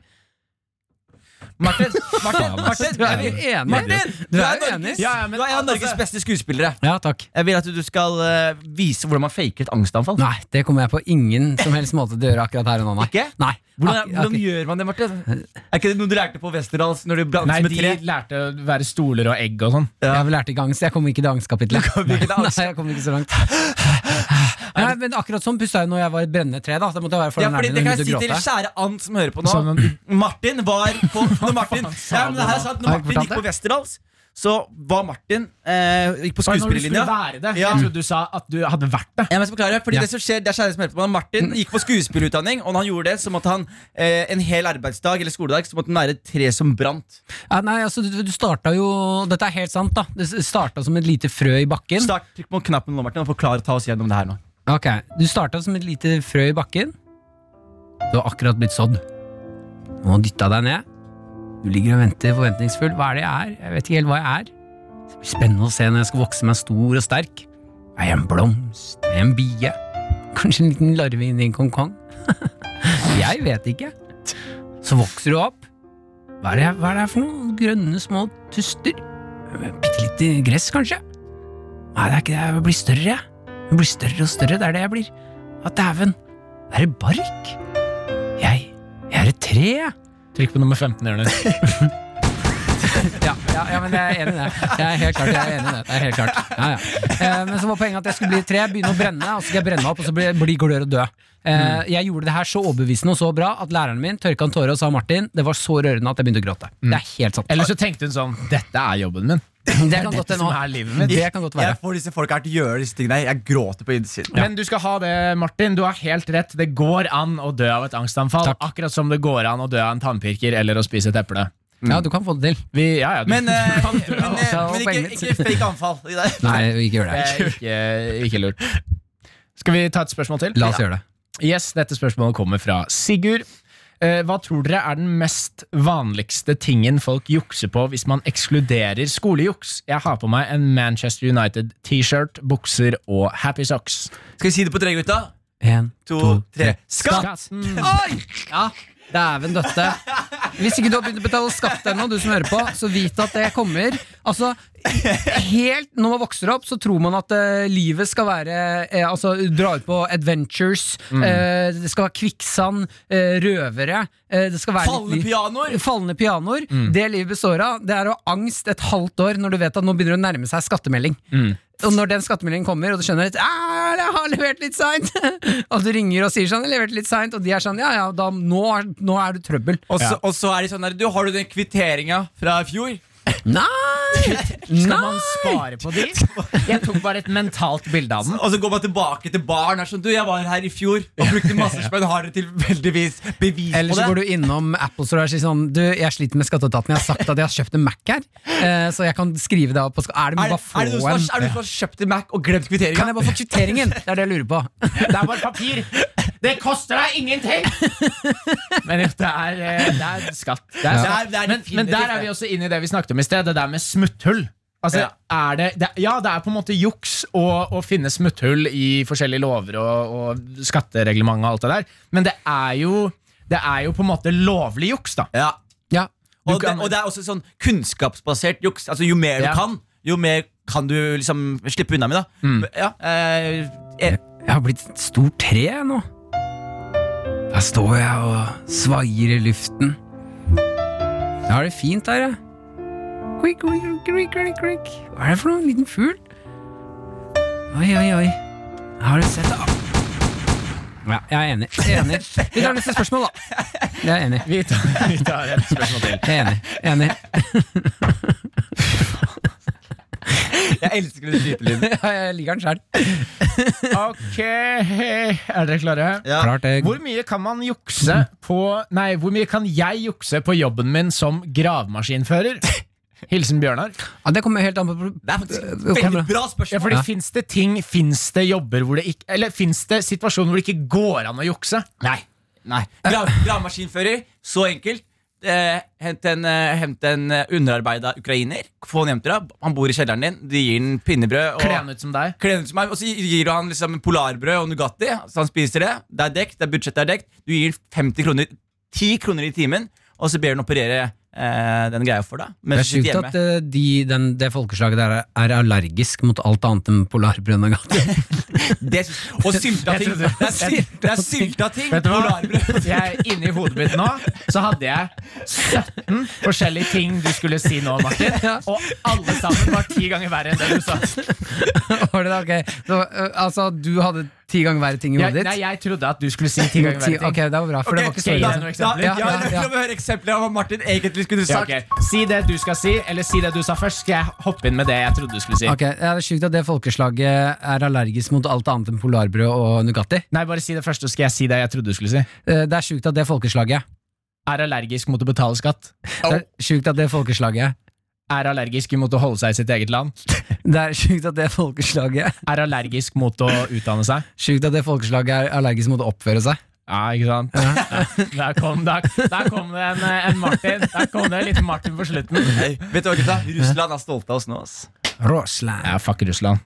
[SPEAKER 3] (laughs)
[SPEAKER 4] Martin, Martin, Martin,
[SPEAKER 2] Du er
[SPEAKER 4] jeg
[SPEAKER 2] jo
[SPEAKER 4] vil-
[SPEAKER 2] enig.
[SPEAKER 4] Martin,
[SPEAKER 2] Du
[SPEAKER 4] du
[SPEAKER 2] er
[SPEAKER 4] er
[SPEAKER 2] jo enig.
[SPEAKER 4] Norges,
[SPEAKER 2] Ja,
[SPEAKER 3] ja, men
[SPEAKER 4] du er en av Norges
[SPEAKER 3] altså-
[SPEAKER 4] beste skuespillere.
[SPEAKER 2] ja, takk.
[SPEAKER 4] Jeg vil at du skal eh, vise hvordan man faker et angstanfall.
[SPEAKER 2] Nei, det kommer jeg på ingen som helst måte til å gjøre akkurat her og nå. Nei.
[SPEAKER 4] Ikke?
[SPEAKER 2] Nei.
[SPEAKER 4] Hvordan,
[SPEAKER 2] Ak-
[SPEAKER 4] hvordan
[SPEAKER 2] ak-
[SPEAKER 4] gjør man det, Martin? Er ikke det noe du lærte på Westerdals? Når du blandet
[SPEAKER 3] Nei,
[SPEAKER 4] med
[SPEAKER 3] de
[SPEAKER 4] tre?
[SPEAKER 3] lærte å være stoler og egg og sånn.
[SPEAKER 2] Jeg har vel lært ikke angst. Jeg kom ikke til angstkapitlet.
[SPEAKER 4] kom ikke til angst.
[SPEAKER 2] Nei, (laughs) jeg kom ikke så langt. Nei, men akkurat sånn pusta jeg når jeg var i et brennende tre. Da Da måtte jeg være
[SPEAKER 4] Ja,
[SPEAKER 2] foran
[SPEAKER 4] fordi
[SPEAKER 2] Erlend og
[SPEAKER 4] det kan
[SPEAKER 2] begynte
[SPEAKER 4] jeg
[SPEAKER 2] å
[SPEAKER 4] si til
[SPEAKER 2] gråte.
[SPEAKER 4] kjære Ant som hører på nå.
[SPEAKER 3] Sånn en-
[SPEAKER 4] Martin var på Når Martin, ja, men det her er sant, når
[SPEAKER 2] Har jeg
[SPEAKER 4] Martin
[SPEAKER 2] fortalt
[SPEAKER 4] gikk på Westerdals, så var Martin eh, gikk på
[SPEAKER 3] Var det når du skulle
[SPEAKER 4] skuespillerlinja.
[SPEAKER 3] være det?
[SPEAKER 4] Ja.
[SPEAKER 3] Jeg trodde du sa at du hadde vært det.
[SPEAKER 4] Ja, Mm. men jeg skal forklare, fordi
[SPEAKER 2] Ja.
[SPEAKER 4] det som skjer, det er kjære som hører på meg, Martin gikk på skuespillerutdanning, og når han gjorde det, så måtte han eh, en hel arbeidsdag eller skoledag Så måtte han være et tre som brant.
[SPEAKER 2] Ja, nei, altså, du, du starta jo Dette er helt sant, da. Det starta som et lite frø i bakken.
[SPEAKER 4] Start, Trykk på knappen nå, Martin, og forklar ta oss gjennom det her nå.
[SPEAKER 2] Ok, Du starta som et lite frø i bakken. Du har akkurat blitt sådd. Nå dytta deg ned. Du ligger og venter forventningsfull. Hva er det jeg er? Jeg vet ikke helt hva jeg er. Det blir spennende å se når jeg skal vokse meg stor og sterk. Er jeg en blomst? Er jeg en bie? Kanskje en liten larve inni en kong-kong? (laughs) jeg vet ikke. Så vokser du opp. Hva er det, hva er det her for noe? Grønne små tuster? Bitte lite gress, kanskje? Nei, det er ikke det. Jeg blir større, jeg. Hun blir større og større, det er det jeg blir. Ja, dæven. Det er et bark. Jeg Jeg er et tre, jeg.
[SPEAKER 3] Trykk på nummer 15, Jonis.
[SPEAKER 2] (laughs) Ja, ja, ja, men jeg er enig i det. Jeg er helt klart, jeg er enig i det. det er helt klart. Ja, ja. Eh, men så var poenget at jeg skulle bli et tre, begynne å brenne, og så skal jeg brenne meg opp, og så bli, bli glør og dø. Eh,
[SPEAKER 3] Mm.
[SPEAKER 2] jeg gjorde det her så overbevisende og så bra at læreren min tørka en tåre og sa Martin, det var så rørende at jeg begynte å gråte. Det er helt sant.
[SPEAKER 3] Mm. Eller så tenkte hun sånn Dette er jobben min.
[SPEAKER 2] det kan godt
[SPEAKER 3] Dette som
[SPEAKER 2] hende.
[SPEAKER 3] er livet mitt.
[SPEAKER 2] Det kan godt være.
[SPEAKER 7] Jeg får disse folka her til å gjøre disse tingene her. Jeg gråter på innsiden.
[SPEAKER 3] Men du skal ha det, Martin. Du har helt rett. Det går an å dø av et angstanfall.
[SPEAKER 2] Takk.
[SPEAKER 3] Akkurat som det går an å dø av en tannpirker eller å spise et eple.
[SPEAKER 2] Ja, du kan få det til.
[SPEAKER 3] Vi, ja, ja, du,
[SPEAKER 4] Men, eh, men, eh,
[SPEAKER 2] Så
[SPEAKER 4] men
[SPEAKER 2] poenget
[SPEAKER 4] ikke,
[SPEAKER 2] mitt.
[SPEAKER 4] ikke fake anfall. i det.
[SPEAKER 2] Nei, ikke gjør
[SPEAKER 3] det
[SPEAKER 2] det.
[SPEAKER 3] er ikke, ikke lurt. Skal vi ta et spørsmål til?
[SPEAKER 2] La oss gjøre det.
[SPEAKER 3] Yes, Dette spørsmålet kommer fra Sigurd. Eh, hva tror dere er den mest vanligste tingen folk jukser på hvis man ekskluderer skolejuks? Jeg har på meg en Manchester United-T-shirt, bukser og happy socks.
[SPEAKER 4] Skal vi si det på tre, gutta?
[SPEAKER 2] En,
[SPEAKER 4] To, tre. Skatt! Mm.
[SPEAKER 3] Skatten.
[SPEAKER 2] Oi! Ja, dæven døtte. Hvis ikke du har begynt å betale skatt ennå, du som hører på, så vit at det kommer. Altså, helt Når man vokser opp, så tror man at eh, livet skal være eh, Altså, dra ut på adventures, eh, det skal være kvikksand, eh, røvere eh, det skal være litt
[SPEAKER 4] Fallende
[SPEAKER 2] liv-
[SPEAKER 4] pianoer!
[SPEAKER 2] Fallende pianoer.
[SPEAKER 4] Mm.
[SPEAKER 2] Det livet består av, det er å ha angst et halvt år når du vet at nå begynner det å nærme seg skattemelding.
[SPEAKER 4] Mm.
[SPEAKER 2] Og når den skattemeldingen kommer, og du skjønner at «Ah, jeg har levert litt seint, (laughs) og du ringer og sier sånn, jeg leverte litt seint, og de er sånn, ja ja, da, nå, er- nå er du trøbbel.
[SPEAKER 4] Og så, og så er de sånn der, du, Har du den kvitteringa fra i fjor?
[SPEAKER 2] Nei!
[SPEAKER 3] Skal
[SPEAKER 2] Nei!
[SPEAKER 3] man spare på de? Jeg tok bare et mentalt bilde av den.
[SPEAKER 4] Og så går man Altså, tilbake til baren. Er sånn, du, jeg var her i fjor og brukte masse spenn. Har dere tilfeldigvis bevis
[SPEAKER 2] Eller så
[SPEAKER 4] på
[SPEAKER 2] går
[SPEAKER 4] det?
[SPEAKER 2] du innom Apple Store og sier sånn Du, jeg sliter med skatteetaten. Jeg har sagt at jeg har kjøpt en Mac her, eh, så jeg kan skrive det av på sk- Er det
[SPEAKER 4] Er,
[SPEAKER 2] mulig
[SPEAKER 4] det-
[SPEAKER 2] å få
[SPEAKER 4] er det noen som har,
[SPEAKER 2] en?
[SPEAKER 4] er det noen som har kjøpt en Mac og glemt kvitteringa?
[SPEAKER 2] Kan jeg bare få kvitteringen? Det er det jeg lurer på.
[SPEAKER 3] Det er bare papir. Det koster deg ingenting! Men jo, det er, eh, det er skatt. Det er skatt.
[SPEAKER 4] Det er- det er
[SPEAKER 3] men,
[SPEAKER 4] definitivt
[SPEAKER 3] men der er vi også inne i det vi snakket om i sted, det der med smutthull. Altså,
[SPEAKER 4] Ja.
[SPEAKER 3] er det, det, ja, det er på en måte juks å, å finne smutthull i forskjellige lover og, og skattereglement og alt det der, men det er jo, det er jo på en måte lovlig juks, da.
[SPEAKER 4] Ja.
[SPEAKER 2] Ja.
[SPEAKER 4] Og,
[SPEAKER 3] kan-
[SPEAKER 4] det, og det er også sånn kunnskapsbasert juks. Altså Jo mer
[SPEAKER 3] Ja.
[SPEAKER 4] du kan, jo mer kan du liksom slippe unna med. da
[SPEAKER 2] Mm.
[SPEAKER 4] ja, eh, eh,
[SPEAKER 2] Jeg har blitt et stort tre jeg, nå. Der står jeg og svaier i luften. Jeg har det fint her, jeg. Kvikk, kvikk, kvikk, kvikk, kvikk. Hva er det for noe? En liten fugl? Oi, oi, oi. Jeg har du sett det? Ja, jeg er enig. Jeg er enig. Vi tar neste spørsmål, da. Jeg er enig.
[SPEAKER 3] Vi tar, (laughs) vi tar et spørsmål til.
[SPEAKER 2] Jeg er enig. Jeg er enig.
[SPEAKER 4] Jeg elsker den
[SPEAKER 2] (laughs)
[SPEAKER 4] skytelyden.
[SPEAKER 2] Jeg liker den sjæl.
[SPEAKER 3] Ok, er dere klare?
[SPEAKER 4] Ja.
[SPEAKER 2] Klart det.
[SPEAKER 3] Hvor mye kan man jukse på Nei, hvor mye kan jeg jukse på jobben min som gravemaskinfører? Hilsen Bjørnar.
[SPEAKER 2] Ja, det kommer helt an på
[SPEAKER 4] Det
[SPEAKER 2] (laughs)
[SPEAKER 4] er faktisk et
[SPEAKER 2] Det kommer
[SPEAKER 4] veldig
[SPEAKER 2] bra.
[SPEAKER 4] bra
[SPEAKER 3] Ja,
[SPEAKER 4] spørsmål.
[SPEAKER 3] fordi
[SPEAKER 2] Ja.
[SPEAKER 3] Fins det ting, fins det jobber hvor det ikke Eller fins det situasjoner hvor det ikke går an å jukse? Nei.
[SPEAKER 4] Nei. Gra gravemaskinfører, så enkelt. Eh, hent en, eh, hent en eh, underarbeida ukrainer. Få han hjem til deg. Han bor i kjelleren din. Du gir han pinnebrød. Og
[SPEAKER 3] Kle han ut som deg.
[SPEAKER 4] Kle han ut som meg, og så gir du han liksom polarbrød og Nugatti, så han spiser det. Det er dekt, det er budsjettet er dekt. Du gir han 50 kroner, 10 kroner i timen, og så ber du han operere eh, den greia for deg.
[SPEAKER 2] Det er
[SPEAKER 4] Mens du
[SPEAKER 2] sjukt
[SPEAKER 4] sitter hjemme.
[SPEAKER 2] at eh, de, den, det folkeslaget der er allergisk mot alt annet enn polarbrød og galt.
[SPEAKER 4] Det, og sylta ting. Det er, syl- det er sylta ting.
[SPEAKER 3] Vet du hva? (laughs)
[SPEAKER 4] Polarbrød.
[SPEAKER 3] Jeg, inni hodet mitt nå så hadde jeg 17 forskjellige ting du skulle si nå, Martin. Og alle sammen var ti ganger verre enn det du sa.
[SPEAKER 2] Var det det? Ok. Så, eh, altså, du hadde ti ganger verre ting i
[SPEAKER 3] Jeg,
[SPEAKER 2] hodet
[SPEAKER 3] nei,
[SPEAKER 2] ditt?
[SPEAKER 3] jeg trodde at du skulle si ti ganger
[SPEAKER 2] Ti-
[SPEAKER 3] verre
[SPEAKER 2] Ok,
[SPEAKER 3] ting.
[SPEAKER 2] det var bra, for det var ikke så
[SPEAKER 3] ok,
[SPEAKER 2] ille. altså.
[SPEAKER 3] da- noen
[SPEAKER 4] Da,
[SPEAKER 3] eksempler?
[SPEAKER 4] ja,
[SPEAKER 2] Ja,
[SPEAKER 4] jeg vil
[SPEAKER 2] ja, ja.
[SPEAKER 4] høre eksempler av hva Martin egentlig
[SPEAKER 3] Ja,
[SPEAKER 4] skulle sagt.
[SPEAKER 3] ok. Si det du skal si, eller si det du sa først. Skal jeg hoppe inn med det jeg trodde du skulle si?
[SPEAKER 2] Ok, ja, Det er sjukt at det folkeslaget er allergisk mot alt annet enn polarbrød og Nugatti.
[SPEAKER 3] Nei, bare si det første, så skal jeg si det jeg trodde du skulle si.
[SPEAKER 2] Eh, Det er sjukt at det folkeslaget
[SPEAKER 3] Er allergisk mot å betale skatt.
[SPEAKER 2] Det er sjukt at det folkeslaget
[SPEAKER 3] Er allergisk mot å holde seg i sitt eget land.
[SPEAKER 2] Det er sjukt at det folkeslaget
[SPEAKER 3] Er allergisk mot å utdanne seg.
[SPEAKER 2] Sjukt at det folkeslaget er allergisk mot å oppføre seg.
[SPEAKER 3] Ja, ikke sant? (laughs) Der kom, der, der kom det en, eh, en Martin. Der kom det en liten Martin på slutten.
[SPEAKER 4] Nei, vet du hva, gutta? Russland er stolte av oss nå. ass.
[SPEAKER 2] Russland.
[SPEAKER 3] Ja, fuck Russland.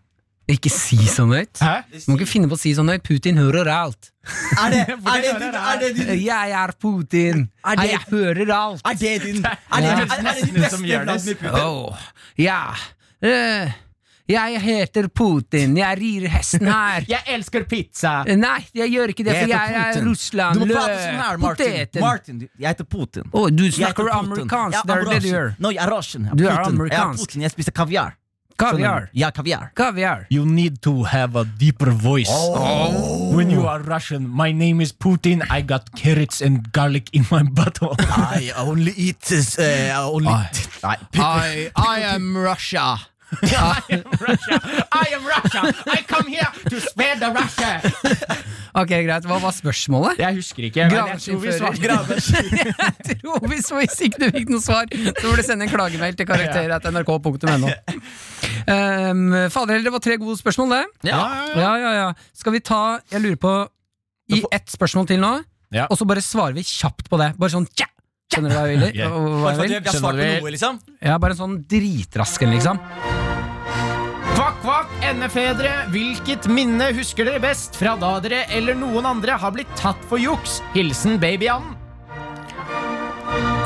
[SPEAKER 2] Ikke si sånn høyt.
[SPEAKER 3] Hæ?
[SPEAKER 2] Du må ikke finne på å si sånn høyt. Putin hører alt.
[SPEAKER 7] Er
[SPEAKER 2] (laughs)
[SPEAKER 7] det, er det, din- er det, din-
[SPEAKER 2] Jeg er Putin.
[SPEAKER 7] Er det-
[SPEAKER 2] Jeg hører alt.
[SPEAKER 7] er det din Er det, er, er det din beste Vladimir Putin?
[SPEAKER 2] Åh, ja. Eh, Jeg heter Putin. Jeg rir (laughs) hesten her.
[SPEAKER 3] Jeg elsker pizza!
[SPEAKER 2] Nei, jeg gjør ikke det,
[SPEAKER 7] Jeg
[SPEAKER 2] for
[SPEAKER 7] heter
[SPEAKER 2] jeg er
[SPEAKER 7] Putin.
[SPEAKER 2] Russland.
[SPEAKER 7] Du må
[SPEAKER 2] Lø-
[SPEAKER 7] prate sånn her, Martin.
[SPEAKER 2] Poteten.
[SPEAKER 7] Martin, du- jeg heter Putin.
[SPEAKER 2] Å, du
[SPEAKER 7] Jeg
[SPEAKER 2] snakker
[SPEAKER 7] heter Putin.
[SPEAKER 2] amerikansk.
[SPEAKER 7] Ja,
[SPEAKER 2] Det er det du
[SPEAKER 7] Russian.
[SPEAKER 2] gjør.
[SPEAKER 7] No, jeg er russian. Jeg er
[SPEAKER 2] Du er
[SPEAKER 7] Putin. Jeg er
[SPEAKER 2] amerikansk.
[SPEAKER 7] Putin. Jeg spiser kaviar.
[SPEAKER 2] Kaviar.
[SPEAKER 7] Ja, kaviar.
[SPEAKER 2] Kaviar.
[SPEAKER 3] You need to have a deeper voice.
[SPEAKER 4] Oh.
[SPEAKER 3] When you are Russian, my name is Putin. I got carrots and garlic in my butthole.
[SPEAKER 7] I only eat this eh, I only Nei,
[SPEAKER 2] I, I am Russia.
[SPEAKER 3] Russia. I am Russia! I come here to spare the Russia!
[SPEAKER 2] Ok, greit. Hva var (laughs) spørsmålet?
[SPEAKER 3] Jeg husker ikke. men jeg tror vi
[SPEAKER 2] Graveskinnfører.
[SPEAKER 3] svarte. (laughs)
[SPEAKER 2] Jeg tror hvis, hvis ikke du fikk noe svar, så får du sende en klagemail til (laughs) karakterer.nrk.no. Um, fader heller, det var tre gode spørsmål, det.
[SPEAKER 4] Ja.
[SPEAKER 2] Ja, ja, ja. Skal vi ta Jeg lurer på I ett spørsmål til nå,
[SPEAKER 3] Ja.
[SPEAKER 2] og så bare svarer vi kjapt på det. Bare sånn tja! Skjønner du hva jeg vil?
[SPEAKER 3] Ok.
[SPEAKER 2] og Hva
[SPEAKER 4] Bare for at
[SPEAKER 2] jeg vil?
[SPEAKER 4] vi har svart på
[SPEAKER 3] Skjønner vi-
[SPEAKER 4] noe, liksom.
[SPEAKER 2] Ja, bare en sånn dritrasken, liksom.
[SPEAKER 3] Kvakk, kvakk, endefedre. Hvilket minne husker dere best fra da dere eller noen andre har blitt tatt for juks? Hilsen babyanden. (laughs)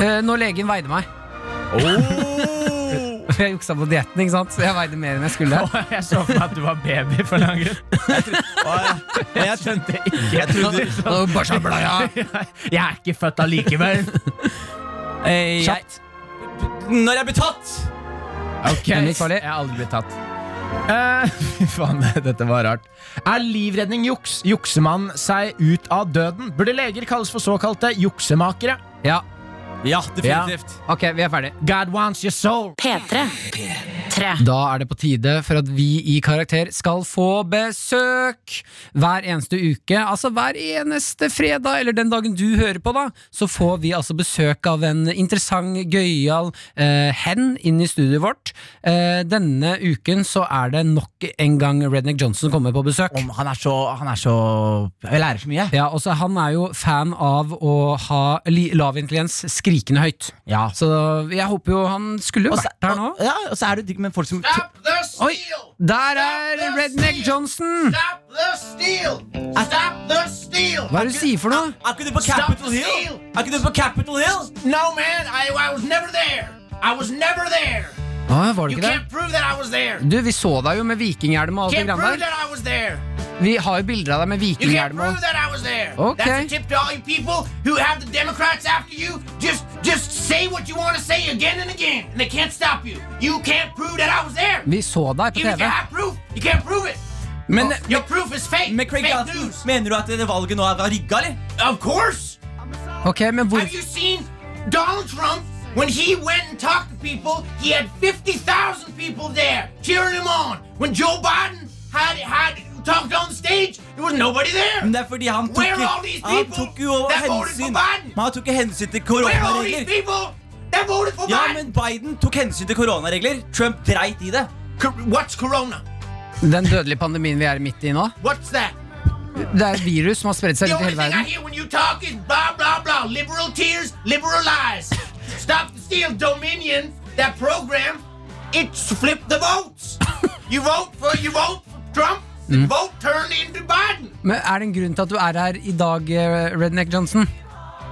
[SPEAKER 2] Eh, når legen veide meg. (laughs) For jeg juksa på dietten, ikke sant? så jeg veide mer enn jeg
[SPEAKER 4] (laughs)
[SPEAKER 2] skulle.
[SPEAKER 3] Jeg så for meg at du var baby for lang grunn. (laughs)
[SPEAKER 4] Og jeg skjønte ikke. Jeg trodde,
[SPEAKER 2] Og bare sånn, så blei jeg.
[SPEAKER 3] Jeg er ikke født allikevel.
[SPEAKER 4] eh, jeg,
[SPEAKER 2] Kjapt.
[SPEAKER 4] når jeg ble
[SPEAKER 3] (laughs)
[SPEAKER 4] tatt!
[SPEAKER 3] Ok,
[SPEAKER 2] Den gikk farlig.
[SPEAKER 3] Jeg har aldri blitt tatt. Eh, (laughs) Fy faen, dette var rart. Er livredning juks? Jukser man seg ut av døden? Burde leger kalles for såkalte juksemakere?
[SPEAKER 2] Ja,
[SPEAKER 4] Ja, definitivt.
[SPEAKER 2] ok, vi er ferdig.
[SPEAKER 3] God wants your soul.
[SPEAKER 1] P3. P3.
[SPEAKER 2] Da er det på tide for at vi i Karakter skal få besøk hver eneste uke. Altså hver eneste fredag, eller den dagen du hører på, da, så får vi altså besøk av en interessant, gøyal eh, hen inn i studioet vårt. Eh, denne uken så er det nok en gang Redneck Johnson kommer på besøk.
[SPEAKER 7] Om han er så Han er så Jeg lærer så mye.
[SPEAKER 2] Ja, også Han er jo fan av å ha li- lav intelligens skrikende høyt.
[SPEAKER 7] Ja.
[SPEAKER 2] Så jeg håper jo han skulle
[SPEAKER 7] Og så,
[SPEAKER 2] vært her nå.
[SPEAKER 7] ja, og så er det digg med folk som
[SPEAKER 2] Oi! Hmm. Der er Redneck Johnson! Hva er det du sier for noe?
[SPEAKER 4] Er ikke du på Capitol Hill? Er ikke du på Capitol Hill?
[SPEAKER 6] No, man, I, I was never there. I was never there.
[SPEAKER 2] Ah, var det
[SPEAKER 6] You
[SPEAKER 2] ikke
[SPEAKER 6] can't
[SPEAKER 2] det?
[SPEAKER 6] prove that I was there.
[SPEAKER 2] Du, Vi så deg jo med vikinghjelm og alt det
[SPEAKER 6] Can't
[SPEAKER 2] greiene
[SPEAKER 6] prove
[SPEAKER 2] der.
[SPEAKER 6] that I was there.
[SPEAKER 2] Vi har jo bilder av deg med
[SPEAKER 6] You can't
[SPEAKER 2] vikinghjelm
[SPEAKER 6] prove
[SPEAKER 2] og
[SPEAKER 6] that I was there.
[SPEAKER 2] Okay.
[SPEAKER 6] That's a tip to all you people who have the Democrats after you. Just, just say what you want to say again and again, and they can't stop you. You can't prove that I was there.
[SPEAKER 2] Vi så deg på
[SPEAKER 6] Even if
[SPEAKER 2] TV.
[SPEAKER 6] you have proof, you can't prove it.
[SPEAKER 4] Men,
[SPEAKER 6] Your proof is fake.
[SPEAKER 4] men Craig
[SPEAKER 6] fake
[SPEAKER 4] Johnson,
[SPEAKER 6] news.
[SPEAKER 4] mener du at det valget nå er rigga, eller?
[SPEAKER 6] Of course.
[SPEAKER 2] Ok, men hvor
[SPEAKER 6] Have you seen Donald Trump? When he went and talked to people, he had 50,000 people there cheering him on. When Joe Biden had had talked on stage, there was nobody there.
[SPEAKER 4] Men det er fordi han tok,
[SPEAKER 6] Where are all these
[SPEAKER 4] ikke- han
[SPEAKER 6] people
[SPEAKER 4] tok jo
[SPEAKER 6] that voted for
[SPEAKER 4] hensyn
[SPEAKER 6] Biden?
[SPEAKER 4] Men han tok ikke hensyn til
[SPEAKER 6] Where are all these
[SPEAKER 4] koronaregler.
[SPEAKER 6] people that voted for
[SPEAKER 4] Ja,
[SPEAKER 6] Biden?
[SPEAKER 4] men Biden tok hensyn til koronaregler. Trump dreit i det.
[SPEAKER 6] Cor- What's Corona?
[SPEAKER 2] Den dødelige pandemien vi er midt i nå.
[SPEAKER 6] What's that?
[SPEAKER 2] Det er et virus som har spredt seg
[SPEAKER 6] The
[SPEAKER 2] rundt i
[SPEAKER 6] only
[SPEAKER 2] hele
[SPEAKER 6] thing I
[SPEAKER 2] verden.
[SPEAKER 6] hear when you talk is blah blah blah. Liberal tears, liberal lies. Stop the steal, Dominion. That program, it's flipped the votes. you vote for you vote for Trump. The vote turned into Biden.
[SPEAKER 2] Men Er det en grunn til at du er her i dag, eh, Redneck Johnson?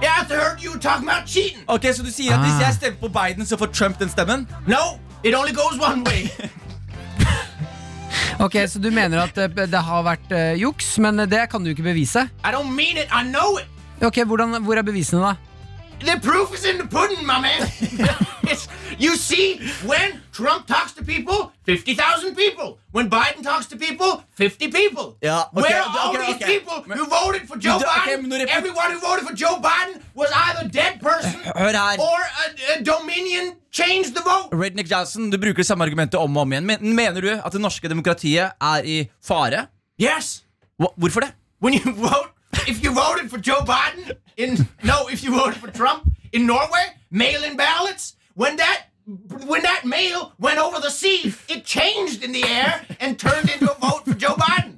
[SPEAKER 6] Yeah, I heard you talking about cheating.
[SPEAKER 4] Ok, Så du sier at hvis jeg stemmer på Biden, så får Trump den stemmen?
[SPEAKER 6] No, it only goes one way.
[SPEAKER 2] Ok, Så du mener at eh, det har vært eh, juks, men det kan du ikke bevise?
[SPEAKER 6] I don't mean it. I know it.
[SPEAKER 2] Ok, hvordan, Hvor er bevisene, da?
[SPEAKER 6] The proof is in the pudding, my
[SPEAKER 4] (laughs)
[SPEAKER 6] man. It's- you see, when Trump talks to people, 50,000 people. When Biden talks to people, 50 people.
[SPEAKER 4] Yeah, okay,
[SPEAKER 6] Where are all
[SPEAKER 4] okay,
[SPEAKER 6] these
[SPEAKER 4] okay.
[SPEAKER 6] people who voted for Joe
[SPEAKER 4] do- okay,
[SPEAKER 6] Biden?
[SPEAKER 4] men når det-
[SPEAKER 6] Everyone who voted for Joe Biden was either dead
[SPEAKER 4] (laughs)
[SPEAKER 6] person
[SPEAKER 4] Hør her.
[SPEAKER 6] or a, a Dominion changed the vote.
[SPEAKER 4] Rednick Johnson, du bruker det samme argumentet om og om igjen. Men mener du at det norske demokratiet er i fare?
[SPEAKER 6] Yes.
[SPEAKER 4] Hva- Hvorfor det?
[SPEAKER 6] When you vote, if you voted for Joe Biden in no, if you voted for Trump in Norway, mail-in ballots. When that when that mail went over the sea, it changed in the air and turned into a vote for Joe Biden.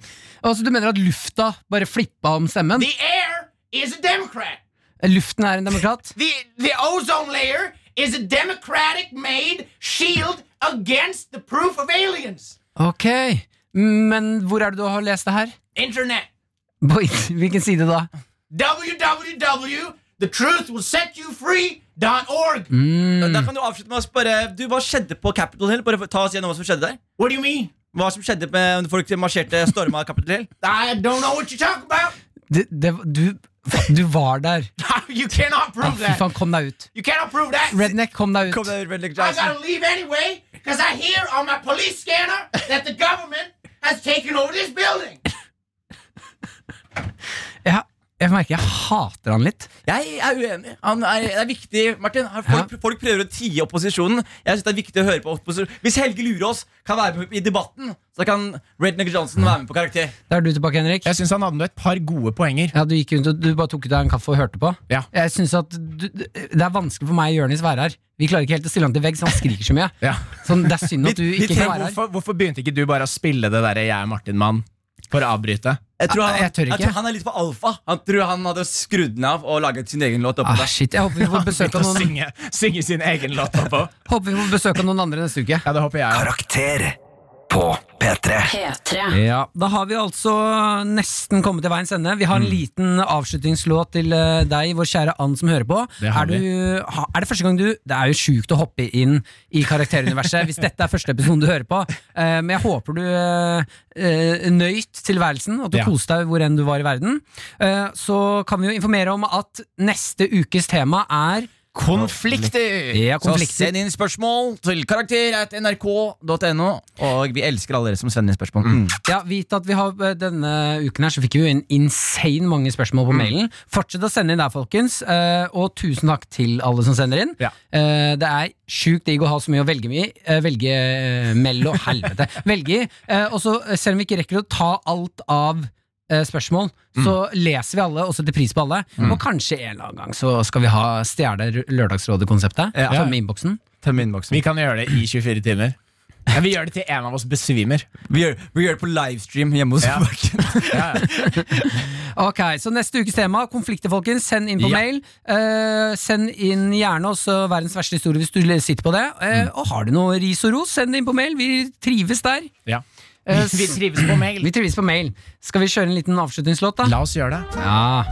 [SPEAKER 2] Altså, Du mener at lufta bare flippa om stemmen?
[SPEAKER 6] The air is a Democrat.
[SPEAKER 2] Luften er en demokrat?
[SPEAKER 6] The the ozone layer is a Democratic-made shield against the proof of aliens.
[SPEAKER 2] Ok, men hvor er det du har lest det her?
[SPEAKER 6] Internet.
[SPEAKER 2] På int- hvilken side da?
[SPEAKER 6] www.thetruthwillsetyoufree.org. Mm.
[SPEAKER 4] Da kan du avslutte med å spørre Du, Hva skjedde på Capitol Hill? Bare ta oss gjennom hva som skjedde der.
[SPEAKER 6] What do you mean?
[SPEAKER 4] Hva som skjedde med folk som marsjerte storma Capitol Hill?
[SPEAKER 6] I don't know what you're talking about.
[SPEAKER 2] Det, det, du, du var der.
[SPEAKER 6] you cannot prove
[SPEAKER 2] Fy
[SPEAKER 6] that.
[SPEAKER 2] faen, kom deg ut.
[SPEAKER 6] You cannot prove that.
[SPEAKER 2] Redneck, kom deg
[SPEAKER 4] Kom
[SPEAKER 2] ut.
[SPEAKER 4] deg ut, Redneck
[SPEAKER 6] I
[SPEAKER 4] Johnson.
[SPEAKER 6] gotta leave anyway because I hear on my police scanner that the government has taken over this building.
[SPEAKER 2] Jeg, jeg merker jeg hater han litt.
[SPEAKER 4] Jeg er uenig. Han er, det er viktig, Martin. Her- Folk, folk prøver å tie opposisjonen. Jeg synes det er viktig å høre på opposisjonen Hvis Helge Lurås kan være med i debatten, så kan Redneck Johnson være med på karakter.
[SPEAKER 2] Da er du tilbake, Henrik.
[SPEAKER 3] Jeg syns han hadde et par gode poenger.
[SPEAKER 2] Ja, Du gikk rundt og du bare tok deg en kaffe og hørte på.
[SPEAKER 3] Ja.
[SPEAKER 2] Jeg synes at du, Det er vanskelig for meg og Jonis å være her. Vi klarer ikke helt å stille han til veggs. Han skriker så mye.
[SPEAKER 3] Ja.
[SPEAKER 2] Sånn, det er synd at du
[SPEAKER 3] Vi- vi
[SPEAKER 2] ikke kan
[SPEAKER 3] trenger-
[SPEAKER 2] være her.
[SPEAKER 3] hvorfor, hvorfor begynte ikke du bare å spille det derre 'Jeg er Martin-mann' for å avbryte?
[SPEAKER 4] Ah, Jeg tror han,
[SPEAKER 2] Jeg tør ikke.
[SPEAKER 4] tror han er litt for alfa. Han tror han hadde skrudd den av og laget sin egen låt. oppå
[SPEAKER 2] Ah,
[SPEAKER 4] der.
[SPEAKER 2] shit, Jeg håper vi får besøk av
[SPEAKER 3] Begynte å
[SPEAKER 2] noen,
[SPEAKER 3] synge, synge sin egen låt oppå.
[SPEAKER 2] håper vi får besøk av noen andre neste uke.
[SPEAKER 3] Ja, det håper jeg.
[SPEAKER 10] Karakter på P3.
[SPEAKER 11] P3.
[SPEAKER 2] Ja, Da har vi altså nesten kommet til veiens ende. Vi har en
[SPEAKER 3] Mm.
[SPEAKER 2] liten avslutningslåt til eh, deg, vår kjære Ann som hører på.
[SPEAKER 3] Det har
[SPEAKER 2] er, du, ha- er det første gang du Det er jo sjukt å hoppe inn i karakteruniverset hvis dette er første episoden du hører på, Eh, men jeg håper du eh, eh, nøyt tilværelsen, og at du
[SPEAKER 3] Ja.
[SPEAKER 2] koste deg hvor enn du var i verden. Eh, Så kan vi jo informere om at neste ukes tema er
[SPEAKER 3] Konflikter!
[SPEAKER 2] ja,
[SPEAKER 4] Så
[SPEAKER 2] konflikter.
[SPEAKER 4] send inn spørsmål til karakter at nrk.no. Og vi elsker alle dere som sender inn spørsmål. Mm.
[SPEAKER 2] Ja, vit at vi har eh, Denne uken her så fikk vi jo inn insane mange spørsmål på mailen. Fortsett å sende inn der, folkens. eh, Og tusen takk til alle som sender inn.
[SPEAKER 3] Ja.
[SPEAKER 2] Eh, Det er sjukt digg å ha så mye å velge i. eh, Velge eh, mellom Helvete. Velge i. Eh, Og så, eh, selv om vi ikke rekker å ta alt av eh, spørsmål, så leser vi alle og setter pris på alle. Og kanskje en eller annen gang så skal vi ha stjele Lørdagsrådet-konseptet.
[SPEAKER 4] Ja.
[SPEAKER 2] Tømme innboksen.
[SPEAKER 4] Tøm innboksen.
[SPEAKER 3] Vi kan gjøre det i 24 timer. Men vi gjør det til en av oss besvimer.
[SPEAKER 4] Vi gjør, vi gjør det på livestream hjemme hos
[SPEAKER 3] Ja.
[SPEAKER 4] Marken.
[SPEAKER 3] Ja, ja.
[SPEAKER 2] Ok, så neste ukes tema, konflikter, folkens. Send inn på
[SPEAKER 3] Ja.
[SPEAKER 2] mail. Eh, send inn gjerne også verdens verste historie hvis du sitter på det. Eh, Og har du noe ris og ros, send det inn på mail. Vi trives der.
[SPEAKER 3] Ja.
[SPEAKER 2] Eh,
[SPEAKER 3] Vi trives på mail.
[SPEAKER 2] Vi trives på mail. Skal vi kjøre en liten avslutningslåt, da?
[SPEAKER 3] La oss gjøre det.
[SPEAKER 2] Ja.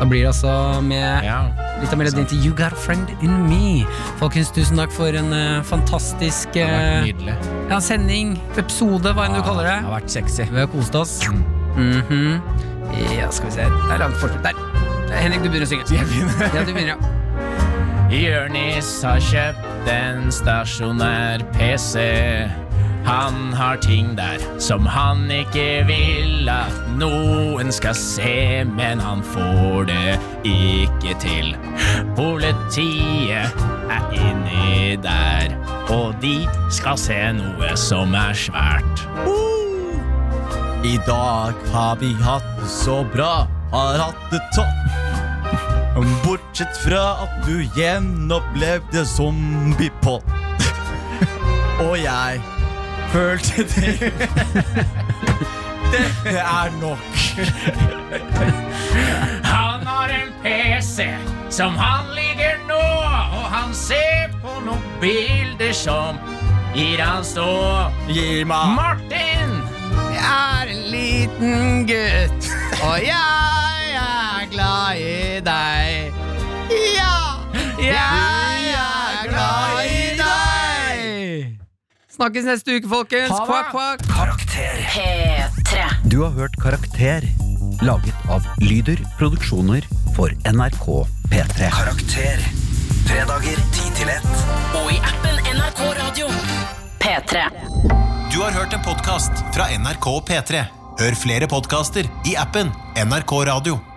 [SPEAKER 2] Da blir det altså med
[SPEAKER 3] Ja.
[SPEAKER 2] litt av melodien til You Got A Friend In Me. Folkens, tusen takk for en eh, fantastisk
[SPEAKER 3] Det har vært
[SPEAKER 2] eh,
[SPEAKER 3] nydelig.
[SPEAKER 2] ja, sending, episode, hva enn du kaller det.
[SPEAKER 4] har vært sexy.
[SPEAKER 2] Vi har kost oss. Mhm. Ja, skal vi se. Det er langt fortsatt. Der. Eh, Henrik, du begynner å synge. Ja, du begynner, ja.
[SPEAKER 3] Jonis har kjøpt en stasjonær PC. Han har ting der som han ikke vil at noen skal se, men han får det ikke til. Politiet er inni der, og de skal se noe som er svært.
[SPEAKER 4] I dag har vi hatt det så bra. Har hatt det topp. Bortsett fra at du gjenopplevde zombiepott. Og jeg følte det Dette er nok.
[SPEAKER 3] Han har en PC som han ligger nå, og han ser på noen bilder som gir han stå.
[SPEAKER 4] Gi meg
[SPEAKER 3] Martin er en liten gutt, og jeg er glad i deg.
[SPEAKER 2] Snakkes neste uke, folkens.
[SPEAKER 12] Ha det.
[SPEAKER 2] Kvakk, kvakk.
[SPEAKER 13] Karakter.
[SPEAKER 14] P3.
[SPEAKER 15] Du har hørt Karakter, laget av Lyder Produksjoner for NRK P3.
[SPEAKER 13] Karakter. Fredager 10 til 1.
[SPEAKER 14] Og i appen NRK Radio. P3.
[SPEAKER 4] Du har hørt en podcast fra NRK P3. Hør flere podcaster i appen NRK Radio.